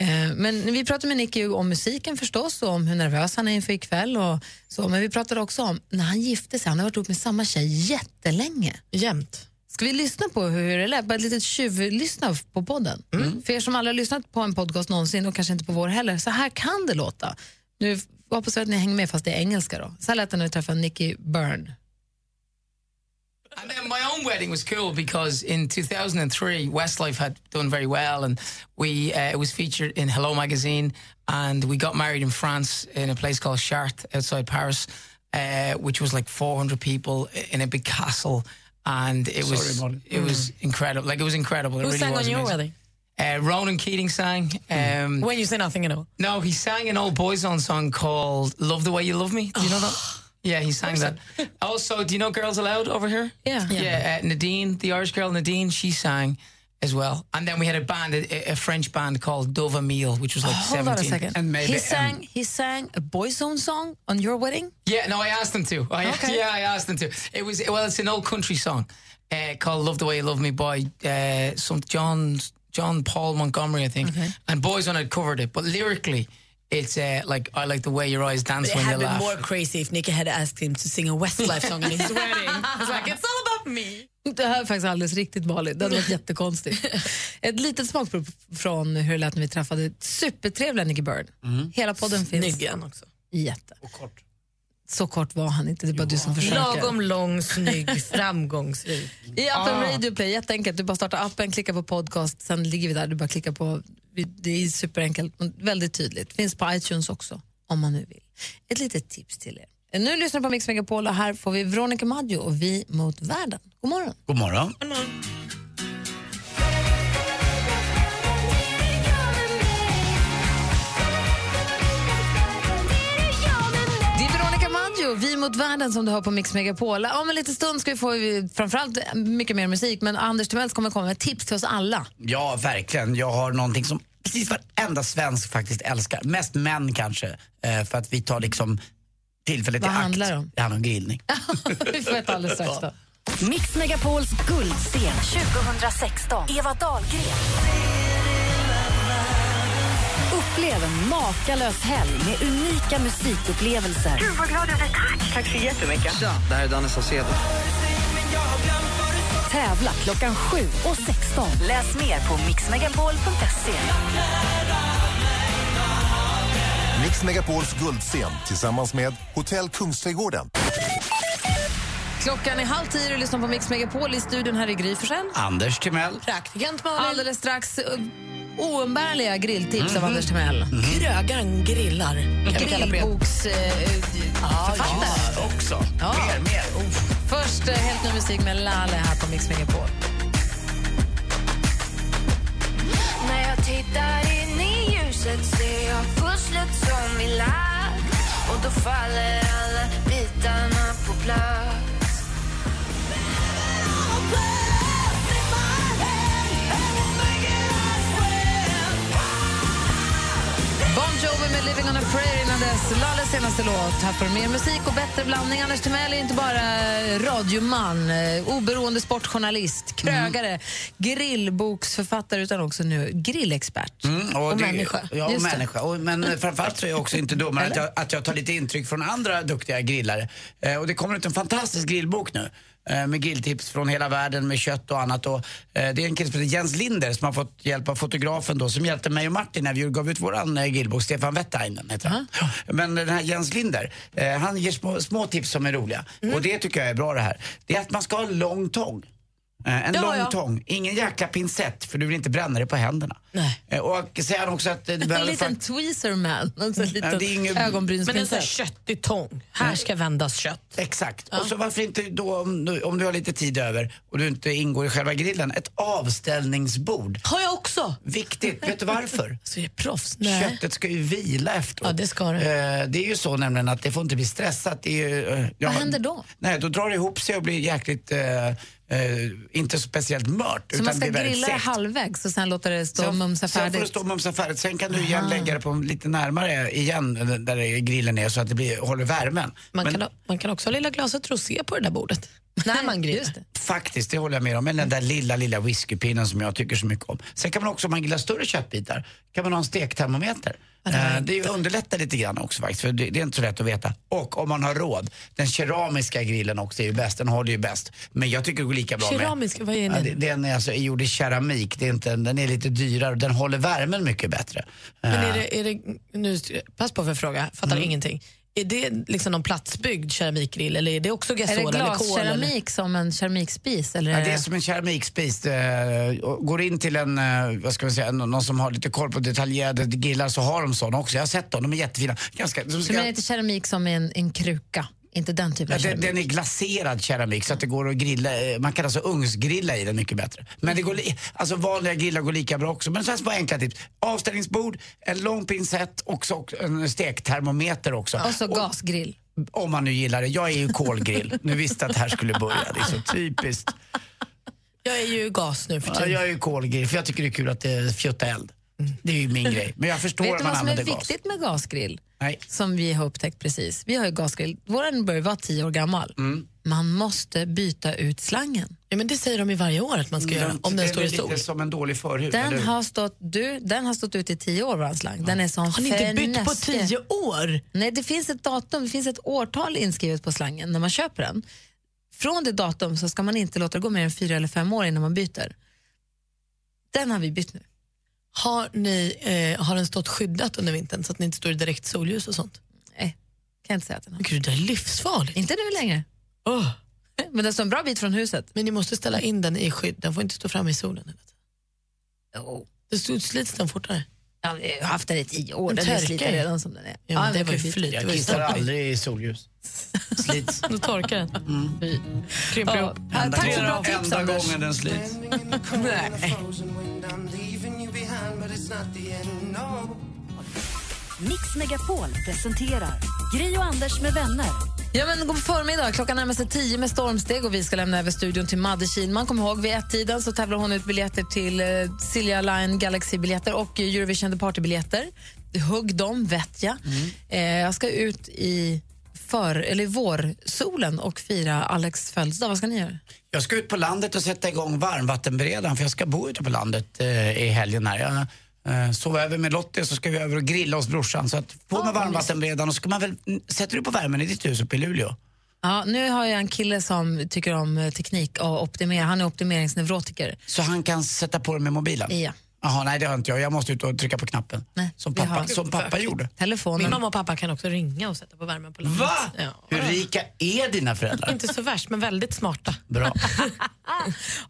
Eh, Men vi pratade med Nicky om musiken förstås och om hur nervös han är inför ikväll. Och så. Men vi pratade också om när han gifte sig. Han har varit ihop med samma tjej jättelänge. Jämt. Ska vi lyssna på hur det lät? Bara ett litet tjuvlyssna på podden. Mm. För er som aldrig har lyssnat på en podcast någonsin och kanske inte på vår heller, så här kan det låta. Nu f- hoppas jag att ni hänger med fast det är engelska då. Så här lät det när vi träffade Nicky Byrne. And then my own wedding was cool because in 2003, Westlife had done very well, and we uh, it was featured in Hello magazine, and we got married in France in a place called Chartres outside Paris, uh, which was like 400 people i- in a big castle, and it was Sorry about it was incredible. Like it was incredible. It Mm-hmm. Who really sang was on your amazing. wedding? Mm-hmm. Uh, Ronan Keating sang. Mm. Um, When you say nothing at all. no, he sang an old boyzone song called "Love the Way You Love Me." Do you know that? Yeah, he sang that. Also, do you know "Girls Aloud" over here? Yeah, yeah. uh, Nadine, the Irish girl Nadine, she sang as well. And then we had a band, a, a French band called Dove Meal, which was like Oh, Ah, Hold on a seventeen. second. he, sang, he sang a boyzone song on your wedding? Yeah, no, I asked them to. I, Okay. Yeah, I asked them to. It was well, it's an old country song uh, called "Love the Way You Love Me" by uh, some John John Paul Montgomery, I think. And Boys One had covered it, but lyrically, it's uh, like "I like the way your eyes dance It when you had been laugh." more crazy if Nicky had asked him to sing a Westlife song at his wedding. It's like, it's all about me. Det här är faktiskt alldeles riktigt Malin. Det hade varit jättekonstigt. Ett litet smakprov från hur det lät när vi träffade supertrevliga Nicky Byrne. Mm. Hela podden finns. Snygg han också. Jätte. Och kort. Så kort var han inte, det är bara du som försöker. Lagom lång, snygg, framgångsrik. I appen Ah. Radio Play, jätteenkelt. Du bara startar appen, klickar på podcast, sen ligger vi där. Du bara klickar på, det är superenkelt och väldigt tydligt. Finns på iTunes också, om man nu vill. Ett litet tips till er. Nu lyssnar du på Mix Megapol och här får vi Veronica Maggio och Vi mot världen. God morgon. God morgon. Det är Veronica Maggio, Vi mot världen som du har på Mix Megapol. Om en liten stund ska vi få eh, framförallt mycket mer musik, men Anders Timells kommer komma med tips till oss alla. Ja, verkligen. Jag har någonting som precis varenda svensk faktiskt älskar. Mest män kanske, eh, för att vi tar liksom tillfället Vad i akt. handlar det om? Det handlar om grillning. Vi får veta alldeles strax då. Mix Megapols guldscen 2016. Eva Dahlgren. Upplev en makalös helg med unika musikupplevelser. Gud, vad glad jag blir. Tack! Tack så jättemycket. Det här är Danne Saucedo. Tävla klockan 7 och 16. Läs mer på mixmegapol.se. Mix Megapols guldscen tillsammans med Hotell Kungsträdgården. Klockan är halv tio och du lyssnar på Mix Megapol i studion här i Gry Forssell. Anders Timell. Praktikant Alldeles strax eh, oumbärliga grilltips av Anders Timell. Mhm. Mm. Krögaren grillar. Kan vi kalla det. Grillboksförfattare. också. eh, Ja. Mer, mer. Uff. Först eh, helt ny musik med Lale här på Mix Megapol. När jag tittar in i ljuset ser jag pusslet som är lagt Och då faller alla bitarna på plats Bon Jovi med Living on a prayer innan dess. Lalles senaste låt. Här får du mer musik och bättre blandning. Anders Timell är inte bara eh, radioman, eh, oberoende sportjournalist, Mm. krögare, grillboksförfattare utan också nu grillexpert. Mm, och det- människa. Ja, och Just det. människa. Och, men eh, framförallt så är jag också inte dummare att Eller? jag, att jag tar lite intryck från andra duktiga grillare. Eh, och det kommer ut en fantastisk grillbok nu eh, med grilltips från hela världen med kött och annat. Och, eh, det är en kille som heter Jens Linder som har fått hjälp av fotografen då som hjälpte mig och Martin när vi gav ut våran eh, grillbok, Stefan Wettainen heter han. Men den här Jens Linder, eh, han ger små, små tips som är roliga. Mm. Och det tycker jag är bra det här. Det är att man ska ha en lång tång. Eh, En Det har lång jag. tång, ingen jäkla pincett för du vill inte bränna dig på händerna. Eh, Och säger han också att eh, du En behöver liten fakt- tweezer man, alltså en Ja, det är liten ingen- ögonbrynsprinsess. Men en sån här köttig tång. Här ska vändas kött. Exakt. Och så varför inte då, om du, om du har lite tid över och du inte ingår i själva grillen, ett avställningsbord. Har jag också. Viktigt. Vet du varför? Så är det proffs. Köttet ska ju vila efteråt. Ja, det ska det. Det är ju så nämligen att det får inte bli stressat. Det är ju, eh, ja, Vad händer då? Nej, då drar det ihop sig och blir jäkligt, eh, eh, inte speciellt mört. Så man ska blir väldigt grilla det segt. halvvägs och sen låta det stå och Sen- mumsa Sen får det färdigt? stå och mumsa färdigt. Sen kan du igen Aha. lägga det på lite närmare igen där det- grillen är så att det blir, håller värmen. Man, kan, ha- man kan också ha lilla glaset rosé på det där bordet. när man grinar. Faktiskt, det håller jag med om. Men den där lilla, lilla whiskypinnen som jag tycker så mycket om. Sen kan man också, om man gillar större köttbitar, kan man ha en stektermometer. Eh, Det underlättar lite grann också faktiskt, för det det är inte så lätt att veta. Och om man har råd, den keramiska grillen också är ju bäst, den har det ju bäst. Men jag tycker det går lika bra med... Keramisk, vad är Ja, det? det- den är alltså gjord i keramik, det är inte, en- den är lite dyrare och den håller värmen mycket bättre. Men är Eh, det, är det, nu, pass på för jag fråga, fattar Mm. ingenting. Är det liksom någon platsbyggd keramikgrill eller är det också Är gasol det eller kol? Eller? glaskeramik som en keramikspis? Eller Ja, det är som en keramikspis. eh, och Går in till en, eh, vad ska man säga, någon någon som har lite koll på detaljerade grillar så har de sådana också. Jag har sett dem, de är jättefina. Ganska, de Så ska, du menar inte keramik som en, en kruka? Inte den typen ja, av den, keramik? den är glaserad keramik så att det går att grilla, eh, man kan alltså ugnsgrilla i den mycket bättre. Men det går, li- alltså vanliga grillar går lika bra också. Men så här bara enkla tips. Avställningsbord, en lång pincett och så också en stektermometer också. Och så gasgrill. Om man nu gillar det. Jag är ju kolgrill. nu visste jag att det här skulle börja, det är så typiskt. Jag är ju gas nu för Ja, tiden. jag är ju kolgrill, för jag tycker det är kul att det fjuttar eld. Det är ju min grej. Men jag förstår Vet att du man vad som är använder gas. viktigt med gasgrill? Nej. Som vi har upptäckt precis. Vi har ju gasgrill. Vår börjar vara tio år gammal. Mm. Man måste byta ut slangen. Ja, men det säger de ju varje år att man ska göra, om den står i Mm. Det är väl sol. lite som en dålig förhud, eller Den hur? har, stått, du, den har stått ut i tio år, vår slang. Den är som Har ni inte bytt på fernäske. tio år? Nej, det finns ett datum, det finns ett årtal inskrivet på slangen när man köper den. Från det datum så ska man inte låta det gå mer än fyra eller fem år innan man byter. Den har vi bytt nu. Har, ni, eh, har den stått skyddat under vintern så att ni inte står i direkt solljus och sånt? Nej, kan jag inte säga att den har. Gud, det är livsfarligt. Inte nu längre. Oh. Men den står en bra bit från huset. Men ni måste ställa in den i skydd, den får inte stå framme i solen. hela tiden. Det stod- slits den fortare. Ja, vi har haft den i tio år. Den Den är torkar sliten ju. redan som den är. Ja, men det den var ju kan bytas. flyt. Jag kissar aldrig i solljus. Slits. Då torkar den. Mm. Krymper Ja, ihop. Enda Tack för gången- bra tips, Enda Anders. gången den slits. Nej. Mix Megapol presenterar Gri och Anders med vänner. Ja, men god förmiddag. Klockan närmar sig tio med stormsteg och vi ska lämna över studion till Madde Kihlman. Kom ihåg, vid ett-tiden så tävlar hon ut biljetter till eh, Silja Line Galaxy-biljetter och eh, Eurovision The Party-biljetter. Hugg dem, vet jag. Mm. Eh, jag ska ut i för, eller i vårsolen och fira Alex födelsedag. Vad ska ni göra? Jag ska ut på landet och sätta igång varmvattenberedaren för jag ska bo ute på landet eh, i helgen här. Jag eh, sov över med Lottie så ska vi över och grilla hos brorsan. Så att Ah, på med varmvattenberedaren och så ska man väl, mm, sätter du på värmen i ditt hus uppe i Luleå? Ja, nu har jag en kille som tycker om eh, teknik och optimera. Han är optimeringsneurotiker. Så han kan sätta på den med mobilen? Ja. Jaha, nej det har inte jag. Jag måste ut och trycka på knappen. som vi har- pappa, som pappa gjorde. Telefonen. Min mamma och pappa kan också ringa och sätta på värmen på landet. Va? Ja. Hur rika är dina föräldrar? Inte så värst, men väldigt smarta. Bra.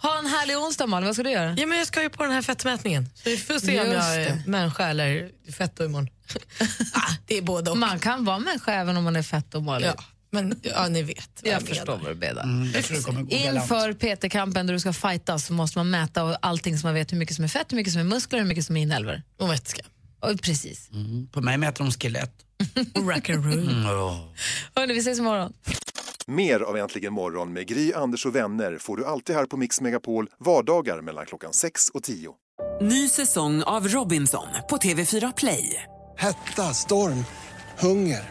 Ha en härlig onsdag, Malin. Vad ska du göra? Ja, men jag ska ju på den här fettmätningen. Så vi får se om Just jag är människa eller fett då imorgon. ah, det är både och. Man kan vara människa även om man är fett och Malin. Ja, men ja, ni vet. vad Jag förstår menar. vad du menar. Mm, jag tror det kommer gå galant. Inför PT-kampen där du ska fightas så måste man mäta och allting så man vet hur mycket som är fett, hur mycket som är muskler, hur mycket som är inälvor. Och vätska. Och precis. Mm, på mig mäter de skelett. Rackaroo. Mm, åh. Hörni, vi ses imorgon. Mer av Äntligen morgon med Gry, Anders och vänner får du alltid här på Mix Megapol vardagar mellan klockan 6 och 10. Ny säsong av Robinson på TV4 Play. Hetta, storm, hunger.